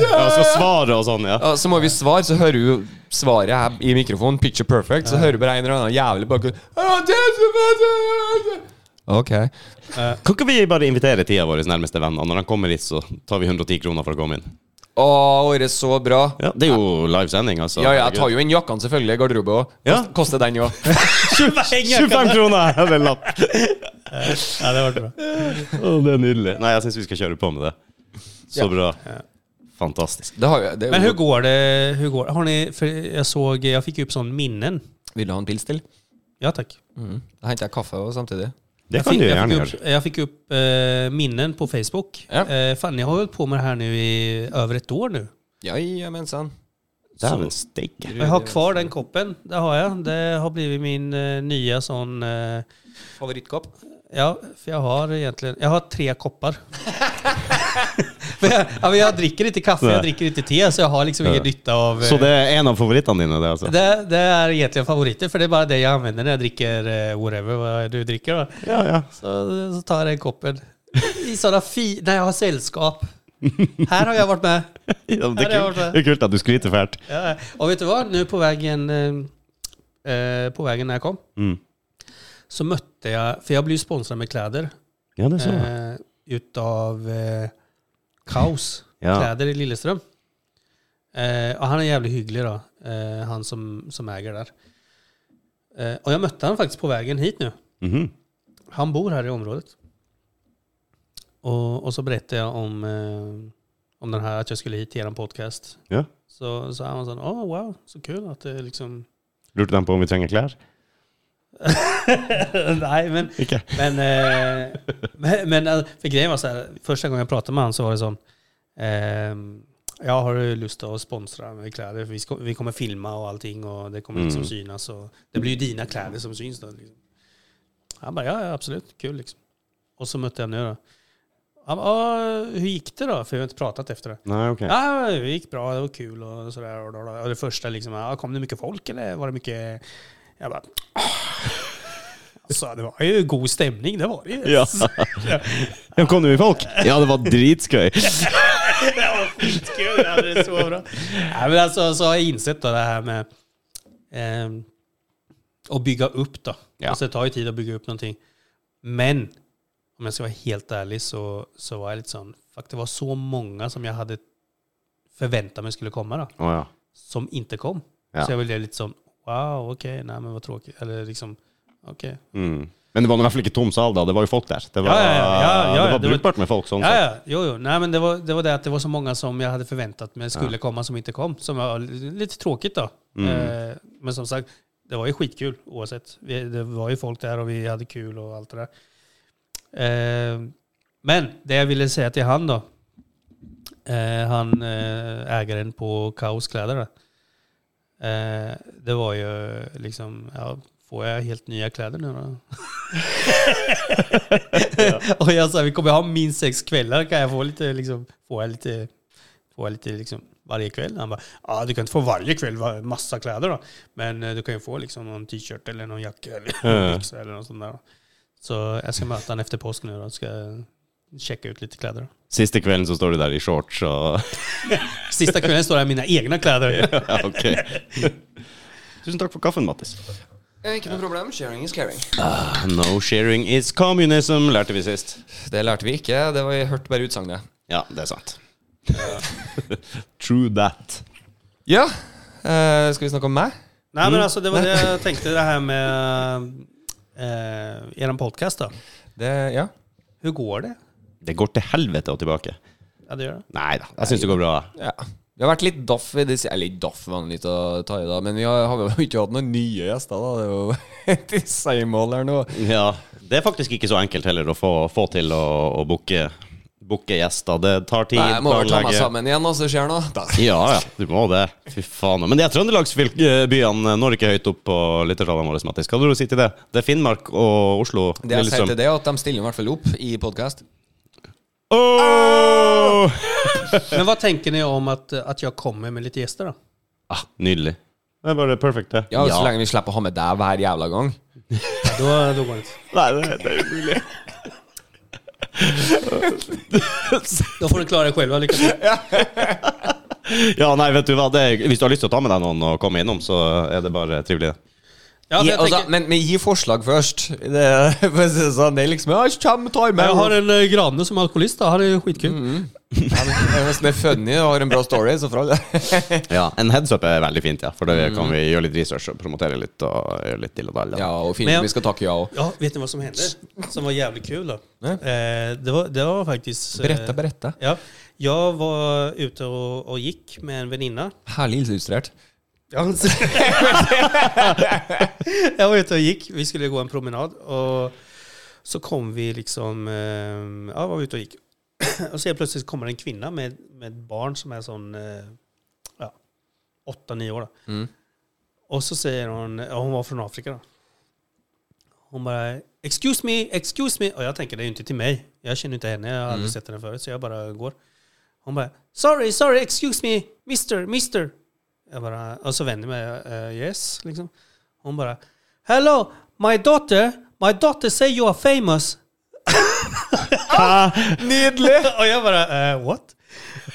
[SPEAKER 1] Ja, skal svare og sånn, ja.
[SPEAKER 2] Ja, så må vi svare, så hører du svaret her i mikrofonen, picture perfect, så hører du bare en eller annen jævlig bakgrunn. «Ah, det er så bra, det er så bra». Ok.
[SPEAKER 1] Kan ikke vi bare invitere tida vår nærmeste venn, og når han kommer hit, så tar vi 110 kroner for å komme inn?
[SPEAKER 2] Å, året er så bra.
[SPEAKER 1] Ja, Det er jo live sending, altså.
[SPEAKER 2] Ja, ja, jeg tar jo inn jakkene selvfølgelig i garderobe òg.
[SPEAKER 1] Ja.
[SPEAKER 2] Koster den jo.
[SPEAKER 1] 25 kroner! Eller en lapp.
[SPEAKER 3] Ja, det var bra.
[SPEAKER 1] Å, det er nydelig. Nei, jeg syns vi skal kjøre på med det. Så bra. Fantastisk.
[SPEAKER 2] Det har jo, det er
[SPEAKER 3] Men
[SPEAKER 2] jo-
[SPEAKER 3] hur går det? Hur går, har ni, för jag såg, jag fick ju upp sån minnen.
[SPEAKER 2] Vil du ha en pils til?
[SPEAKER 3] Ja tack.
[SPEAKER 2] Da henter jeg kaffe også samtidig.
[SPEAKER 1] Det
[SPEAKER 3] Jag
[SPEAKER 1] kan
[SPEAKER 3] fick,
[SPEAKER 1] du
[SPEAKER 3] jag
[SPEAKER 1] gjerne
[SPEAKER 3] fick
[SPEAKER 1] gjøre.
[SPEAKER 3] upp, jag fick upp eh, minnen på Facebook.
[SPEAKER 2] Ja.
[SPEAKER 3] Eh, fan, ni har hållit på med det här nu i över ett år nu.
[SPEAKER 2] Jajamensan.
[SPEAKER 1] Dæven steike.
[SPEAKER 3] Jag har kvar den koppen, det har jag. Det har blivit min eh, nya sån... Eh,
[SPEAKER 2] Favorittkopp?
[SPEAKER 3] Ja, för jag har egentligen, jag har tre koppar. men, jag, ja, men jag dricker inte kaffe,
[SPEAKER 1] Nej.
[SPEAKER 3] jag dricker inte te, så jag har liksom ingen nytta av... eh,
[SPEAKER 1] Så det er en av favorittene dine, det, alltså? altså?
[SPEAKER 3] det, det är egentligen favoriter, för det är bara det jag använder när jag dricker eh, whatever vad du dricker. Då.
[SPEAKER 1] Ja, ja.
[SPEAKER 3] Så, så tar jag den koppen. I sådana fi... När jag har sällskap. Här har jag varit med.
[SPEAKER 1] Ja, men det,
[SPEAKER 3] Ja, det
[SPEAKER 1] er
[SPEAKER 3] var
[SPEAKER 1] kult.
[SPEAKER 3] det.
[SPEAKER 1] det er kult at du skryter fælt.
[SPEAKER 3] Ja, och vet du vad? Nu på vägen, eh, eh, på vägen när jag kom
[SPEAKER 1] Mm.
[SPEAKER 3] så mötte jag, för jag blev ju sponsrad med kläder
[SPEAKER 1] Ja, det så jeg.
[SPEAKER 3] eh, utav eh, Kaos
[SPEAKER 1] Ja.
[SPEAKER 3] kläder i Lilleström. Eh, och han är jävligt hygglig då, eh, han som, som äger där. Eh, och jag mötte han faktiskt på vägen hit nu.
[SPEAKER 1] Mhm.
[SPEAKER 3] Han bor här i området. Och, och så berättade jag om, eh, om den här, att jag skulle hit till er podcast.
[SPEAKER 1] Ja.
[SPEAKER 3] Så, så han var sån, åh wow, så kul att det liksom...
[SPEAKER 1] Lurte de på om vi trenger klær?
[SPEAKER 3] Nej, men...
[SPEAKER 1] Ikke?
[SPEAKER 3] Men, eh, men, men eh, för grejen var så här, första gången jag pratade med honom så var det sån, ehm, jag har du lust att sponsra med kläder, för vi, ska, vi kommer filma och allting och det kommer liksom
[SPEAKER 1] Mm.
[SPEAKER 3] synas. Och, det blir ju dina kläder som syns då. Liksom. Han bara, ja, ja absolut, kul liksom. Och så mötte jag nu då. Han bara, "Ah, hur gick det då? För vi har inte pratat efter det.
[SPEAKER 1] Nei, ok.
[SPEAKER 3] Ja, det gick bra, det var kul och sådär. Och, då- då- och det första liksom, ja, kom det mycket folk eller var det mycket... Jag bara... "Ah." Alltså, det var ju god stämning, det var det ju.
[SPEAKER 1] Ja. ja, kom det mye folk? Ja, det var dritskøy.
[SPEAKER 3] Det var skitkul, det var så bra. Ja, men alltså, så har jag insett då det här med ehm, att bygga upp då.
[SPEAKER 1] Ja.
[SPEAKER 3] Alltså, det tar ju tid att bygga upp någonting. Men om jag ska vara helt ärlig så, så var jag lite sån, fuck det var så många som jag hade förväntat mig skulle komma då.
[SPEAKER 1] Å ja.
[SPEAKER 3] som inte kom.
[SPEAKER 1] Ja.
[SPEAKER 3] Så jag blev lite som, wow, okej, nej men vad tråkigt. Eller liksom, okej.
[SPEAKER 1] Mm. Men det var i hvert fall ikke tom sal da, det var jo folk der. Det var,
[SPEAKER 3] Ja, ja, ja, ja, ja,
[SPEAKER 1] det var
[SPEAKER 3] det var-
[SPEAKER 1] brukbart med folk sånn
[SPEAKER 3] Ja,
[SPEAKER 1] sett.
[SPEAKER 3] ja, jo, jo. Nej, men det var, det var det att det var så många som jag hade förväntat mig skulle komma som inte kom. Som var lite tråkigt då. Eh, men som sagt, det var ju skitkul oavsett. Vi, det var ju folk där och vi hade kul och allt det där. Eh, men det jag ville säga till han då. Eh, han, eh, ägaren på Kaos kläder. där. Eh, det var ju liksom, ja, får jag helt nya kläder nu då? Och jag sa, vi kommer ha minst sex kvällar, kan jag få lite, liksom, får jag lite, får jag lite liksom, varje kväll? Han bara, ja du kan inte få varje kväll va- massa kläder då, men eh, du kan ju få liksom någon t-shirt eller någon jacka eller någon
[SPEAKER 1] Ja.
[SPEAKER 3] byxa eller något sånt där. då." Så jag ska möta honom efter påsk nu då, ska jag checka ut lite kläder. Då.
[SPEAKER 1] Siste kvelden så står du der i shorts og
[SPEAKER 3] Sista kvällen står jag i mina egna kläder.
[SPEAKER 1] ja, Ok. Tusen takk for kaffen, Mattis.
[SPEAKER 2] Eh, Ikke noe problem. Sharing is caring.
[SPEAKER 1] No sharing is communism, lærte vi sist.
[SPEAKER 2] Det lærte vi ikke. Det var, jeg hørte bare utsagnet.
[SPEAKER 1] Ja, det er sant. True that.
[SPEAKER 2] Ja. eh, skal vi snakke om meg?
[SPEAKER 3] Nej men alltså det var det jag tänkte, det här med eh, eran podcast då.
[SPEAKER 2] Det, ja.
[SPEAKER 3] Hur går det?
[SPEAKER 1] Det går til helvete og tilbake.
[SPEAKER 3] Ja det gör det.
[SPEAKER 1] Nei da, jeg syns det går bra.
[SPEAKER 2] ja. Vi har vært litt daff i det Eller litt daff vanlig å ta i, da. Men vi har, har jo ikke hatt noen nye gjester, da. Det er jo de same old her nå.
[SPEAKER 1] Ja, Det er faktisk ikke så enkelt heller å få, få til å, å booke, booke gjester. Det tar tid.
[SPEAKER 2] Nei, jeg må vel ta meg
[SPEAKER 1] planlegge.
[SPEAKER 2] sammen igjen, altså. Det skjer noe. Da.
[SPEAKER 1] Ja, ja, du må det. Fy faen. Men de her trøndelagsbyene når ikke høyt opp på lyttertallene våre, Mattis. Hva hadde du å si til det? Det er Finnmark og Oslo.
[SPEAKER 2] Det jeg sier
[SPEAKER 1] Lillestrøm.
[SPEAKER 2] til det, er at de stiller i hvert fall opp i podkast.
[SPEAKER 1] Åh!
[SPEAKER 3] Men vad tänker ni om att, att jag kommer med lite gäster då?
[SPEAKER 1] Ah, nydelig. Det er bare perfekt, det.
[SPEAKER 2] Ja, så lenge vi slipper å ha med deg hver jævla gang.
[SPEAKER 3] Då, då går det inte.
[SPEAKER 1] Nei, det, det er umulig.
[SPEAKER 3] Då får ni klara er själva. Lycka till.
[SPEAKER 1] Ja, nei, vet du hva. Det er, hvis du har lyst til å ta med deg noen og komme innom, så er det bare trivelig.
[SPEAKER 3] Ja, men
[SPEAKER 2] Gi,
[SPEAKER 3] jag,
[SPEAKER 2] altså,
[SPEAKER 3] tänker-
[SPEAKER 2] men, men gi forslag først. Det, for å si det sånn, det er liksom Ja, kjem, ta i meg.
[SPEAKER 3] jag har en eh, granne som är alkoholist. Då. Han är ju skitkul.
[SPEAKER 2] Ja, men det er nesten litt funny og har en bra story, så for all del.
[SPEAKER 1] Ja, En headsup er veldig fint, ja. For da kan vi gjøre litt research og promotere litt. og gjøre litt til og dall.
[SPEAKER 2] Mm. Ja, og fint.
[SPEAKER 3] Men jeg-
[SPEAKER 2] Vi skal takke ja òg.
[SPEAKER 3] Ja, vet ni vad som hände? Som var jävligt kul då?
[SPEAKER 2] Nej.
[SPEAKER 3] Eh, det, var, det var faktiskt... eh,
[SPEAKER 2] Berette, berette.
[SPEAKER 3] Ja, jag var ute och, och gick med en väninna.
[SPEAKER 2] Herlig illustrert.
[SPEAKER 3] Ja, så- jag var ute och gick. Vi skulle gå en promenad och så kom vi liksom... eh, Ja, var vi ute och gick. Och så helt plötsligt kommer en kvinna med, med ett barn som är sån... eh, Ja, åtta, nio år då.
[SPEAKER 2] Mm.
[SPEAKER 3] Och så säger hon, ja, hon var från Afrika då. Hon bara, excuse me, excuse me. Och jag tänker, det är ju inte till mig. Jag känner inte henne, jag har aldrig sett henne förut, så jag bara går. Hon bara, sorry, sorry, excuse me, mister, mister. Jag bara, och så vänder jag mig, eh, yes, liksom. Hon bara, hello, my daughter, my daughter say you are famous.
[SPEAKER 2] Nydelig!
[SPEAKER 3] Och jag bara, eh, what?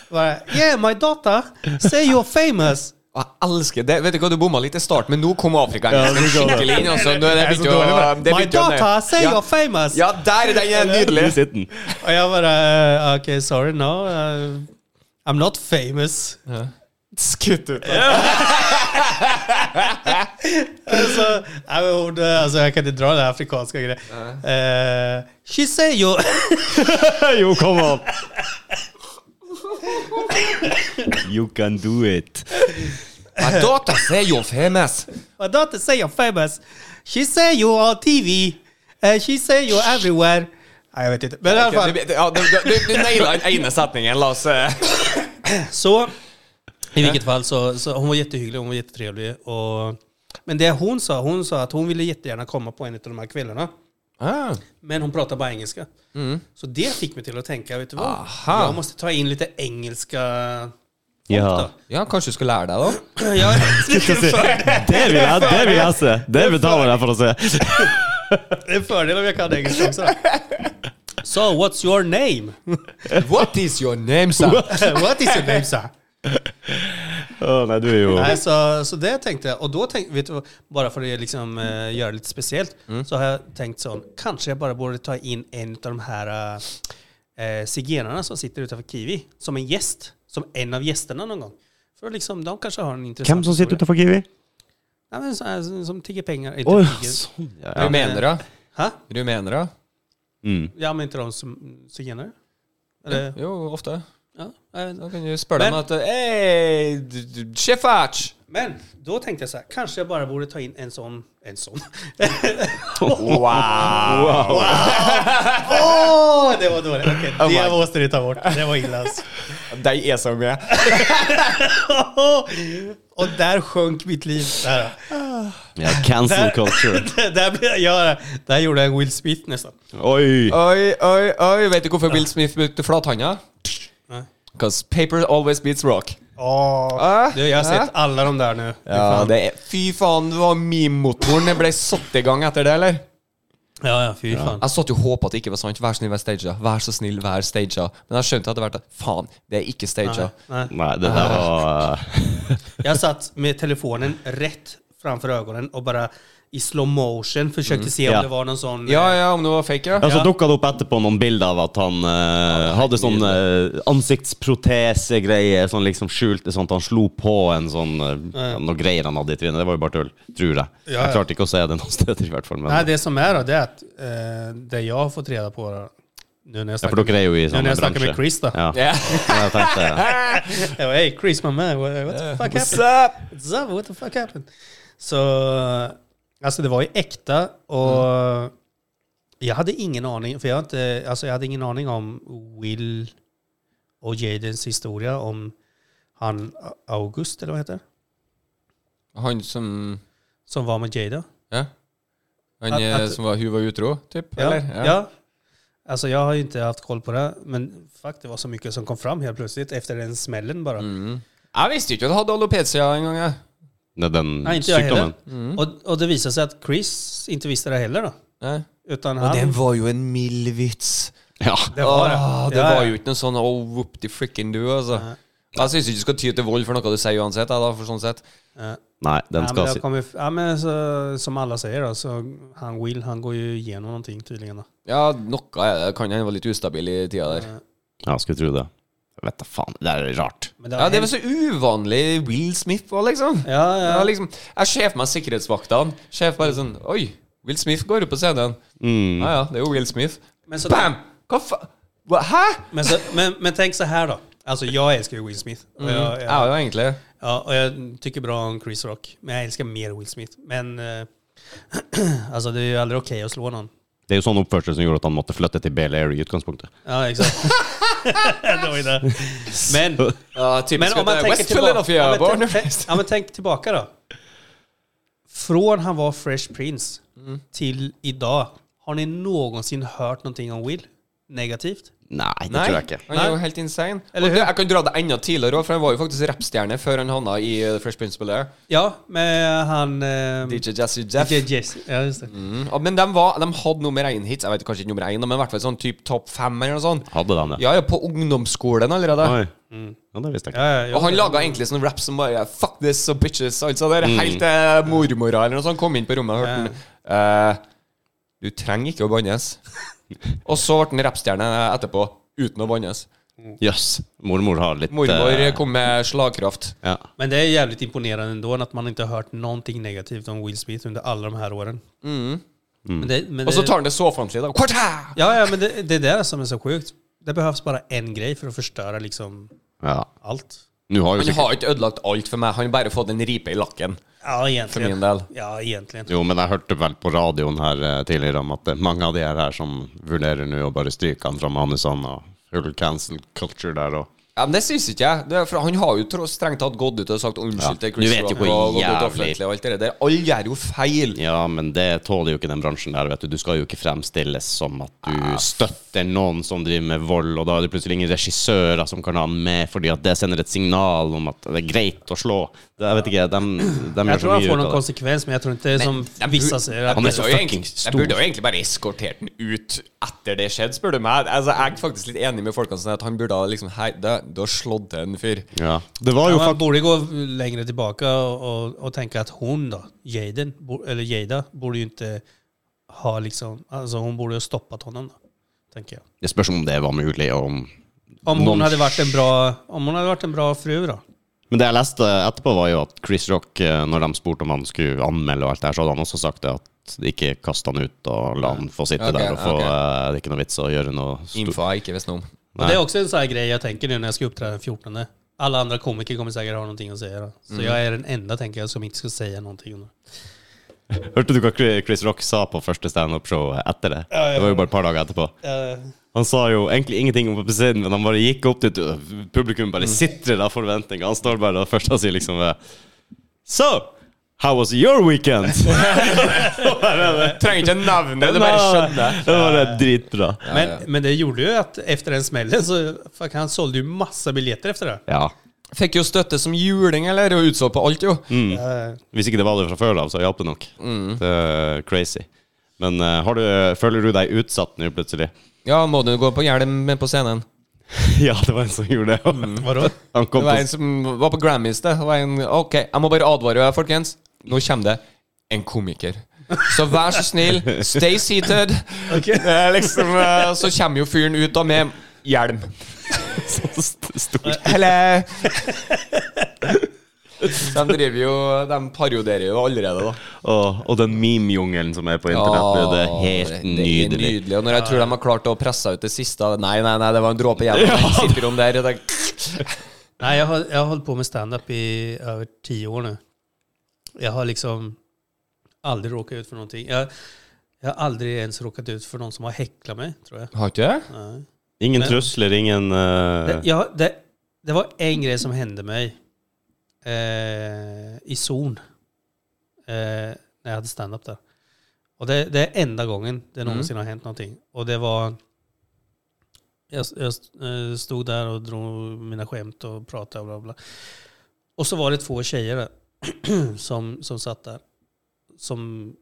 [SPEAKER 3] Bara, yeah my daughter, say you're famous.
[SPEAKER 2] Og jeg elsker det. Vet du hva, du bomma litt i starten, men nå kom
[SPEAKER 1] Ja,
[SPEAKER 2] afrikaneren
[SPEAKER 1] nå kom det.
[SPEAKER 2] skikkelig inn. Altså, nå er alltså, det
[SPEAKER 3] Jeg er så
[SPEAKER 2] begynt å,
[SPEAKER 3] dårlig med
[SPEAKER 2] det er
[SPEAKER 3] My
[SPEAKER 2] begynt å-
[SPEAKER 3] daughter, say
[SPEAKER 2] ja.
[SPEAKER 3] you're famous.
[SPEAKER 2] ja, der! Den er nydelig.
[SPEAKER 1] Nå sitter den.
[SPEAKER 3] Och jag bara, uh, okay sorry no, uh, I'm not famous.
[SPEAKER 2] Skutt ut.
[SPEAKER 3] Alltså, nej, men hon, eh, alltså, jag kan inte dra den här afrikanska grejen. Eh, she say you're...
[SPEAKER 1] Jo, kom an! You can do it.
[SPEAKER 2] My daughter say you're famous.
[SPEAKER 3] My daughter say you're famous. She say you on TV. Uh, she say you everywhere. Nej, jag vet inte. Men i alla fall,
[SPEAKER 2] Ja, du du, du naila den ene setningen. La oss eh,
[SPEAKER 3] så... I vilket fall så, så hon var jättehygglig, hon var jättetrevlig. Och, men det hon sa, hon sa att hon ville jättegärna komma på en av de här kvällarna.
[SPEAKER 2] ah.
[SPEAKER 3] Men hon pratar bara engelska. Så det fick mig till att tänka, vet du vad?
[SPEAKER 2] Aha.
[SPEAKER 3] Jag måste ta in lite engelska...
[SPEAKER 1] Ja.
[SPEAKER 2] Ja, kanskje du skulle lære deg, da?
[SPEAKER 3] Jag,
[SPEAKER 1] Det vil jeg, det vil jeg se! Det betaler jeg for å se.
[SPEAKER 3] det är en fördel om jag kan engelska också. So, what's your name?
[SPEAKER 2] What is your name, son?
[SPEAKER 3] What is your name, sir?
[SPEAKER 1] Å, nei, du er jo
[SPEAKER 3] Nej, så, så det tänkte jag. Och då tänkte vet du, vad, bara för att liksom, eh, göra det lite speciellt,
[SPEAKER 1] Mm.
[SPEAKER 3] så har jag tänkt sån, kanske jag bara borde ta in en av de här eh, zigenarna som sitter utanför Kiwi, som en gäst, som en av gästerna någon gång. För liksom, de kanske har en intressant
[SPEAKER 1] Hvem som sitter
[SPEAKER 3] historia.
[SPEAKER 1] utenfor Kiwi?
[SPEAKER 3] Ja, men, så här, som- som tigger pengar. Inte
[SPEAKER 1] Oi,
[SPEAKER 3] tigger.
[SPEAKER 1] sånn, ja.
[SPEAKER 2] Rumenere.
[SPEAKER 3] Ha?
[SPEAKER 2] Rumenere?
[SPEAKER 1] Mm.
[SPEAKER 3] Ja, men inte de som zigenare? Eller,
[SPEAKER 2] Jo, ofte.
[SPEAKER 3] ja. jag vet inte.
[SPEAKER 2] Da kan du spørre
[SPEAKER 3] Men-
[SPEAKER 2] dem at Hei, sjefert!
[SPEAKER 3] Men då tänkte jeg så här, kanske jag bara borde ta in en sån, en sån.
[SPEAKER 2] Wow!
[SPEAKER 3] Åh, det var dåligt. Okej,
[SPEAKER 2] Oh
[SPEAKER 3] det
[SPEAKER 2] my.
[SPEAKER 3] måste du ta bort. Det var illa alltså.
[SPEAKER 2] De er så med.
[SPEAKER 3] Och där sjönk mitt liv. Där,
[SPEAKER 1] Ja, cancel culture.
[SPEAKER 3] där, blev jag, där gjorde jag en Will Smith nästan.
[SPEAKER 1] Oi!
[SPEAKER 2] Oi, oi, oi. Vet du hvorfor Bill Smith brukte flathanda?
[SPEAKER 3] Nej.
[SPEAKER 2] Because paper always beats rock.
[SPEAKER 3] Åh, du, jag har
[SPEAKER 2] Äh?
[SPEAKER 3] sett alla de där nu. Fy
[SPEAKER 2] Ja,
[SPEAKER 3] fan.
[SPEAKER 2] det er, fy faen, det var meme-motoren. Jeg ble satt i gang etter det, eller?
[SPEAKER 3] ja, ja, fy fan.
[SPEAKER 2] Jeg satt jo og håpa at det ikke var sant. Vær så snill, vær staged. Vær så snill, vær staged. Men jeg skjønte etter hvert at faen, det er ikke staged.
[SPEAKER 3] Nej.
[SPEAKER 1] Nei, det der var
[SPEAKER 3] Jag satt med telefonen rätt framför ögonen och bara i slow motion försökte se om
[SPEAKER 1] Ja.
[SPEAKER 3] det var någon sån...
[SPEAKER 2] Ja, ja, om det var fake, ja.
[SPEAKER 1] Ja,
[SPEAKER 3] Alltså-
[SPEAKER 1] så dukka det opp etterpå noen bilder av at han eh, hadde sånn uh, ansiktsprotesegreier, sånn liksom skjulte sånn at han slo på en sånn eh, ja, Noe greier han hadde i trynet. Det var jo bare tull, tror jeg.
[SPEAKER 3] Ja, ja.
[SPEAKER 1] Jeg klarte ikke å se det noen steder, i hvert fall. Men,
[SPEAKER 3] Nej, det som är då, det är att eh, det jag har fått reda på då, nu när jag
[SPEAKER 1] ja, for dere er jo i
[SPEAKER 3] nu när
[SPEAKER 1] samme
[SPEAKER 3] jag snackar
[SPEAKER 1] bransje.
[SPEAKER 3] med Chris då.
[SPEAKER 1] Ja.
[SPEAKER 2] Ja.
[SPEAKER 1] Ja, jeg tenkte,
[SPEAKER 3] Jag bara, hey Chris my man, what, what the fuck
[SPEAKER 2] What's
[SPEAKER 3] happened?
[SPEAKER 2] up?
[SPEAKER 3] What's up? What the fuck happened? Så alltså det var ju äkta och
[SPEAKER 2] Mm.
[SPEAKER 3] jag hade ingen aning, för jag, har inte, alltså jag hade ingen aning om Will och Jadens historia om han August, eller vad heter det?
[SPEAKER 2] Han som
[SPEAKER 3] Som var med Jada.
[SPEAKER 2] Ja. Han
[SPEAKER 3] At-
[SPEAKER 2] eh,
[SPEAKER 3] at-
[SPEAKER 2] som var hun var utro, typ?
[SPEAKER 3] Ja.
[SPEAKER 2] Eller?
[SPEAKER 3] Ja. Alltså jag har ju inte haft koll på det, men fuck det var så mycket som kom fram helt plötsligt efter den smällen bara.
[SPEAKER 2] Mm. Jeg visste jo ikke at han hadde alopecia en gang, jeg.
[SPEAKER 1] det er den
[SPEAKER 3] Nej, inte jag
[SPEAKER 1] sykdommen.
[SPEAKER 3] heller.
[SPEAKER 2] Mm.
[SPEAKER 3] Och, och det visade sig att Chris inte visste det heller då.
[SPEAKER 2] Nei.
[SPEAKER 3] Utan
[SPEAKER 2] Og
[SPEAKER 3] han...
[SPEAKER 2] den var jo en mild vits.
[SPEAKER 1] Ja.
[SPEAKER 3] Det var det.
[SPEAKER 2] Åh, Ah, det
[SPEAKER 3] Ja, ja.
[SPEAKER 2] var jo ikke noe sånn oh, whoop de frikken du, altså.
[SPEAKER 3] Nei.
[SPEAKER 2] Jeg Alltså, syns ikke du skal ty til vold for noe du sier uansett. jeg, Da, for sånn sett.
[SPEAKER 3] Ja.
[SPEAKER 1] Nei, den
[SPEAKER 3] Ja, men
[SPEAKER 1] skal
[SPEAKER 3] det har
[SPEAKER 1] si
[SPEAKER 3] kommit, ja, men så, som alla säger då, så han Will, han går ju igenom någonting tydligen. Då.
[SPEAKER 2] Ja, noe er det. Kan hende var litt ustabil i tida der.
[SPEAKER 1] Ja, skulle tro det. Jeg vet da faen. Det er rart.
[SPEAKER 3] Men det har
[SPEAKER 2] Ja, Det var så
[SPEAKER 3] hänt-
[SPEAKER 2] uvanlig Will Smith var, liksom.
[SPEAKER 3] ja,
[SPEAKER 2] Ja,
[SPEAKER 3] ja.
[SPEAKER 2] liksom jeg ser for meg sikkerhetsvaktene. Ser bare sånn Oi, liksom, Will Smith går opp på scenen.
[SPEAKER 1] Mm.
[SPEAKER 2] Ja ja, det er jo Will Smith.
[SPEAKER 3] Men, så,
[SPEAKER 2] Bam! Hva fa... Hva? Hæ?
[SPEAKER 3] men, så, men, men tänk så här då. Alltså jag älskar ju Will Smith. Och jag,
[SPEAKER 2] Mm. Ja,
[SPEAKER 3] jag,
[SPEAKER 2] jo, egentlig.
[SPEAKER 3] ja, och jag tycker bra om Chris Rock. Men jag älskar mer Will Smith. Men eh, alltså det är ju aldrig okej att slå någon.
[SPEAKER 1] Det er jo sånn oppførsel som gjorde at han måtte flytte til Bel Air i utgangspunktet.
[SPEAKER 3] Ja, exakt. det var ju det. Men,
[SPEAKER 2] Ja,
[SPEAKER 3] men
[SPEAKER 2] typisk
[SPEAKER 3] om man
[SPEAKER 2] at det er
[SPEAKER 3] tänker
[SPEAKER 2] West Philadelphia.
[SPEAKER 3] tillbaka, ja,
[SPEAKER 2] barn.
[SPEAKER 3] men, typ- tänk- ja, men tänk tillbaka då. Från han
[SPEAKER 2] Mm.
[SPEAKER 3] var Fresh Prince till idag, har ni någonsin hört någonting om Will? negativt?
[SPEAKER 1] Nei, det
[SPEAKER 2] Nei,
[SPEAKER 1] tror jeg ikke.
[SPEAKER 2] han er jo helt insane.
[SPEAKER 3] Eller
[SPEAKER 2] og det, jeg kan dra det enda tidligere òg, for han var jo faktisk rappstjerne før han havna i eh, Fresh Prince Bel Air.
[SPEAKER 3] Ja, med han eh,
[SPEAKER 2] DJ Jazzy Jeff.
[SPEAKER 3] DJ Jesse. Ja, just det.
[SPEAKER 2] Mm. Ja, Men de, var, de hadde nummer én-hits. Jeg vet kanskje ikke nummer én, men i hvert fall sånn type topp fem eller noe sånt.
[SPEAKER 1] Hadde de det?
[SPEAKER 2] Ja, ja, på ungdomsskolen allerede.
[SPEAKER 1] Oi. Ja, det visste jeg
[SPEAKER 3] Ja,
[SPEAKER 1] ikke.
[SPEAKER 3] ja, jo.
[SPEAKER 2] Og han laga egentlig sånn rap som bare Fuck this og bitches. Altså, det er
[SPEAKER 1] Mm.
[SPEAKER 2] helt eh, mormora eller noe sånt. Kom inn på rommet og hørte den. eh, du trenger ikke å bannes. og så ble han rappstjerne etterpå, uten å bannes.
[SPEAKER 1] Jøss. Mormor har litt
[SPEAKER 2] Mormor
[SPEAKER 1] eh,
[SPEAKER 2] kom med slagkraft.
[SPEAKER 1] ja.
[SPEAKER 3] Men det är jävligt imponerande ändå att man inte har hört någonting negativt om Will Smith under alla de här åren. Men det, men
[SPEAKER 2] Og Mm. så
[SPEAKER 3] det-
[SPEAKER 2] tar han det så framtid. Ja.
[SPEAKER 3] Ja, ja, men det, det är det som är så sjukt. Det behövs bara en grej för att förstöra liksom
[SPEAKER 1] ja.
[SPEAKER 3] allt.
[SPEAKER 1] Nå har jo
[SPEAKER 2] Han
[SPEAKER 1] sikkert
[SPEAKER 2] har ikke ødelagt alt for meg. Han har bare fått en ripe i lakken.
[SPEAKER 3] Ja,
[SPEAKER 2] For
[SPEAKER 3] egentligen.
[SPEAKER 2] min del.
[SPEAKER 3] Ja, egentligen.
[SPEAKER 1] Jo, men jeg hørte vel på radioen her eh, tidligere om at det er mange av de her, her som vurderer nå å bare stryke han fra manusene og full cancel culture der og
[SPEAKER 2] Ja, men Det syns ikke jeg. Det er, for han har jo tro- strengt tatt gått ut og sagt unnskyld
[SPEAKER 1] Ja,
[SPEAKER 2] til
[SPEAKER 1] du
[SPEAKER 2] Chris
[SPEAKER 1] vet jo
[SPEAKER 2] Rock.
[SPEAKER 1] hvor
[SPEAKER 2] Og gått ut
[SPEAKER 1] jævlig-
[SPEAKER 2] offentlig og alt det der. Alle gjør jo feil.
[SPEAKER 1] Ja, men det tåler jo ikke den bransjen der, vet du. Du skal jo ikke fremstilles som at
[SPEAKER 3] Ah,
[SPEAKER 1] du støtter noen som driver med vold, og da er det plutselig ingen regissører som kan ha han med, fordi at det sender et signal om at det er greit å slå. Det, jeg vet ikke, de, de
[SPEAKER 3] Jag
[SPEAKER 1] gjør
[SPEAKER 3] tror
[SPEAKER 1] så
[SPEAKER 3] han
[SPEAKER 1] mye ut
[SPEAKER 3] får någon
[SPEAKER 1] av det.
[SPEAKER 3] konsekvens, men jag tror inte som
[SPEAKER 2] de bur-
[SPEAKER 3] vissa säger.
[SPEAKER 2] de
[SPEAKER 3] Att,
[SPEAKER 1] Han er så
[SPEAKER 2] burde jo
[SPEAKER 1] fucking
[SPEAKER 2] egentlig-
[SPEAKER 1] stor.
[SPEAKER 2] De burde jo egentlig bare eskortert den ut etter det skjedde, spør du meg. Altså, jeg er faktisk litt enig med folkene sånn at han burde ha liksom Hei, det- du har slått til en fyr.
[SPEAKER 1] Ja. Det var jo
[SPEAKER 3] Ja, man
[SPEAKER 1] faktisk
[SPEAKER 3] borde gå längre tillbaka och, och, och tänka att hon då, Jaden, bo- eller Jada, borde ju inte ha liksom, alltså hon borde ha stoppat honom då, tänker jag.
[SPEAKER 1] Det spørs om det var mulig, og om
[SPEAKER 3] Om hon,
[SPEAKER 1] Någon-
[SPEAKER 3] hade varit en bra, om hon hade varit en bra fru då?
[SPEAKER 1] Men det jeg leste etterpå, var jo at Chris Rock, eh, når de spurte om han skulle anmelde, og alt det her, så hadde han også sagt det at de ikke kast han ut og la han få sitte
[SPEAKER 2] Ok,
[SPEAKER 1] der. og få,
[SPEAKER 2] ok.
[SPEAKER 1] eh, Det er ikke noe vits å gjøre noe stort.
[SPEAKER 2] Info jeg ikke visste noe om.
[SPEAKER 3] Och det är också en sån här grej jag tänker nu när jag ska uppträda den 14. Alla andra komiker kommer säkert ha någonting att säga då. Så jag är den enda, tänker jag, som inte ska säga någonting. om det.
[SPEAKER 1] Hørte du hva Chri- Chris Rock sa på første standup-show etter det?
[SPEAKER 3] Ja, ja.
[SPEAKER 1] Det var jo bare et par dager etterpå. Han sa jo egentlig ingenting om scenen, men han bare gikk opp dit. og Publikum
[SPEAKER 2] Mm.
[SPEAKER 1] bare sitrer av forventninger. Han står bare og først han sier liksom eh, So, how was your weekend?
[SPEAKER 2] Trenger ikke nevne det, du bare skjønner.
[SPEAKER 1] Det var det dritbra.
[SPEAKER 3] men, men det gjorde ju att efter den smällen så, fuck, han sålde ju massa biljetter efter det.
[SPEAKER 1] Ja.
[SPEAKER 2] Fikk jo støtte som juling, eller? Og utsolgt på alt, jo.
[SPEAKER 3] Eh,
[SPEAKER 1] Hvis ikke det var det fra før av, så hjalp det nok.
[SPEAKER 2] Mm.
[SPEAKER 1] Det er crazy. Men eh, har du, føler du deg utsatt nå plutselig?
[SPEAKER 2] Ja, må du gå på hjelm på scenen?
[SPEAKER 1] ja, det var en som gjorde det.
[SPEAKER 3] vadå?
[SPEAKER 1] Han
[SPEAKER 2] Mm. Det
[SPEAKER 1] kom
[SPEAKER 2] var
[SPEAKER 1] på
[SPEAKER 2] en som var på Grammys, det. det var en, ok, jeg må bare advare dere, folkens. Nå kommer det en komiker. Så vær så snill, stay seated.
[SPEAKER 3] Okej.
[SPEAKER 2] Eh, liksom, eh, så kommer jo fyren ut da med hjelm.
[SPEAKER 1] så st- stor
[SPEAKER 2] Eller De driver jo De parodierer jo allerede, da.
[SPEAKER 1] Og, og den meme-jungelen som er på internett nå, det er
[SPEAKER 2] det-
[SPEAKER 1] helt
[SPEAKER 2] det er
[SPEAKER 1] nydelig.
[SPEAKER 2] nydelig. Og når jeg tror de har klart å presse ut det siste Nei, nei, nei, det var en dråpe hjelm. Ja. Sitter de der og tenker
[SPEAKER 3] Nej, jag har, jag har hållit på med stand-up i över tio år nu. Jag har liksom aldrig råkat ut för någonting. Jag, jag har aldrig ens råkat ut för någon som har häcklat mig, tror jag.
[SPEAKER 2] Har ikke det?
[SPEAKER 3] Nej.
[SPEAKER 1] Ingen
[SPEAKER 3] Men-
[SPEAKER 1] trusler, ingen eh,
[SPEAKER 3] Det, ja, det, det var en grej som hände mig eh, i zon eh, när jag hade stand-up där. Och det, det är enda gången det någonsin har hänt någonting. Och det var... Jag, jag eh, stod där och drog mina skämt och pratade och bla bla. Och så var det två tjejer där som, som satt där. Som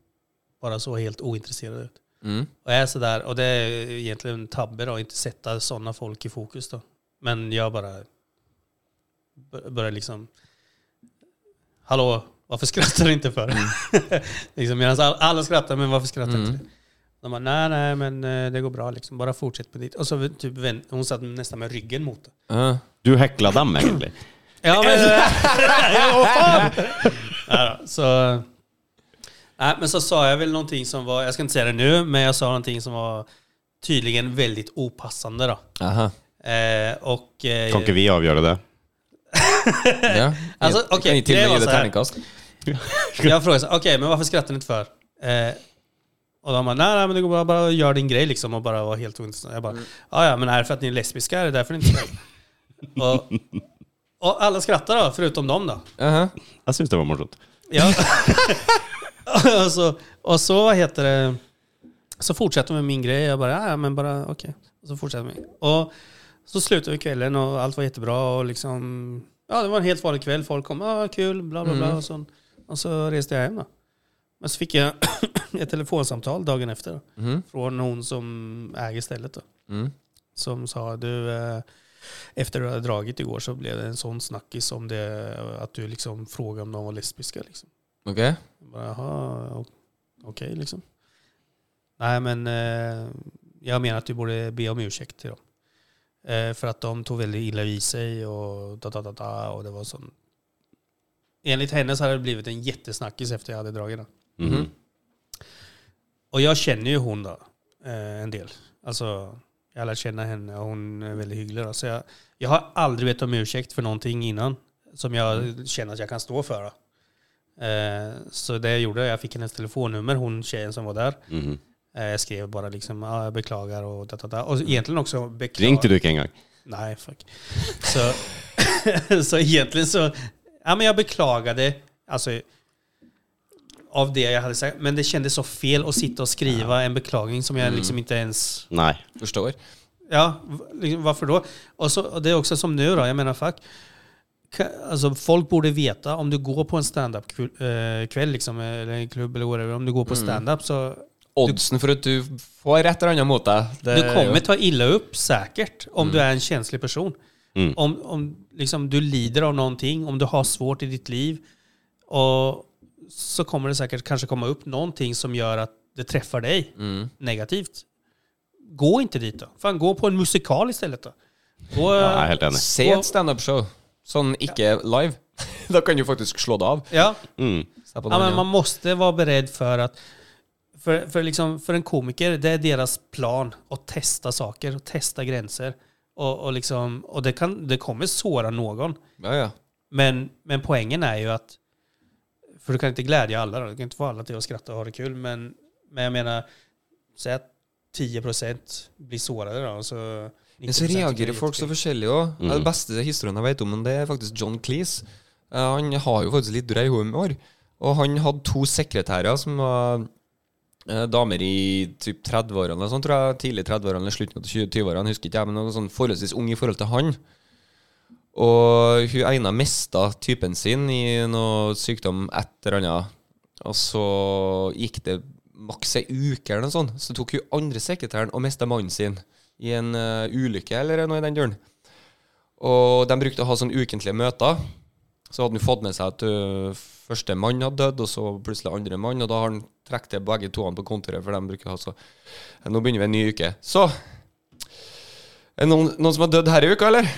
[SPEAKER 3] bara såg helt ointresserade ut.
[SPEAKER 2] Mm.
[SPEAKER 3] Och jag är sådär, och det är egentligen en tabbe då, att inte sätta sådana folk i fokus då. Men jag bara bör- börjar liksom, hallå, varför skrattar du inte för? liksom, medan all, alla skrattar, men varför skrattar inte du? De bara, nej, nej, men eh, det går bra liksom, bara fortsätt med ditt. Och så typ, vänd- hon satt nästan med ryggen mot det.
[SPEAKER 2] Ja.
[SPEAKER 1] Du hekla dem, egentlig.
[SPEAKER 3] Ja, men... ja, vad fan! Nej då, så... eh, Nej, men så sa jag väl någonting som var, jag ska inte säga det nu, men jag sa någonting som var tydligen väldigt opassande då.
[SPEAKER 2] Aha.
[SPEAKER 3] Eh, och... Eh,
[SPEAKER 1] Kan ikke vi avgjøre det?
[SPEAKER 2] Ja.
[SPEAKER 3] Alltså,
[SPEAKER 2] Kan
[SPEAKER 3] okej,
[SPEAKER 2] ni till och med
[SPEAKER 3] det var
[SPEAKER 2] ge det
[SPEAKER 3] så här.
[SPEAKER 2] terningkast?
[SPEAKER 3] Jag frågade så här, okej, men varför skrattar ni inte för? Eh, och de bara, nej, nej, men det går bra, bara gör din grej liksom och bara vara helt ointressant. Jag bara, ja, ja, men är det för att ni är lesbiska? Är det därför ni inte skrattar? och, och alla skrattar då, förutom dem då.
[SPEAKER 2] Aha.
[SPEAKER 1] Jeg syns det var morsomt.
[SPEAKER 3] Ja. och, så, och så, vad heter det, så fortsätter jag med min grej. Jag bara, ja, ja, men bara, okej. Så fortsatte vi. Och så slutade vi kvällen och allt var jättebra och liksom, ja det var en helt vanlig kväll. Folk kom, ah, kul, bla bla bla.
[SPEAKER 2] Mm.
[SPEAKER 3] Och, så, och så reste jag hem då. Men så fick jag ett telefonsamtal dagen efter då,
[SPEAKER 2] Mhm.
[SPEAKER 3] från hon som äger stället då.
[SPEAKER 2] Mm.
[SPEAKER 3] Som sa, du, eh, efter du hade dragit igår så blev det en sån snackis om det, att du liksom frågade om de var lesbiska liksom.
[SPEAKER 2] Okej.
[SPEAKER 3] Jag Bara, Jaha, o- okej liksom. Nej men eh, jag menar att du borde be om ursäkt till dem. Eh, för att de tog väldigt illa vid sig och da, da, da, da, och det var sån. Enligt henne så hade det blivit en jättesnackis efter jag hade dragit den.
[SPEAKER 1] Mhm.
[SPEAKER 3] Och jag känner ju hon då, eh, en del. Alltså, jag har lärt känna henne och hon är väldigt hygglig. Då. Så jag, jag har aldrig bett om ursäkt för någonting innan som jag känner att jag kan stå för. Då. Eh, så det jag gjorde, jag fick hennes telefonnummer, hon tjejen som var där.
[SPEAKER 1] Mhm.
[SPEAKER 3] Eh, jag skrev bara liksom, ah, jag beklagar och da, da, da. Och egentligen också beklagar.
[SPEAKER 1] Ringte du ikke engang?
[SPEAKER 3] Nej, fuck. Så, så egentligen så, ja men jag beklagade, alltså av det jag hade sagt, men det kändes så fel att sitta och skriva en beklagning som jag liksom inte ens,
[SPEAKER 1] Nei.
[SPEAKER 2] Förstår.
[SPEAKER 3] ja, v- liksom, varför då? Och, så, och det är också som nu då, jag menar fuck. Ka- Alltså folk borde veta om du går på en standup-kväll liksom, eller en klubb eller whatever, om du går på standup så
[SPEAKER 2] Oddsen for at du får et eller annet mot deg det
[SPEAKER 3] Du
[SPEAKER 1] Eh,
[SPEAKER 2] er
[SPEAKER 3] kommer
[SPEAKER 2] jo-
[SPEAKER 3] ta illa upp säkert om du är en känslig person.
[SPEAKER 1] Mm.
[SPEAKER 3] Om, om liksom, du lider av någonting, om du har svårt i ditt liv, och så kommer det säkert kanske komma upp någonting som gör att det träffar dig
[SPEAKER 2] Mm.
[SPEAKER 3] negativt. Gå inte dit då. Fan, gå på en musikal istället då. Gå,
[SPEAKER 1] Ja, jeg er helt enig.
[SPEAKER 2] Se et standup-show. Sånn ikke live. da kan du faktisk slå det av.
[SPEAKER 3] ja.
[SPEAKER 1] Mm.
[SPEAKER 2] Se på
[SPEAKER 3] Ja,
[SPEAKER 2] den,
[SPEAKER 3] men
[SPEAKER 2] ja.
[SPEAKER 3] man måste vara beredd för att för, för, liksom, för en komiker, det är deras plan att testa saker och testa gränser. Och, och, liksom, och det, kan, det kommer såra någon.
[SPEAKER 2] ja, ja.
[SPEAKER 3] Men, men poängen är ju att, för du kan inte glädja alla, då. du kan inte få alla till att skratta och ha det kul, men, men jag menar, säg att 10% blir sårade då, och så...
[SPEAKER 2] Men så
[SPEAKER 3] 90% tycker det
[SPEAKER 2] reagerer
[SPEAKER 3] är
[SPEAKER 2] folk så
[SPEAKER 3] jättekul.
[SPEAKER 2] forskjellig òg.
[SPEAKER 1] Mm.
[SPEAKER 2] Den beste historien jeg vet om, det er faktisk John Cleese. Eh, Han har jo faktisk litt drøy humor. Og han hadde to sekretærer som var eh, damer i typ 30-årene, eller sånn, tror jeg. Tidlig 30-årene eller slutten av 20-årene, husker ikke jeg. Men noen sånn forholdsvis ung i forhold til han. Og hun ene mista typen sin i noe sykdom, et eller annet. Og så gikk det maks ei uke, eller noe sånt. Så tok hun andre sekretæren og mista mannen sin i en eh, ulykke eller noe i den duren. Og de brukte å ha sånn ukentlige møter. Så hadde han fått med seg at ø, første mann hadde dødd, og så plutselig andre mann. Og da har han trukket til begge to på kontoret, for de bruker å ha så Eh, Nå begynner vi en ny uke. Så Er det noen, noen som har dødd her i uka, eller?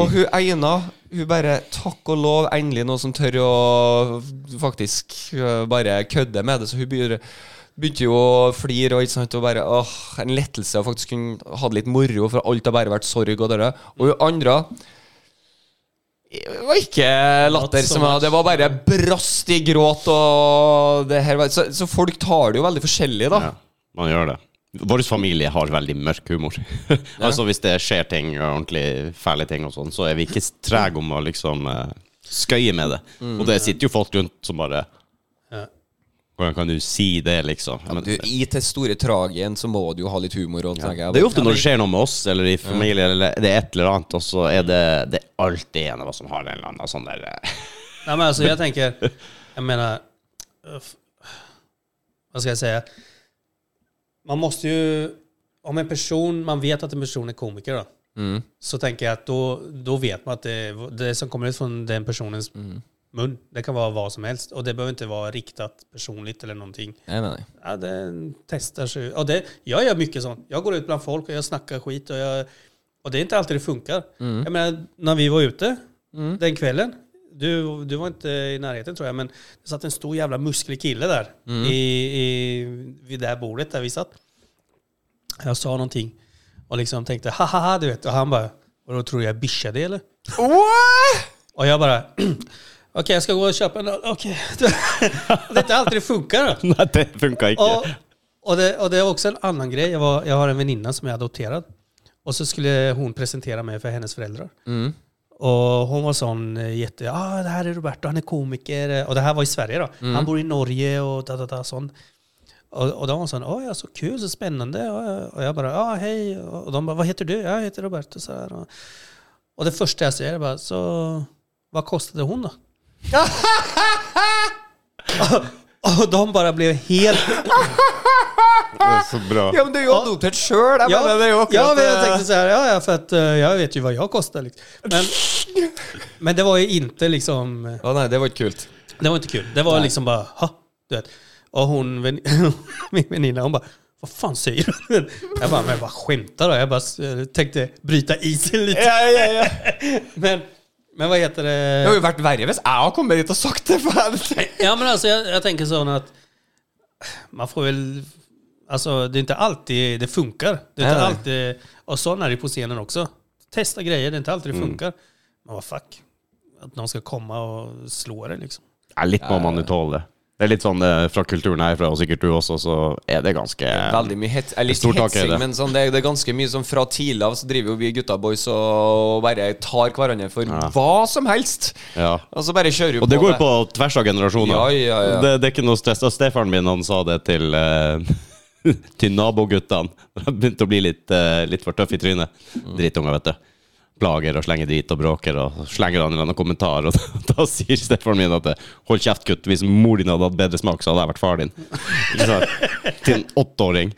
[SPEAKER 2] Og hun Eina, hun bare Takk og lov, endelig noen som tør å faktisk ø, bare kødde med det. Så hun begynner, begynte jo å flire og ikke sant, og bare åh, en lettelse å faktisk kunne ha det litt moro, for alt har bare vært sorg og det der. Og hun andre det var ikke latter
[SPEAKER 3] Not so
[SPEAKER 2] som var
[SPEAKER 3] much.
[SPEAKER 2] Det var bare brast i gråt og det her var, så, så folk tar det jo veldig forskjellig, da.
[SPEAKER 1] Ja, man gjør det. Vår familie har veldig mørk humor. altså Hvis det skjer ting, ordentlig fæle ting, og sånn, så er vi ikke trege om å liksom eh, skøye med det. Og det sitter jo folk rundt som bare
[SPEAKER 3] Ja.
[SPEAKER 1] Hvordan kan du si det, liksom? Men,
[SPEAKER 2] Du, I til store tragien så må du jo ha litt humor. Og, tenker jeg.
[SPEAKER 1] det Mm. er jo ofte når det skjer noe med oss eller i familien, eller det er et eller annet, og så er det, det er alltid en av oss som har en eller annen sånn der eh,
[SPEAKER 3] Nej, men alltså jag tänker, jag menar, öff, vad ska jag säga? Man måste ju, om en person, man vet att en person är komiker då,
[SPEAKER 2] Mm.
[SPEAKER 3] så tänker jag att då, då vet man att det, det som kommer ut från den personens mun, det kan vara vad som helst. Och det behöver inte vara riktat personligt eller någonting.
[SPEAKER 2] Nei, nei, nei.
[SPEAKER 3] Ja, den testar sig. Ja, det, jag gör mycket sånt. Jag går ut bland folk och jag snackar skit. Och, jag, och det är inte alltid det funkar. Jag menar, när vi var ute den kvällen, du, du var inte i närheten tror jag, men det satt en stor jävla musklig kille där i, i, vid det här bordet där vi satt. Jag sa någonting och liksom tänkte ha ha ha, du vet. Och han bara, och då tror du jag bischade eller? Och jag bara, okej jag ska gå och köpa en öl." Okej. det är inte alltid det funkar. Då.
[SPEAKER 1] Nei, det funka ikke.
[SPEAKER 3] Och, och, det, och det är också en annan grej. Jag, var, jag har en väninna som är adopterad. Och så skulle hon presentera mig för hennes föräldrar.
[SPEAKER 2] Mm.
[SPEAKER 3] Och hon var sån eh, jätte, ja ah, det här är Roberto, han är komiker. Och det här var i Sverige då. Han bor i Norge och da, da, da, sån. Och, och de var sån, åh ja, så kul, så spännande. Och, och jag bara, ja hej. Och de bara, vad heter du? Jag heter Roberto. Så här, och, och det första jag säger är bara, så vad kostade hon då? och, och de bara blev helt
[SPEAKER 1] Det er så bra.
[SPEAKER 2] Ja, men du er jo adoptert sjøl! Jeg mener, det er jo akkurat
[SPEAKER 3] ja, men jag
[SPEAKER 2] eh,
[SPEAKER 3] tänkte så här, ja, ja för att eh, jag vet ju vad jag kostar. Liksom. Men, men det var ju inte liksom, eh,
[SPEAKER 2] Å nei, det var ikke kult.
[SPEAKER 3] det var inte kul. Det var liksom bara, ha, du vet. Och hon, vän- min väninna, hon bara, vad fan säger du? Jag bara, men vad skämtar du? Jag bara eh, tänkte bryta isen lite.
[SPEAKER 2] Ja, ja, ja.
[SPEAKER 3] Men, men vad heter
[SPEAKER 2] Det har
[SPEAKER 3] det?
[SPEAKER 2] jo vært verre hvis jeg har kommet dit og sagt det. For jeg
[SPEAKER 3] Ja men alltså jag, jag tänker sån att man får väl, alltså det är inte alltid det funkar. Det är inte
[SPEAKER 2] Nej,
[SPEAKER 3] alltid, och sån är det på scenen också. Testa grejer, det är inte alltid det funkar. Men vad fuck, att någon ska komma och slå det liksom.
[SPEAKER 1] Ja, litt må man jo tåle. Det er litt sånn eh, fra kulturen jeg er fra, og sikkert du også, så er det ganske
[SPEAKER 2] Veldig mye het, jeg litt
[SPEAKER 1] Stort tak i
[SPEAKER 2] hetsing,
[SPEAKER 1] det.
[SPEAKER 2] men sånn, det, er- det er ganske mye sånn fra tidlig av så driver jo vi gutta boys og bare tar hverandre for hva som helst.
[SPEAKER 1] Ja.
[SPEAKER 2] Og så bare kjører vi
[SPEAKER 1] Og det går jo på tvers av generasjoner.
[SPEAKER 2] Ja, ja, ja.
[SPEAKER 1] Det, det er ikke noe stress. Og Stefaren min han sa det til eh, Til naboguttene. De begynte å bli litt, eh, litt for tøff i trynet. Drittunger, vet du. Plager og slenger drit og bråker og slenger han en eller annen kommentar. Og da, da sier Stefaren min at hold kjeft, gutt. Hvis mor din hadde hatt bedre smak, så hadde jeg vært far din. Ikke sant? Til en åtteåring.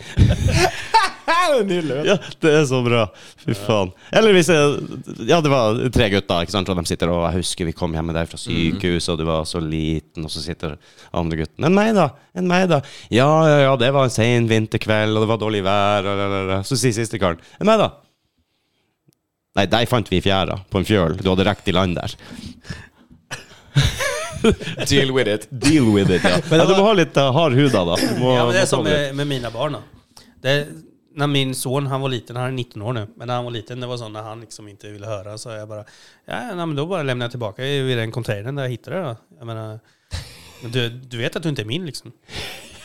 [SPEAKER 1] Ja, det er så bra. Fy faen. Eller hvis jeg Ja, det var tre gutter, ikke sant, og de sitter og Jeg husker vi kom hjem med deg fra
[SPEAKER 3] Mm.
[SPEAKER 1] sykehuset, og du var så liten, og så sitter andre gutten Enn meg, da. Enn meg, da. Ja, ja, ja, det var en sen vinterkveld, og det var dårlig vær, og la, la, la. Så sier siste karen Enn meg, da. Nei, deg fant vi i fjæra, på en fjøl. Du hadde rekt i land der.
[SPEAKER 2] Deal with it.
[SPEAKER 1] Deal with it, ja. ja
[SPEAKER 3] Men
[SPEAKER 1] du
[SPEAKER 3] det var-
[SPEAKER 1] må ha litt eh, hard hud, da. da. Du må,
[SPEAKER 3] Ja, men det är
[SPEAKER 1] må
[SPEAKER 3] som
[SPEAKER 1] tåle litt.
[SPEAKER 3] med, med mina barn. Då. Det, när min son, han var liten, han är 19 år nu, men när han var liten, det var så när han liksom inte ville höra så jag bara, ja, ja, nej, men då bara lämnar jag tillbaka i i den containern där jag hittade det. Då. Jag menar, men du, du vet att du inte är min liksom.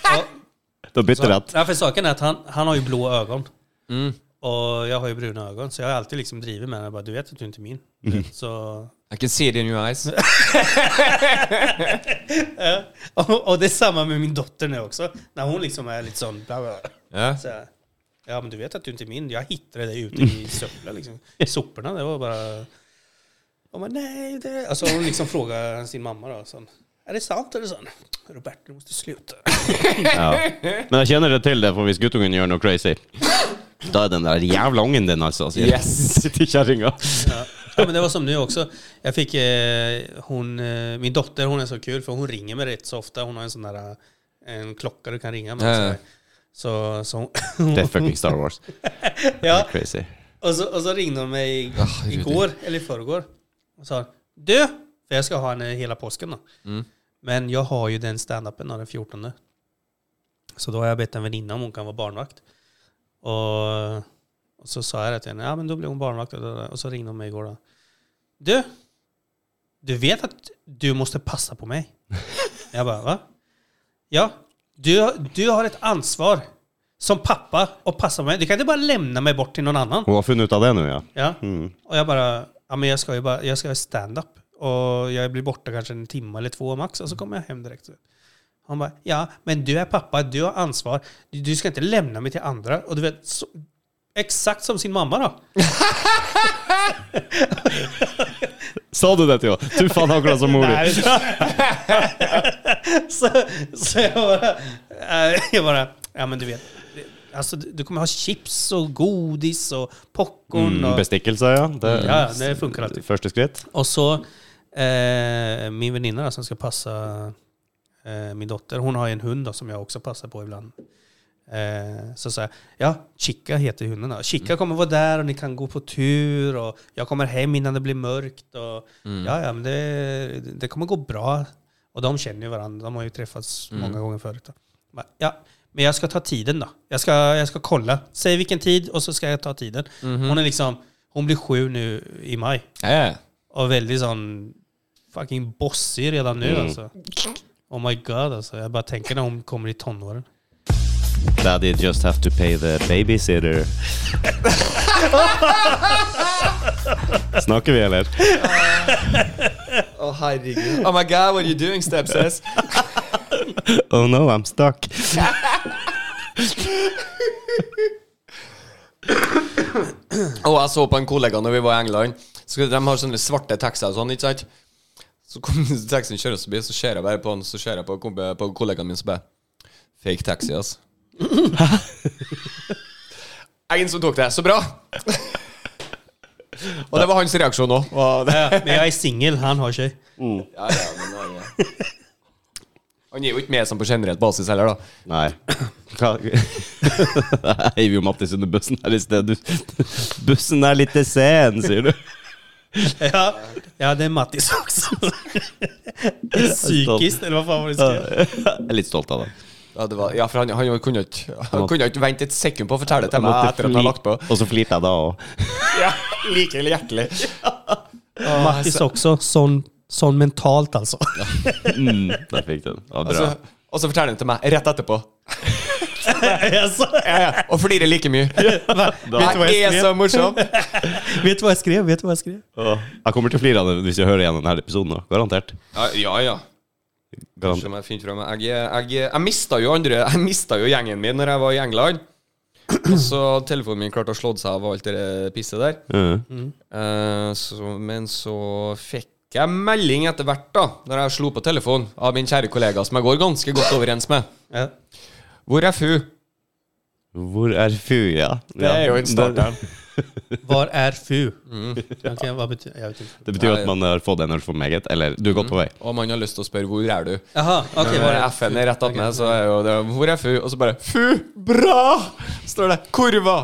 [SPEAKER 3] Och,
[SPEAKER 1] Da bytter
[SPEAKER 3] så,
[SPEAKER 1] rett.
[SPEAKER 3] ja, för saken är att han, han har ju blå ögon. Och jag har ju bruna ögon, så jag har alltid liksom drivit med honom. Jag bara, Du vet att du inte är min. Så
[SPEAKER 2] I can see it in your eyes.
[SPEAKER 3] Och, och det är samma med min dotter nu också. När hon liksom är lite sån... Bla bla.
[SPEAKER 2] Ja.
[SPEAKER 3] Så här, ja, men du vet att du inte är min. Jag hittade dig ute i soporna. Liksom. I soporna, det var bara... Hon bara, nej. Det... Alltså hon liksom frågar sin mamma då. Sån, är det sant eller sån? Robert, du måste sluta.
[SPEAKER 1] Ja. Men jeg kjenner det til det, for hvis guttungen gjør noe crazy, da er den der jævla ungen din, altså. Sier.
[SPEAKER 2] Yes.
[SPEAKER 1] Sitter i kjerringa.
[SPEAKER 3] Ja. ja, men det var som nu också. Jag fick eh, hon, eh, min dotter, hon är så kul för hon ringer mig rätt så ofta. Hon har en sån där eh, en klocka du kan ringa med.
[SPEAKER 2] Ja,
[SPEAKER 3] så
[SPEAKER 2] ja.
[SPEAKER 3] här. Så, så hon,
[SPEAKER 1] Det er fucking Star Wars.
[SPEAKER 3] ja,
[SPEAKER 1] Crazy.
[SPEAKER 3] Och så, och så ringde hon mig
[SPEAKER 2] Ah, Rudi.
[SPEAKER 3] igår, eller i förrgår, och sa Du! För jag ska ha henne hela påsken då. Men jag har ju den standupen då, den 14. Så då har jag bett en väninna om hon kan vara barnvakt. Och, och så sa jag det till henne, ja men då blir hon barnvakt. och- Och så ringde hon mig igår då. Du! Du vet att du måste passa på mig. jag bara, va? Ja, du, du har ett ansvar som pappa och passa på mig. Du kan inte bara lämna mig bort till någon annan.
[SPEAKER 1] Hun har funnet ut av det nå, ja.
[SPEAKER 3] Ja. Och jag bara, ja men jag ska ju bara, jag ska göra stand-up. Och jag blir borta kanske en timme eller två max och så kommer jag hem direkt. Han bara, ja men du är pappa, du har ansvar. Du, du ska inte lämna mig till andra. Och du vet, så, exakt som sin mamma då.
[SPEAKER 1] Sa du det til henne? Du faen akkurat som mor di.
[SPEAKER 3] så, så jag bara, eh, jag bara, ja men du vet. det- Alltså, du du kommer ha chips och godis og popcorn.
[SPEAKER 1] Mm,
[SPEAKER 3] och,
[SPEAKER 1] Bestikkelser, ja. Det,
[SPEAKER 3] ja, ja, det funkar alltid.
[SPEAKER 1] Første skritt.
[SPEAKER 3] Och så eh, min väninna då, som ska passa eh, min dotter, hon har ju en hund då, som jag också passar på ibland. Eh, så sa jag, ja, Chica heter hunden då. Chica kommer vara där och ni kan gå på tur och jag kommer hem innan det blir mörkt. Och, Ja, ja, men det, det kommer gå bra. Och de känner ju varandra, de har ju träffats många gånger förut. Då. Bara, Ja, men jag ska ta tiden då. Jag ska, jag ska kolla. Säg vilken tid och så ska jag ta tiden. Hon är liksom, hon blir sju nu i maj.
[SPEAKER 2] Ja, ja.
[SPEAKER 3] Og veldig sånn fucking bossig redan
[SPEAKER 2] Mm.
[SPEAKER 3] nu altså. Oh my god, altså. Jeg bare tenker når hun kommer i tonåren.
[SPEAKER 1] Daddy just have to pay the babysitter. Snakker vi, eller?
[SPEAKER 2] Å, herregud. Oh my god, what are you doing, stepsis?
[SPEAKER 1] Oh no, I'm stuck.
[SPEAKER 2] Og jeg så på en kollega når vi var i England. Så de har sånne svarte taxier og sånn, ikke sant? Så kom taxien kjørende forbi, så ser jeg bare på han, så ser jeg på, kom- på kollegaen min, så bare Fake taxi, ass. Ingen som tok det. Så bra! og det var hans reaksjon òg.
[SPEAKER 3] Ja, men jeg er singel, han har ikke.
[SPEAKER 2] Ja, ja, men han er- han gir jo ikke med sånn på generelt basis heller, da.
[SPEAKER 1] Nei. Hva? Jeg heiv jo Mattis under bussen her i sted. Du, bussen er litt sen, sier du.
[SPEAKER 3] Ja, ja det er Mattis også. Psykisk, eller hva faen var det du skrev?
[SPEAKER 1] Jeg er litt stolt av det.
[SPEAKER 2] Ja, det var, ja for han, han kunne ikke Han kunne ikke vente et sekund på å fortelle det til meg
[SPEAKER 1] Måtte
[SPEAKER 2] etter at han har lagt på.
[SPEAKER 1] fli- Og så flirte jeg da òg.
[SPEAKER 2] Ja, like hjertelig.
[SPEAKER 3] Mattis også. Sånn, sånn mentalt, alltså. altså.
[SPEAKER 1] Mm, der fikk du den. Ja, bra.
[SPEAKER 2] Og så- og så forteller han til meg rett etterpå.
[SPEAKER 3] Altså,
[SPEAKER 2] Ja, ja, og flirer like mye.
[SPEAKER 3] Vet du hva
[SPEAKER 2] Jeg
[SPEAKER 3] jeg
[SPEAKER 2] er så
[SPEAKER 3] skrev?
[SPEAKER 2] morsom!
[SPEAKER 3] Vet du hva jeg skrev? Vet du hva jeg skrev?
[SPEAKER 1] Åh, jeg kommer til å flire av det hvis jeg hører igjen denne episoden. nå. Garantert.
[SPEAKER 2] Ja, ja. ja.
[SPEAKER 1] Garant.
[SPEAKER 2] Som jeg, finner frem. jeg, jeg, jeg mista jo andre Jeg mista jo gjengen min når jeg var i England. Og så telefonen min klarte å slå seg av og alt det der pisset der.
[SPEAKER 1] Mm.
[SPEAKER 2] Eh, så, men så fikk jeg melding etter hvert, da, når jeg slo på telefonen, av min kjære kollega, som jeg går ganske godt overens med.
[SPEAKER 3] Ja.
[SPEAKER 2] Hvor er FU?
[SPEAKER 1] Hvor er Fuja?
[SPEAKER 2] Det er jo en start, ja.
[SPEAKER 3] Hvor er fu?
[SPEAKER 2] Mm.
[SPEAKER 3] Ok, hva betyr Jeg vet ikke.
[SPEAKER 1] Det betyr at man har fått en øl for meget, eller du er godt på vei.
[SPEAKER 2] Og man har lyst til å spørre 'Hvor er du?'
[SPEAKER 3] Jaha, ok.
[SPEAKER 2] Når
[SPEAKER 3] Hvor er
[SPEAKER 2] FN er rett attmed, så er jo det 'Hvor er FU?' Og så bare 'FU! Bra!' står det. 'Kurva!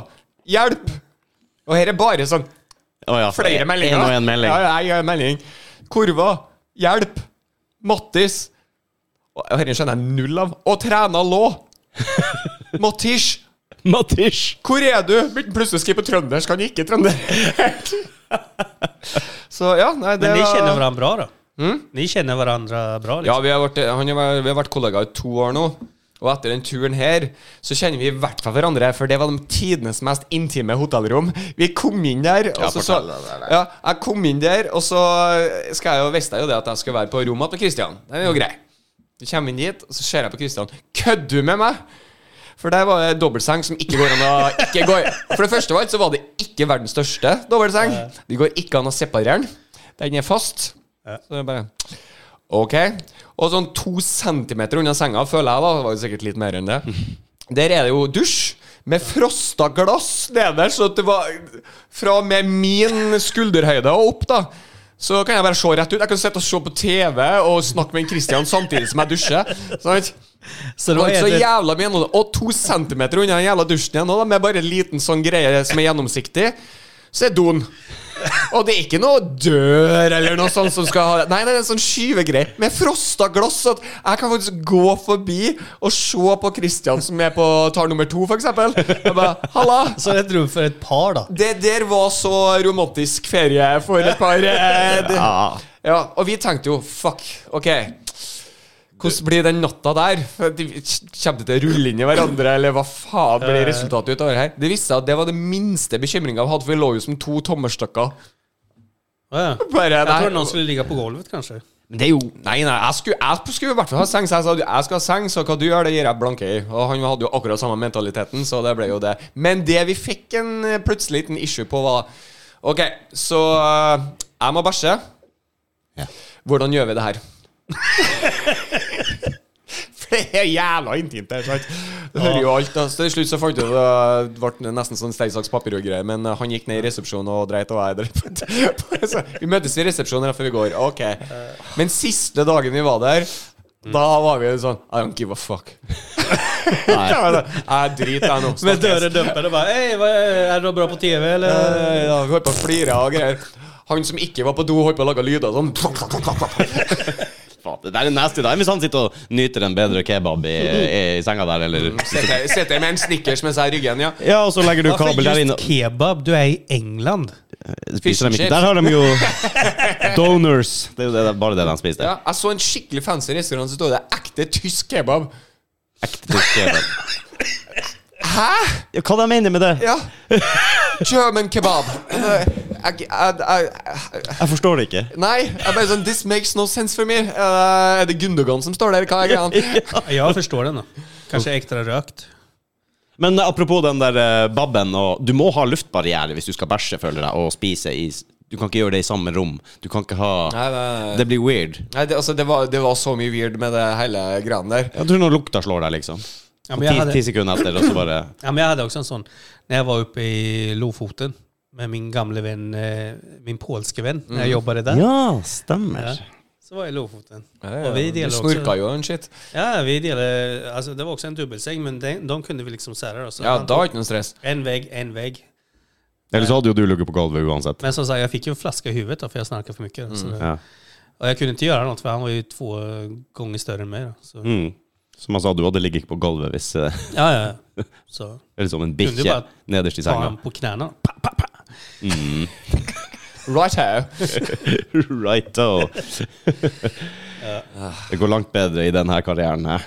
[SPEAKER 2] Hjelp!' Og her er bare sånn
[SPEAKER 1] Å ja,
[SPEAKER 2] flere meldinger.
[SPEAKER 1] En og en melding.
[SPEAKER 2] Ja, ja, jeg har en melding. 'Kurva! Hjelp! Mattis!' Og og dette skjønner jeg null av. 'Og træna lå!' Mattis!
[SPEAKER 1] Mattis!
[SPEAKER 2] Hvor er du? Begynte plutselig å skrive på trøndersk, han ikke trønder. så ja, nei, det
[SPEAKER 3] Men ni
[SPEAKER 2] var- Mm.
[SPEAKER 3] kjenner hverandre bra, da? Ni kjenner hverandre bra?
[SPEAKER 2] Ja,
[SPEAKER 3] Liksom.
[SPEAKER 2] vi har vært, han, har- vi har vært kollegaer i to år nå. Og etter den turen her, så kjenner vi i hvert fall hverandre, for det var de tidenes mest intime hotellrom. Vi kom inn der, og så, så
[SPEAKER 1] fortell det der.
[SPEAKER 2] ja, Jeg kom inn der, og så skal jeg jo, visste jeg jo det at jeg skulle være på rommet med Christian. Det er jo grei. Jeg kommer inn dit, og så ser jeg på Christian. Kødder du med meg?! For der var det dobbeltseng som ikke går an å ikke går. For det første var så var det ikke verdens største dobbeltseng. Det går ikke an å separere den. Den er fast. Så jeg bare Ok. Og sånn to centimeter unna senga, føler jeg, da. Det var jo sikkert litt mer enn det. Der er det jo dusj. Med frosta glass nederst, så at det var fra og med min skulderhøyde og opp, da. Så kan jeg bare se rett ut. Jeg kan sitte og se på TV og snakke med en Christian samtidig som jeg dusjer. Sant?
[SPEAKER 3] Så
[SPEAKER 2] Det
[SPEAKER 3] det var
[SPEAKER 2] var ikke så
[SPEAKER 3] edru-
[SPEAKER 2] jævla mye nå, Og to centimeter unna den jævla dusjen igjen nå, da, med bare en liten sånn greie som er gjennomsiktig, så er doen. Og det er ikke noe dør eller noe sånt som skal ha Nei, det er en sånn skyvegreie med frosta glass. så At jeg kan faktisk gå forbi og se på Christian som er på tar nummer to, for eksempel. Jeg bare, Halla!
[SPEAKER 3] Så det er et rom for et par, da?
[SPEAKER 2] Det der var så romantisk ferie for et par eh, det,
[SPEAKER 1] Ja.
[SPEAKER 2] ja, og vi tenkte jo Fuck, ok Hvordan blir den natta der? For de- Kommer det til å rulle inn i hverandre Eller hva faen
[SPEAKER 3] Eh.
[SPEAKER 2] blir resultatet ut av det her? Det viste seg at det var det minste bekymringen jeg hadde For vi lå jo som to tommerstokker
[SPEAKER 3] Å, ja.
[SPEAKER 2] Bare,
[SPEAKER 3] Jeg tror
[SPEAKER 2] nei.
[SPEAKER 3] noen skulle ligge på gulvet, kanskje.
[SPEAKER 1] Men det er jo
[SPEAKER 2] Nei, nei, jeg skulle, jeg skulle i hvert fall ha seng Så jeg sa, jeg skal ha seng, så hva du gjør det gir jeg blanke i Og han hadde jo akkurat samme mentaliteten Så det ble jo det Men det vi fikk en eh, plutselig liten issue på var Ok, så eh, jeg må bæsje
[SPEAKER 1] Ja.
[SPEAKER 2] Hvordan gjør vi det her? For det er jævla intimt det, sant? Det hører jo alt da. Så til slutt så fant jeg det Det ble nesten sånn steinsaks papir og greier Men eh, han gikk ned i resepsjonen og dreit og jeg dreit Så Vi møtes i resepsjonen her før vi går Ok Men siste dagen vi var der Da var vi sånn I don't give a fuck Jeg var sånn, Jeg driter jeg nå
[SPEAKER 3] Med døren dumpet og bare Hei, hva- er dere bra på TV, eller?
[SPEAKER 2] Eh, Ja, vi holdt på å flire og greier Han som ikke var på do holdt på å lage lyder sånn
[SPEAKER 1] Faen, det der er nasty. Da. Hvis han sitter og nyter en bedre kebab i, i senga der, eller
[SPEAKER 2] Mm. Sitter sitter med en snickers mens jeg er i ryggen, ja
[SPEAKER 1] Ja, og så legger du
[SPEAKER 3] Hvorfor
[SPEAKER 1] kabel der inne.
[SPEAKER 3] just kebab? Du er i England.
[SPEAKER 1] Spiser de
[SPEAKER 2] Fish and
[SPEAKER 1] ikke Der har de jo donors. Det er jo det, det er bare det de spiser.
[SPEAKER 2] Ja,
[SPEAKER 1] der.
[SPEAKER 2] jeg så en skikkelig fancy restaurant som stod det ekte tysk kebab.
[SPEAKER 1] Ekte tysk kebab.
[SPEAKER 2] Hæ?!
[SPEAKER 1] Ja, Hva de mener med det?
[SPEAKER 2] Ja. German kebab. Eh, Jeg, jeg, jeg,
[SPEAKER 1] Jeg forstår det ikke.
[SPEAKER 2] nei, jeg bare sånn This makes no sense for me. Eh, Er det Gundogan som står der? Hva er greia?
[SPEAKER 3] Jeg forstår den, da. Kanskje ekte røkt.
[SPEAKER 1] Men apropos den der eh, babben og Du må ha luftbarriere hvis du skal bæsje, føler jeg, og spise i s- Du kan ikke gjøre det i samme rom. Du kan ikke ha
[SPEAKER 2] Nei, nei,
[SPEAKER 1] Det blir weird.
[SPEAKER 2] nei det, altså, det, var, det var så mye weird med det hele greiene der.
[SPEAKER 1] Jeg tror når lukta slår deg, liksom.
[SPEAKER 3] Ja,
[SPEAKER 1] Og
[SPEAKER 3] men jeg
[SPEAKER 1] ti,
[SPEAKER 3] hadde-
[SPEAKER 1] ti sekunder etter, og så bare
[SPEAKER 3] Ja, men jeg hadde også en sånn Når jeg var oppe i Lofoten med min gamle venn, eh, min polske venn, når
[SPEAKER 2] Mm.
[SPEAKER 3] jeg jobbet der,
[SPEAKER 1] Ja, stemmer.
[SPEAKER 3] Ja. så var jeg i Lofoten.
[SPEAKER 2] Ja,
[SPEAKER 3] Og vi
[SPEAKER 2] ja,
[SPEAKER 3] deler
[SPEAKER 2] du
[SPEAKER 3] også-
[SPEAKER 2] snorka jo en shit.
[SPEAKER 3] Ja, vi delte altså, Det var også en dubbelseng, men de, de kunne vi liksom sære. oss.
[SPEAKER 2] Ja,
[SPEAKER 3] Han
[SPEAKER 2] da
[SPEAKER 3] tok
[SPEAKER 2] var det ikke noe stress.
[SPEAKER 3] En vegg, en vegg.
[SPEAKER 1] Eller så hadde jo du ligget på gulvet uansett.
[SPEAKER 3] Men som sagt, jeg fikk jo en flaske i hodet da, for jeg snarket for mye.
[SPEAKER 2] Mm.
[SPEAKER 3] Så det,
[SPEAKER 1] Ja.
[SPEAKER 3] Og jeg kunne ikke gjøre noe, for han var jo to ganger større enn meg. Da, så.
[SPEAKER 1] Mm. Som han sa, du hadde ligget på gulvet hvis eh,
[SPEAKER 3] Ja, ja. Så
[SPEAKER 1] Eller som en
[SPEAKER 3] Kunne du
[SPEAKER 1] bikkje
[SPEAKER 3] bare
[SPEAKER 1] nederst i
[SPEAKER 3] ta
[SPEAKER 1] senga.
[SPEAKER 3] han på knærne. Pa, pa, pa.
[SPEAKER 2] Right here.
[SPEAKER 1] Righto. Det går langt bedre i denne karrieren her.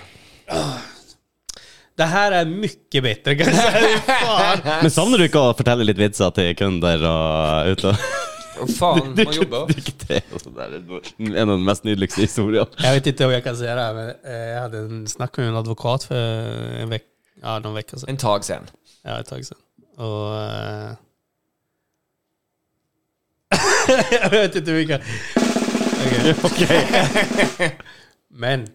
[SPEAKER 3] Det her er mye bedre, kan jeg si.
[SPEAKER 1] Men savner du ikke å fortelle litt vitser til kunder og ute?
[SPEAKER 2] Å, Faen,
[SPEAKER 3] Mm,
[SPEAKER 2] man jobber.
[SPEAKER 1] Det er jo- det er en av de mest nydeligste historiene.
[SPEAKER 3] Jeg vet ikke om jeg kan si det, her, men eh, jeg hadde en snakk med en advokat for en vek ja, noen uker siden.
[SPEAKER 2] En tag sen.
[SPEAKER 3] Ja, et tag siden. Og eh, Jeg vet ikke hvilken okay. Men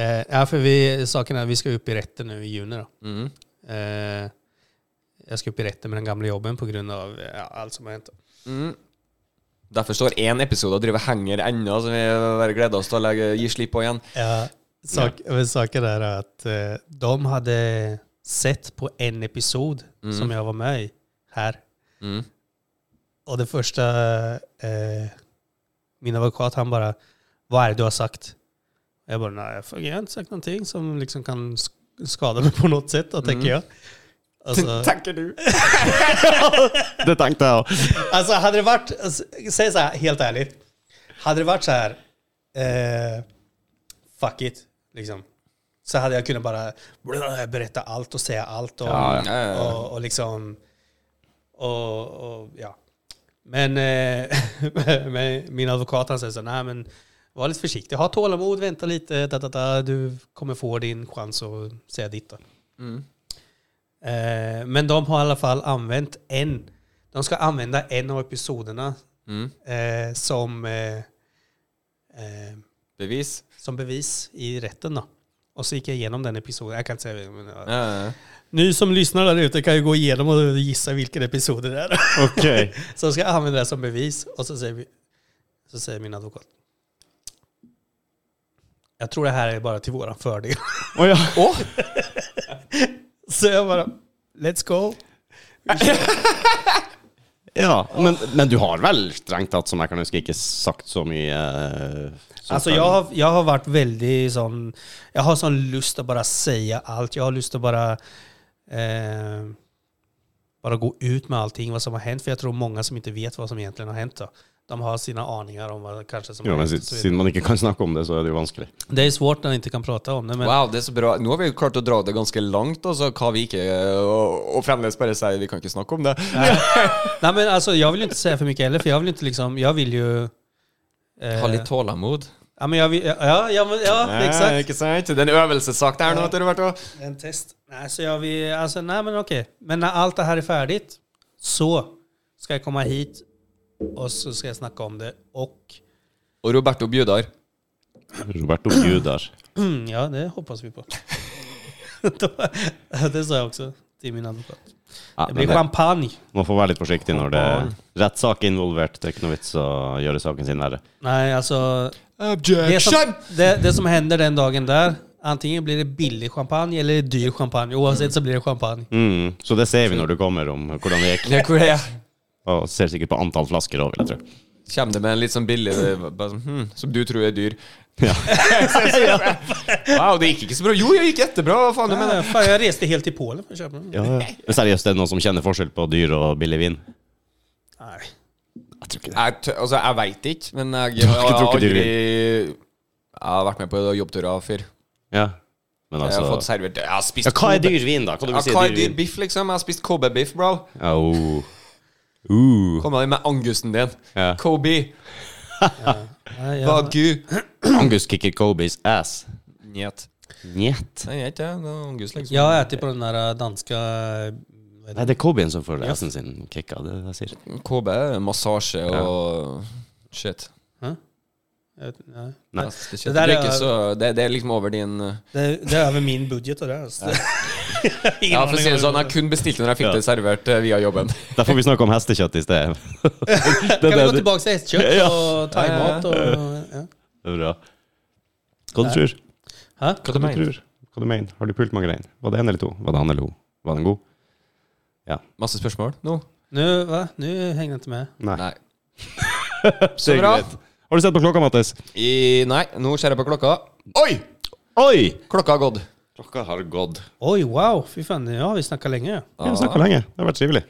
[SPEAKER 3] eh, Ja, for vi, saken er vi skal opp i retten nå i juni, da.
[SPEAKER 2] Mm.
[SPEAKER 3] Eh, jeg skal opp i retten med den gamle jobben pga. Ja, alt som har hendt.
[SPEAKER 2] Mm. Derfor står én episode og driver henger ennå, så vi bare gleder oss til å legge, gi slipp på igjen.
[SPEAKER 3] Ja, sak, men Saken er at eh, de hadde sett på en episod som jeg var med i her.
[SPEAKER 2] Mm.
[SPEAKER 3] Og det første eh, Min advokat han bare Hva er det du har sagt? Jeg bare Nei, jeg har ikke sagt noe som liksom kan sk- skade meg på noe sett, da, tenker jeg. Altså,
[SPEAKER 2] Tenker du?
[SPEAKER 1] Det tenkte jeg òg.
[SPEAKER 3] Alltså hade det varit, alltså, säg så här helt ärligt. Hade det varit så här, eh, fuck it, liksom. Så hade jag kunnat bara brr, berätta allt och säga allt och,
[SPEAKER 1] Ja,
[SPEAKER 2] ja. Ja, ja, ja.
[SPEAKER 3] och, och liksom, och, och ja. Men, eh, men min advokat han säger så här, nej men var lite försiktig, ha tålamod, vänta lite, da, da, da, du kommer få din chans att säga ditt då.
[SPEAKER 2] Mm.
[SPEAKER 3] Eh, men de har i alla fall använt en. De ska använda en av episoderna
[SPEAKER 2] Mm.
[SPEAKER 3] eh, som, eh, eh,
[SPEAKER 2] Bevis?
[SPEAKER 3] som bevis i rätten. Då. Och så gick jag igenom den episoden. Jag kan inte säga, men, ja.
[SPEAKER 2] Ja, ja, ja.
[SPEAKER 3] Ni som lyssnar där ute kan ju gå igenom och gissa vilken episod det är.
[SPEAKER 1] Ok.
[SPEAKER 3] så ska jag använda det som bevis. Och så säger, vi, så säger min advokat. Jag tror det här är bara till våran fördel.
[SPEAKER 1] Å ja.
[SPEAKER 2] Åh!
[SPEAKER 3] Så jag bara, let's go.
[SPEAKER 1] ja. Men, men du har vel strengt tatt, som jeg kan huske, ikke sagt så mye eh, som
[SPEAKER 3] Alltså
[SPEAKER 1] kan-
[SPEAKER 3] jag, har, jag har varit väldigt sån, jag har sån lust att bara säga allt. Jag har lust att bara, eh, bara gå ut med allting, vad som har hänt. För jag tror många som inte vet vad som egentligen har hänt. Då. De har sina aningar om vad kanske som
[SPEAKER 1] Jo,
[SPEAKER 3] har
[SPEAKER 1] men
[SPEAKER 3] hänt. och
[SPEAKER 1] siden-
[SPEAKER 3] så vidare.
[SPEAKER 1] Siden man ikke kan snakke om det, så er det jo vanskelig.
[SPEAKER 3] Det är svårt när man inte kan prata om det. Men,
[SPEAKER 2] Wow, det er så bra. Nå har vi jo klart å dra det ganske langt, altså, hva vi eh, ikke Og, og fremdeles bare si vi kan ikke snakke om det.
[SPEAKER 3] nej, men alltså, jag vill ju inte säga för mycket heller, för jag vill inte liksom, jag vill ju... eh,
[SPEAKER 2] Ha litt tålamod.
[SPEAKER 3] ja, men jag vill, ja, ja, men, ja, exakt.
[SPEAKER 2] Ikke sant? Det er en øvelsessak det her nå, etter hvert. også.
[SPEAKER 3] En test. Nej, så jag vill, alltså, nej men okej. Men när allt det här är färdigt så ska jag komma hit och så ska jag snacka om det. Och
[SPEAKER 2] Og Roberto Bjudar.
[SPEAKER 1] Roberto Bjudar.
[SPEAKER 3] mm, ja, det hoppas vi på. Då- det sa jag också till min advokat.
[SPEAKER 1] Ja,
[SPEAKER 3] Det
[SPEAKER 1] men
[SPEAKER 3] blir
[SPEAKER 1] det,
[SPEAKER 3] champagne.
[SPEAKER 1] man får være litt forsiktig når det er rettssak involvert. Det er ikke noe vits å gjøre saken sin verre.
[SPEAKER 3] Nej, alltså det som,
[SPEAKER 2] Objection!
[SPEAKER 3] det, det som händer den dagen där, antingen blir det billig champagne eller dyr champagne. Oavsett så blir det champagne.
[SPEAKER 1] Mm. Så det ser vi når du kommer, om hvordan det gikk.
[SPEAKER 2] Ja, hvor er jeg?
[SPEAKER 1] Og ser sikkert på antall flasker òg, vil jeg tro.
[SPEAKER 2] Kjem det med en litt sånn billig bare sånn, hm, Som du tror er dyr.
[SPEAKER 1] Ja.
[SPEAKER 2] Wow, det gikk ikke så bra. Jo, det gikk jättebra. Hva faen du mener?
[SPEAKER 3] Nej, fan, jag reste helt till Polen för att köpa den.
[SPEAKER 1] Ja, ja. Men seriøst, det er noen som kjenner forskjell på dyr og billig vin?
[SPEAKER 3] Nej.
[SPEAKER 1] Jeg tror ikke det.
[SPEAKER 2] Jeg, tø- altså, jeg veit ikke, men jeg,
[SPEAKER 1] har ikke
[SPEAKER 2] jeg har
[SPEAKER 1] drukket
[SPEAKER 2] aldri
[SPEAKER 1] dyr
[SPEAKER 2] Jeg har vært med på jobbturer før.
[SPEAKER 1] Ja. Men
[SPEAKER 2] Jeg har fått
[SPEAKER 1] altså
[SPEAKER 2] servert Jeg har spist
[SPEAKER 1] Alltså- ja, Hva er
[SPEAKER 2] Kobe.
[SPEAKER 1] dyr vin, da? Hva du
[SPEAKER 2] Ja,
[SPEAKER 1] vil si er
[SPEAKER 2] hva er
[SPEAKER 1] dyr
[SPEAKER 2] dyr
[SPEAKER 1] vin?
[SPEAKER 2] biff, liksom? Jeg har spist Kobe biff, bro.
[SPEAKER 1] Ja, oh. uh.
[SPEAKER 2] Kom med angusten din.
[SPEAKER 1] Ja.
[SPEAKER 2] Kobe.
[SPEAKER 3] Nej, jag,
[SPEAKER 2] Bagu.
[SPEAKER 1] Angus kicker Kobe's ass.
[SPEAKER 2] Njet.
[SPEAKER 1] Njet.
[SPEAKER 2] Nei, jeg vet ikke det. er Angus liksom.
[SPEAKER 3] Jeg har spist på den der danske hva
[SPEAKER 1] Nei,
[SPEAKER 3] heter det?
[SPEAKER 1] det er Cobien som får assen sin kicka. Det er det jeg sier.
[SPEAKER 2] KB, massasje og shit. Alltså,
[SPEAKER 3] Jeg vet- nei.
[SPEAKER 1] Nei.
[SPEAKER 2] Det,
[SPEAKER 3] Det der
[SPEAKER 2] er
[SPEAKER 3] er-
[SPEAKER 2] ikke så, det, det er liksom over din uh,
[SPEAKER 3] Det, det er over min budget. og Det, altså. Ingen
[SPEAKER 2] Ja, for å si det
[SPEAKER 3] aning om
[SPEAKER 2] sånn, jeg kun bestilte når jeg fikk
[SPEAKER 1] Ja.
[SPEAKER 2] det servert uh, via jobben.
[SPEAKER 1] Derfor vi snakke om hestekjøtt i sted. det,
[SPEAKER 3] Kan vi
[SPEAKER 1] det,
[SPEAKER 3] gå
[SPEAKER 1] det,
[SPEAKER 3] tilbake til hestekjøtt
[SPEAKER 1] Ja.
[SPEAKER 3] og thaimat? og-
[SPEAKER 1] det
[SPEAKER 3] Ja.
[SPEAKER 1] er bra. Hva du tror
[SPEAKER 3] Hæ?
[SPEAKER 2] Hva
[SPEAKER 1] Hva du? Tror? Hva du mener? Har du pult mange rein? Var det en eller to? Var det han eller hun? Var den god?
[SPEAKER 2] Masse spørsmål nå?
[SPEAKER 3] Nå hva? Nå henger jeg ikke med.
[SPEAKER 1] Nei.
[SPEAKER 2] Nei.
[SPEAKER 1] Det
[SPEAKER 2] Så
[SPEAKER 1] er
[SPEAKER 2] bra.
[SPEAKER 1] greit. Har du sett på klokka, Mattis?
[SPEAKER 2] I, nei, nå ser jeg på klokka. Oi!
[SPEAKER 1] Oi!
[SPEAKER 2] Klokka har gått.
[SPEAKER 1] Klokka har gått.
[SPEAKER 3] Oi, wow! Fy faen, ja, vi snakka lenge.
[SPEAKER 1] Vi har snakka lenge. Det har vært trivelig.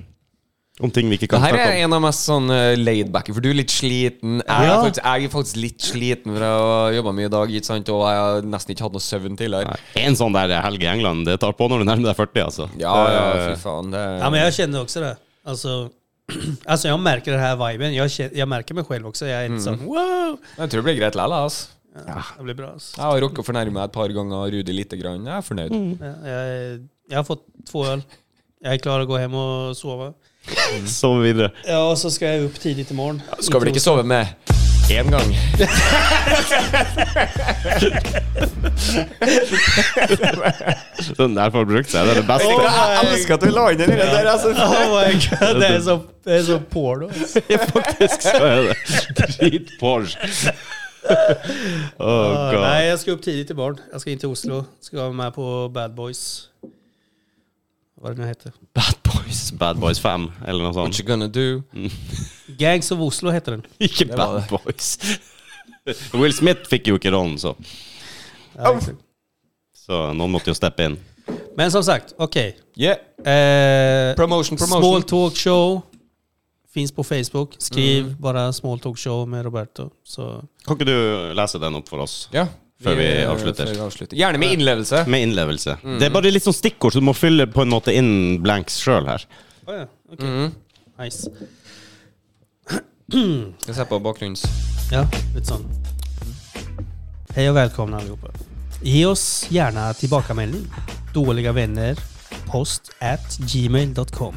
[SPEAKER 1] Om ting vi ikke
[SPEAKER 2] Det
[SPEAKER 1] kan
[SPEAKER 2] her er
[SPEAKER 1] snakke om.
[SPEAKER 2] en av mest sånn uh, laidbacke, for du er litt sliten. Jeg,
[SPEAKER 3] Ja.
[SPEAKER 2] er faktisk, jeg er faktisk litt sliten fra å ha jobba mye i dag, ikke sant? og jeg har nesten ikke hatt noe søvn tidligere.
[SPEAKER 1] Nei. En sånn der helg i England, det tar på når du nærmer deg 40, altså.
[SPEAKER 2] Ja, ja, fy
[SPEAKER 1] Eh,
[SPEAKER 2] faen. Det,
[SPEAKER 3] Eh. Ja, men jag kände också det. Alltså, alltså jag märker den här viben. Jag, känner, jag märker mig själv också. Jag är inte sån wow!
[SPEAKER 2] jeg tror det blir greit likevel. Altså.
[SPEAKER 3] Det blir bra. Alltså.
[SPEAKER 2] Jeg har rukket å fornærme meg et par ganger, Rudi lite grann. Jeg er fornøyd.
[SPEAKER 3] Jag, är- jag har fått två öl. Jag är klar att gå hem och sova.
[SPEAKER 1] Sov videre.
[SPEAKER 3] Ja, och så ska jag upp tidigt imorgon.
[SPEAKER 2] Skal vel ikke sove med én gang?
[SPEAKER 1] Den der får brukt seg. Det er det beste.
[SPEAKER 3] Åh,
[SPEAKER 2] Jeg elsker at vi la inn den der. Altså.
[SPEAKER 3] Oh my god, det är så, det är så porno. alltså.
[SPEAKER 1] faktisk så er det dritporsch. Oh
[SPEAKER 3] Ah,
[SPEAKER 1] god.
[SPEAKER 3] nej, jag ska upp tidigt imorgon. Jag ska in till Oslo. Ska vara med på Bad Boys. Vad det nu heter.
[SPEAKER 1] Bad Boys Bad Boys 5, eller noe
[SPEAKER 2] What
[SPEAKER 1] sånt.
[SPEAKER 2] you gonna do?
[SPEAKER 3] Gangs of Oslo heter den.
[SPEAKER 1] Ikke
[SPEAKER 2] var
[SPEAKER 1] Bad Boys. Will Smith fikk jo ikke rollen, så.
[SPEAKER 3] Ja, exakt.
[SPEAKER 1] så noen måtte jo steppe inn.
[SPEAKER 3] Men som sagt, okej.
[SPEAKER 2] Yeah.
[SPEAKER 3] Eh,
[SPEAKER 2] Promotion,
[SPEAKER 3] Small
[SPEAKER 2] promotion.
[SPEAKER 3] Talk Show finns på Facebook. Skriv bara Small Talk Show med Roberto. Så.
[SPEAKER 1] Kan ikke du lese den opp for oss?
[SPEAKER 2] Ja.
[SPEAKER 1] Før vi avslutter.
[SPEAKER 2] Før vi avslutter. Gjerne med innlevelse.
[SPEAKER 1] Med innlevelse. Det er bare litt sånn stikkord, så du må fylle på en måte inn blanks sjøl her.
[SPEAKER 3] Oh, ja. okay.
[SPEAKER 2] Mhm.
[SPEAKER 3] Nice.
[SPEAKER 2] Skal se på bakgrunns...
[SPEAKER 3] Ja, lite sånt. Hej och välkomna allihopa. Ge oss gärna tillbakamälning. Dåliga vänner. Post at gmail.com.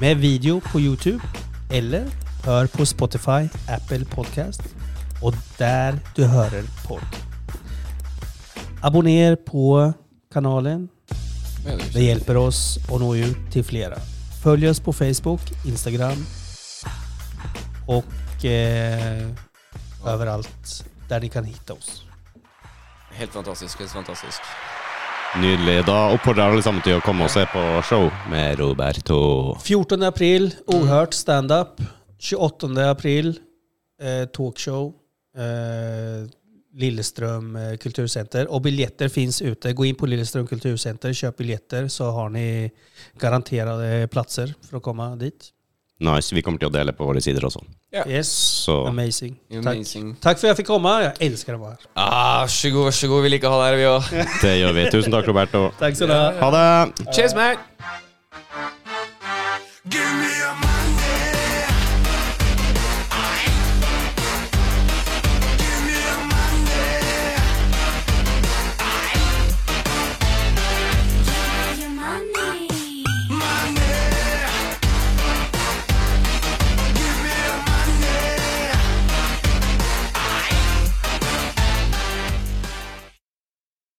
[SPEAKER 3] Med video på Youtube eller hör på Spotify, Apple Podcast och där du hör er podd. Abonner på kanalen Det hjälper oss att nå ut till flera. Följ oss på Facebook, Instagram och eh, överallt där ni kan hitta oss.
[SPEAKER 2] Helt fantastisk. Helt fantastisk.
[SPEAKER 1] Nydelig. Da oppfordrer jeg alle sammen til å komme og se på show med Roberto.
[SPEAKER 3] 14 april, Ohört stand-up. 28 april, eh, talkshow. Eh, Lilleström eh, kulturcenter. Och biljetter finns ute. Gå in på Lilleström kulturcenter, köp biljetter så har ni garanterade platser för att komma dit.
[SPEAKER 1] Nice. Vi kommer til å dele på våre sider også.
[SPEAKER 3] Yes,
[SPEAKER 1] Så
[SPEAKER 3] amazing. Tack.
[SPEAKER 2] Amazing.
[SPEAKER 3] Tack för att jag fick komma. Jag älskar att vara här.
[SPEAKER 2] Ah, vær så god, vær så god. Vi liker å ha det her, vi òg.
[SPEAKER 1] det gjør vi. Tusen takk, Roberto.
[SPEAKER 3] Tack så mycket.
[SPEAKER 1] Ha det.
[SPEAKER 2] Cheers, mate!